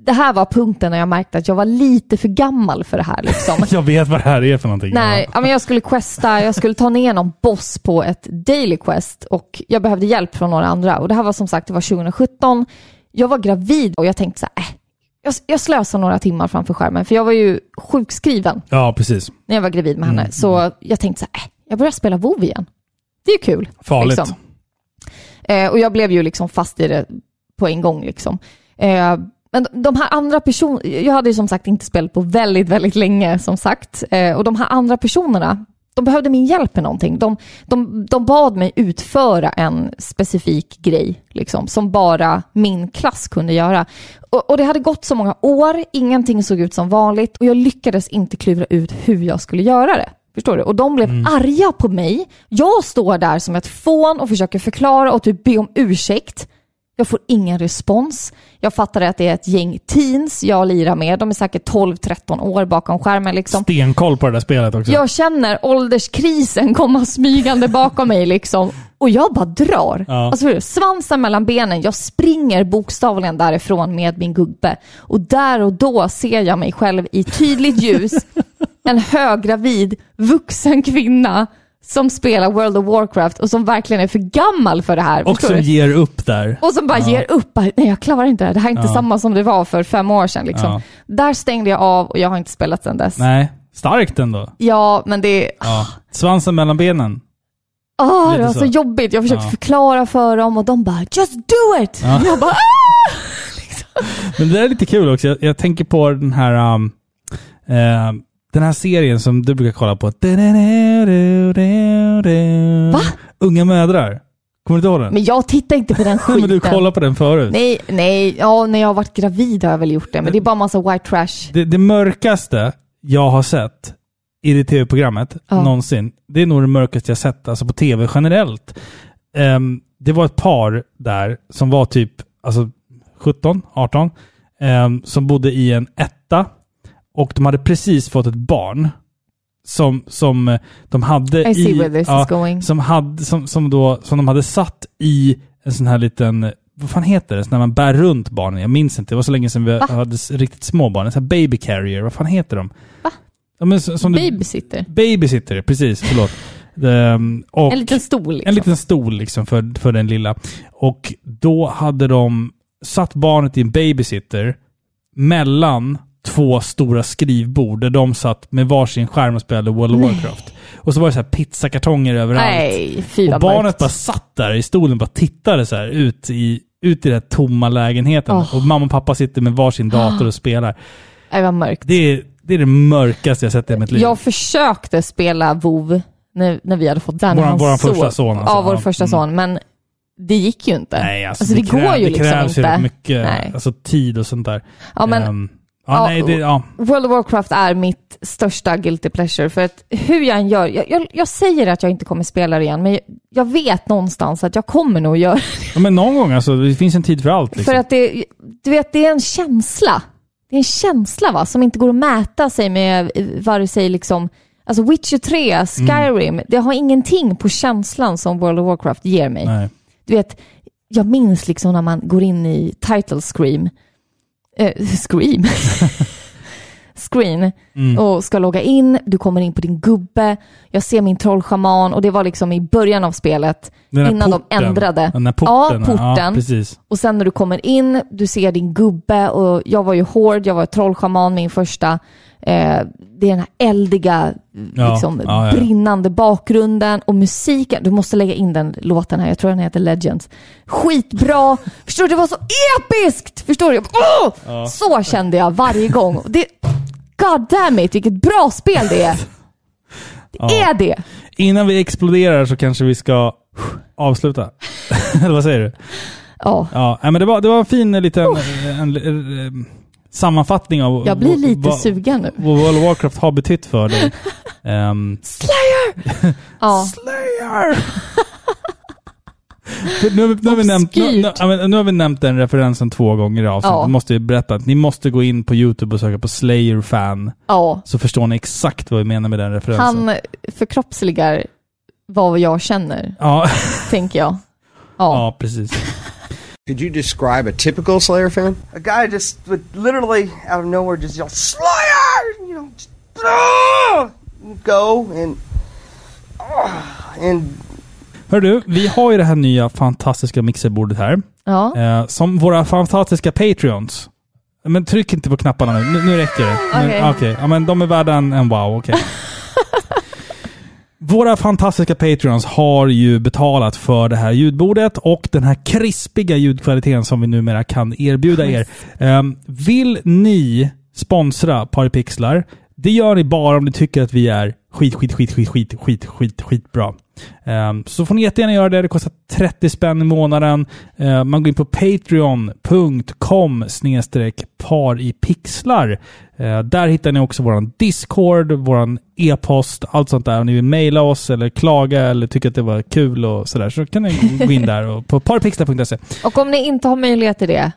Speaker 1: det här var punkten när jag märkte att jag var lite för gammal för det här. Liksom.
Speaker 2: Jag vet vad det här är för någonting.
Speaker 1: Nej, ja, men jag skulle questa, jag skulle ta ner någon boss på ett daily quest och jag behövde hjälp från några andra. Och det här var som sagt, det var 2017. Jag var gravid och jag tänkte så här, äh, jag, jag slösar några timmar framför skärmen för jag var ju sjukskriven
Speaker 2: Ja, precis.
Speaker 1: när jag var gravid med henne. Så jag tänkte så här, äh, jag börjar spela WoW igen. Det är kul.
Speaker 2: Farligt.
Speaker 1: Liksom. Eh, och jag blev ju liksom fast i det på en gång. Liksom. Eh, men de här andra personerna, jag hade ju som sagt inte spelat på väldigt, väldigt länge som sagt. Eh, och de här andra personerna, de behövde min hjälp med någonting. De, de, de bad mig utföra en specifik grej liksom, som bara min klass kunde göra. Och, och det hade gått så många år, ingenting såg ut som vanligt och jag lyckades inte klura ut hur jag skulle göra det. Förstår du? Och de blev arga på mig. Jag står där som ett fån och försöker förklara och typ be om ursäkt. Jag får ingen respons. Jag fattar att det är ett gäng teens jag lirar med. De är säkert 12-13 år bakom skärmen. Liksom.
Speaker 2: Stenkoll på det där spelet också.
Speaker 1: Jag känner ålderskrisen komma smygande bakom mig liksom. Och jag bara drar. Alltså, hur? svansen mellan benen. Jag springer bokstavligen därifrån med min gubbe. Och där och då ser jag mig själv i tydligt ljus. en höggravid vuxen kvinna som spelar World of Warcraft och som verkligen är för gammal för det här.
Speaker 7: Och
Speaker 1: förstår
Speaker 7: som
Speaker 1: du?
Speaker 7: ger upp där.
Speaker 1: Och som bara ger upp. Bara, Nej, jag klarar inte det här. Det här är inte samma som det var för fem år sedan. Liksom.
Speaker 2: Ja.
Speaker 1: Där stängde jag av och jag har inte spelat sedan dess.
Speaker 2: Nej, starkt ändå.
Speaker 1: Ja, men det är...
Speaker 2: Ja. Svansen mellan benen.
Speaker 1: Ah, det
Speaker 2: Lite
Speaker 1: var så,
Speaker 2: så.
Speaker 1: jobbigt. Jag försökte förklara för dem och de bara “Just do it!” Jag bara "Ah!"
Speaker 2: Men det där är lite kul också. Jag, jag tänker på den här, um, eh, den här serien som du brukar kolla på. Va? Unga mödrar. Kommer du inte ihåg den?
Speaker 1: “Men jag tittar inte på den
Speaker 2: Nej,
Speaker 1: skiten.”
Speaker 2: men du kollade på den förut.
Speaker 1: Nej, nej. Ja, när jag har varit gravid har jag väl gjort det, men det är bara massa white trash.
Speaker 2: Det, det mörkaste jag har sett i det tv-programmet
Speaker 1: Ja.
Speaker 2: någonsin, det är nog det mörkaste jag sett alltså på tv generellt. Ehm, det var ett par där som var typ alltså 17, 18, ehm, som bodde i en etta och de hade precis fått ett barn som, som eh, de hade
Speaker 1: I see
Speaker 2: i,
Speaker 1: where this
Speaker 2: ja,
Speaker 1: is going.
Speaker 2: som, hade, som, som, då, som de hade satt i en sån här liten, vad fan heter det, så när man bär runt barnen? Jag minns inte, det var så länge sedan vi
Speaker 1: Va?
Speaker 2: hade s- riktigt små barn. En sån här baby carrier, vad fan heter de? Va? Ja, men, så- som du,
Speaker 1: Babysitter.
Speaker 2: babysitter, precis, förlåt. Ehm, och
Speaker 1: En liten stol liksom.
Speaker 2: en liten stol liksom för, för den lilla. Och då hade de satt barnet i en babysitter mellan två stora skrivbord där de satt med varsin skärm och spelade World of Warcraft. Och så var det så här pizzakartonger överallt.
Speaker 1: Nej, fy
Speaker 2: Och
Speaker 1: vad
Speaker 2: barnet
Speaker 1: mörkt.
Speaker 2: bara satt där i stolen och bara tittade så här ut i, ut i den här tomma lägenheten.
Speaker 1: Åh.
Speaker 2: Och mamma och pappa sitter med varsin dator och spelar.
Speaker 1: Nej, vad mörkt.
Speaker 2: Det är det, är det mörkaste jag sett i mitt liv.
Speaker 1: Jag försökte spela WoW när, när vi hade fått den.
Speaker 2: Våran-
Speaker 1: Han
Speaker 2: våran
Speaker 1: sov.
Speaker 2: första son, alltså.
Speaker 1: Ja, vår
Speaker 2: Ja,
Speaker 1: första
Speaker 2: mm.
Speaker 1: son. Men det gick ju inte.
Speaker 2: Nej, alltså,
Speaker 1: alltså, det,
Speaker 2: krä-
Speaker 1: går ju
Speaker 2: det
Speaker 1: liksom
Speaker 2: krävs ju
Speaker 1: inte.
Speaker 2: rätt mycket
Speaker 1: Nej.
Speaker 2: alltså, tid och sånt där.
Speaker 1: Ja, men
Speaker 2: Ehm, ja,
Speaker 1: ja,
Speaker 2: nej, det, ja.
Speaker 1: World of Warcraft är mitt största guilty pleasure. För att hur jag än gör, jag, jag, jag säger att jag inte kommer spela det igen, men jag, jag vet någonstans att jag kommer nog göra
Speaker 2: Ja, men någon gång alltså, det finns en tid för allt. Liksom.
Speaker 1: För att det, du vet, det är en känsla. Det är en känsla va, som inte går att mäta sig med eh, vare sig liksom, alltså Witcher 3, Skyrim,
Speaker 2: Mm.
Speaker 1: det har ingenting på känslan som World of Warcraft ger mig.
Speaker 2: nej.
Speaker 1: Du vet, jag minns liksom när man går in i title scream, eh, scream, screen
Speaker 2: Mm.
Speaker 1: och ska logga in, du kommer in på din gubbe, jag ser min trollschaman och det var liksom i början av spelet
Speaker 2: Den här
Speaker 1: innan
Speaker 2: porten.
Speaker 1: de ändrade.
Speaker 2: Den här porten.
Speaker 1: ja,
Speaker 2: Ja,
Speaker 1: porten.
Speaker 2: precis.
Speaker 1: Och sen när du kommer in, du ser din gubbe och jag var ju hård, jag var trollschaman min första. Eh, det är den här eldiga,
Speaker 2: Ja,
Speaker 1: liksom,
Speaker 2: ja, ja.
Speaker 1: brinnande bakgrunden och musiken. Du måste lägga in den låten här, jag tror den heter Legends. Skitbra! Förstår du? Det var så episkt! Förstår du? Jag bara, Åh! Så kände jag varje gång. Och Det, God damn it, vilket bra spel det är! Det är det!
Speaker 2: Innan vi exploderar så kanske vi ska avsluta. Eller vad säger du?
Speaker 1: Ja.
Speaker 2: Ja, nej, men det, var, det var en fin eh, liten en, en, en, sammanfattning av
Speaker 1: Jag blir lite
Speaker 2: vad,
Speaker 1: sugen nu.
Speaker 2: vad World of Warcraft har betytt för dig. Ehm,
Speaker 1: Ja.
Speaker 2: Slayer! nu, nu, har vi nämnt, nu, nu,
Speaker 1: Obskyrt.
Speaker 2: ja, men nu har vi nämnt den referensen två gånger i avsnittet.
Speaker 1: Ja.
Speaker 2: Vi måste ju berätta att ni måste gå in på YouTube och söka på Slayer fan.
Speaker 1: ja.
Speaker 2: Så förstår ni exakt vad vi menar med den referensen.
Speaker 1: Han förkroppsligar vad jag känner,
Speaker 2: Ja,
Speaker 1: tänker jag. Ja.
Speaker 2: ja precis.
Speaker 8: Could you describe a typical Slayer fan?
Speaker 9: a guy just would literally out of nowhere just yell Slayer, you know, just, "Ah!" go and ah, and
Speaker 2: Hör du, vi har ju det här nya fantastiska mixerbordet här.
Speaker 1: Ja.
Speaker 2: Eh, som våra fantastiska Patreons. Men tryck inte på knapparna nu. Nu, nu räcker det. Nu-
Speaker 1: Okej.
Speaker 2: Okej. Ja, men de är värda en, en wow. Okej. Våra fantastiska patreons har ju betalat för det här ljudbordet och den här krispiga ljudkvaliteten som vi numera kan erbjuda er. Ehm, vill ni sponsra Paripixlar? Det gör ni bara om ni tycker att vi är skit, skit, skit, skit, skit, skit, skit, skitbra. Ehm, så får ni jättegärna göra det. Det kostar 30 spänn i månaden. Ehm, man går in på patreon.com snedstreck paripixlar. Eh, där hittar ni också våran Discord, våran e-post, allt sånt där. Om ni vill mejla oss eller klaga eller tycka att det var kul och sådär så kan ni gå in där och på parpixlar.se.
Speaker 1: Och om ni inte har möjlighet till det,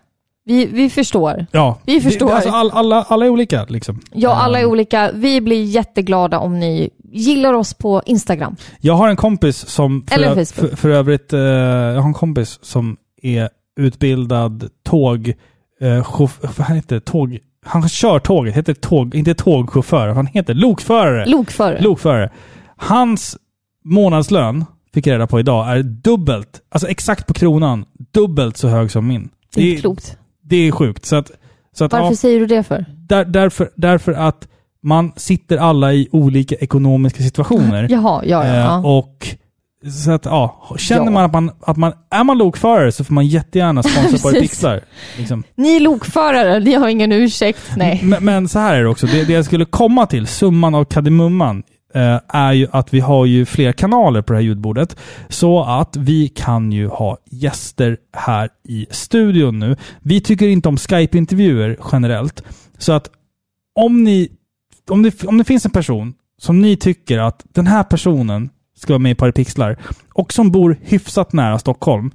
Speaker 1: vi, vi förstår.
Speaker 2: Ja,
Speaker 1: Vi
Speaker 2: det-
Speaker 1: förstår.
Speaker 2: Det, alltså all, alla, alla är olika liksom.
Speaker 1: Ja, alla är olika. Vi blir jätteglada om ni gillar oss på Instagram.
Speaker 2: Jag har en kompis som... För,
Speaker 1: Eller
Speaker 2: ö-
Speaker 1: Facebook.
Speaker 2: För, för övrigt, eh, jag har en kompis som är utbildad tåg... Eh, chauff- vad han heter tåg... Han kör tåget, heter tåg, inte tågchaufför, han heter lokförare.
Speaker 1: Lokförare.
Speaker 2: Lokförare. Hans månadslön, fick jag reda på idag, är dubbelt, alltså exakt på kronan, dubbelt så hög som min.
Speaker 1: det är inte klokt.
Speaker 2: det är sjukt. Så att, så att,
Speaker 1: Varför
Speaker 2: ja, Eh.
Speaker 1: säger du det för?
Speaker 2: där, därför, därför att man sitter alla i olika ekonomiska situationer.
Speaker 1: Jaha, ja, ja.
Speaker 2: Eh,
Speaker 1: ja.
Speaker 2: Och så att, ja, känner
Speaker 1: Ja.
Speaker 2: man att man, att man, är man lokförare så får man jättegärna sponsra på
Speaker 1: Precis.
Speaker 2: pixlar. Liksom.
Speaker 1: Ni är lokförare, ni har ingen ursäkt. Nej.
Speaker 2: Men, men så här är det också, det, det jag skulle komma till, summan av kardemumman, eh, är ju att vi har ju fler kanaler på det här ljudbordet. Så att vi kan ju ha gäster här i studion nu. Vi tycker inte om Skype-intervjuer generellt. Så att om, ni, om, det, om det finns en person som ni tycker att den här personen ska vara med i Paripixlar och som bor hyfsat nära Stockholm,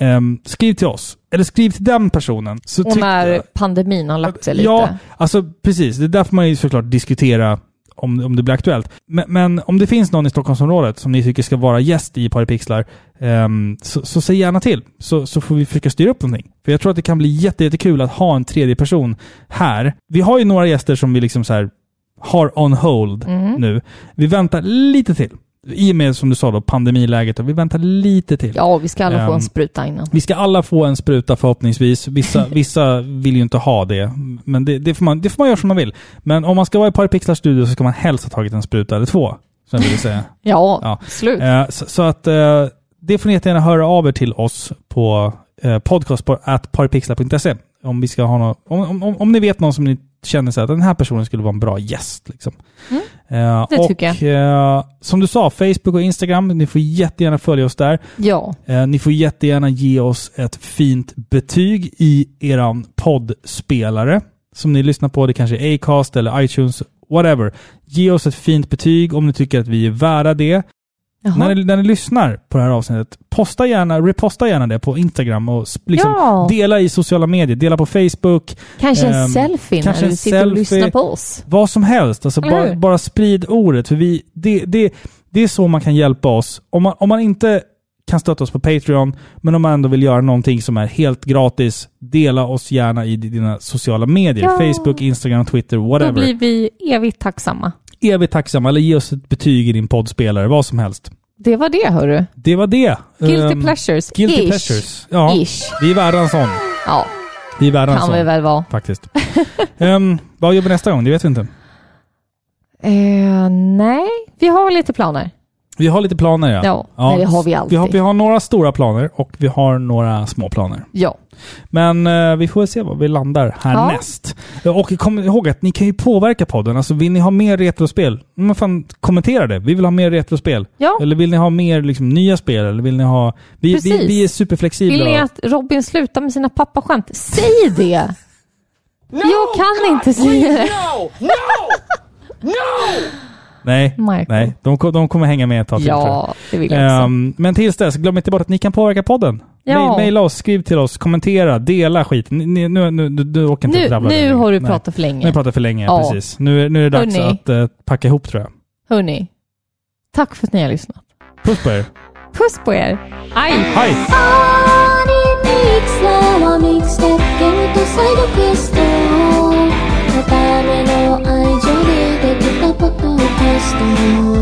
Speaker 2: ehm, skriv till oss. Eller skriv till den personen. Så
Speaker 1: Och
Speaker 2: tyck-
Speaker 1: när pandemin har lagt sig lite.
Speaker 2: mm, Ja, alltså precis. Det är där får man ju såklart diskutera om, om det blir aktuellt. Men, men om det finns någon i Stockholmsområdet som ni tycker ska vara gäst i Paripixlar, ehm, så, så säg gärna till. Så, så får vi försöka styra upp någonting. För jag tror att det kan bli jätte- jättekul att ha en tredje person här. Vi har ju några gäster som vi liksom så här har on hold nu. Vi väntar lite till. I och med, som du sa då, pandemiläget. Och vi väntar lite till.
Speaker 1: ja, vi ska alla få
Speaker 2: Ehm,
Speaker 1: en spruta innan.
Speaker 2: Vi ska alla få en spruta förhoppningsvis. Vissa, vissa vill ju inte ha det, men det, det, får man, det får man göra som man vill. Men om man ska vara i Paripixlar studio så ska man helst ha tagit en spruta eller två. Som jag vill säga.
Speaker 1: Ja,
Speaker 2: ja.
Speaker 1: slut.
Speaker 2: Eh, så, så att eh, det får ni jättegärna höra av er till oss på eh, podcast på at paripixlar.se. Om, vi ska ha nå- om, om, om, om ni vet någon som ni känner så här, att den här personen skulle vara en bra gäst. Liksom. Eh,
Speaker 1: Mm. det
Speaker 2: och,
Speaker 1: tycker
Speaker 2: Eh, som du sa, Facebook och Instagram, ni får jättegärna följa oss där.
Speaker 1: Ja,
Speaker 2: Eh, Ni får jättegärna ge oss ett fint betyg i eran poddspelare som ni lyssnar på. Det kanske är Acast eller iTunes, whatever. Ge oss ett fint betyg om ni tycker att vi är värda det. När
Speaker 1: Jaha.
Speaker 2: ni, när ni lyssnar på det här avsnittet, posta gärna, reposta gärna det på Instagram och s- liksom
Speaker 1: Ja.
Speaker 2: dela i sociala medier, dela på Facebook,
Speaker 1: kanske en
Speaker 2: ehm,
Speaker 1: selfie
Speaker 2: kanske
Speaker 1: när
Speaker 2: en
Speaker 1: du sitter och
Speaker 2: selfie.
Speaker 1: lyssnar på oss.
Speaker 2: vad som helst. Alltså
Speaker 1: Eller
Speaker 2: bara,
Speaker 1: hur?
Speaker 2: bara sprid ordet. För vi, det, det, det är så man kan hjälpa oss. Om man, om man inte kan stötta oss på Patreon, men om man ändå vill göra någonting som är helt gratis, dela oss gärna i dina sociala medier.
Speaker 1: Ja.
Speaker 2: Facebook, Instagram, Twitter,
Speaker 1: Då
Speaker 2: whatever.
Speaker 1: blir vi evigt tacksamma.
Speaker 2: Evigt tacksamma. Eller ge oss ett betyg i din poddspelare, vad som helst.
Speaker 1: Det var det hörru.
Speaker 2: Det var det.
Speaker 1: Guilty
Speaker 2: Ehm,
Speaker 1: pleasures.
Speaker 2: Guilty
Speaker 1: Ish.
Speaker 2: pleasures. Ja,
Speaker 1: Ish.
Speaker 2: vi är värda en sån.
Speaker 1: Ja,
Speaker 2: Vi är värda en
Speaker 1: kan vi
Speaker 2: sån.
Speaker 1: väl vara.
Speaker 2: Faktiskt. Ehm, vad gör vi nästa gång? Det vet vi inte.
Speaker 1: Eh, nej, vi har lite planer.
Speaker 2: Vi har lite planer ja.
Speaker 1: Ja, nej, det har vi alltid.
Speaker 2: Vi har, vi har några stora planer och vi har några små planer.
Speaker 1: Ja,
Speaker 2: Men eh, vi får väl se vad vi landar härnäst. Och kom ihåg att ni kan ju påverka podden. Alltså vill ni ha mer retrospel? Men fan, kommentera det. Vi vill ha mer retrospel.
Speaker 1: ja.
Speaker 2: Eller vill ni ha mer liksom, nya spel? Eller vill ni ha... Vi, vi,
Speaker 1: Precis.
Speaker 2: vi är superflexibla.
Speaker 1: Vill ni att Robin slutar med sina pappaskämt? Säg det! Jag kan inte säga det.
Speaker 3: No! No! No!
Speaker 2: Nej,
Speaker 1: Marco.
Speaker 2: nej. De, ko- de kommer hänga med ett tag till, tror jag.
Speaker 1: Ja, det vill jag också.
Speaker 2: Ehm, men tills dess, glöm inte bort att ni kan påverka podden.
Speaker 1: Ja.
Speaker 2: Ma- Maila oss, skriv till oss, kommentera, dela skit. Ni, ni, nu, nu, du, du åker inte
Speaker 1: Nu,
Speaker 2: trabbla
Speaker 1: nu
Speaker 2: längre.
Speaker 1: har du
Speaker 2: Nej.
Speaker 1: pratat för
Speaker 2: Nu har jag
Speaker 1: länge.
Speaker 2: pratat för länge,
Speaker 1: Ja.
Speaker 2: precis. Nu, nu är det dags
Speaker 1: Hörni.
Speaker 2: att eh, packa ihop tror jag.
Speaker 1: Hörni, tack för att ni har lyssnat.
Speaker 2: Puss på er.
Speaker 1: Puss på er! Aj!
Speaker 2: Hej!
Speaker 10: Paripixlarはミックステップとサイドクエストのための愛情でできたポッドキャスト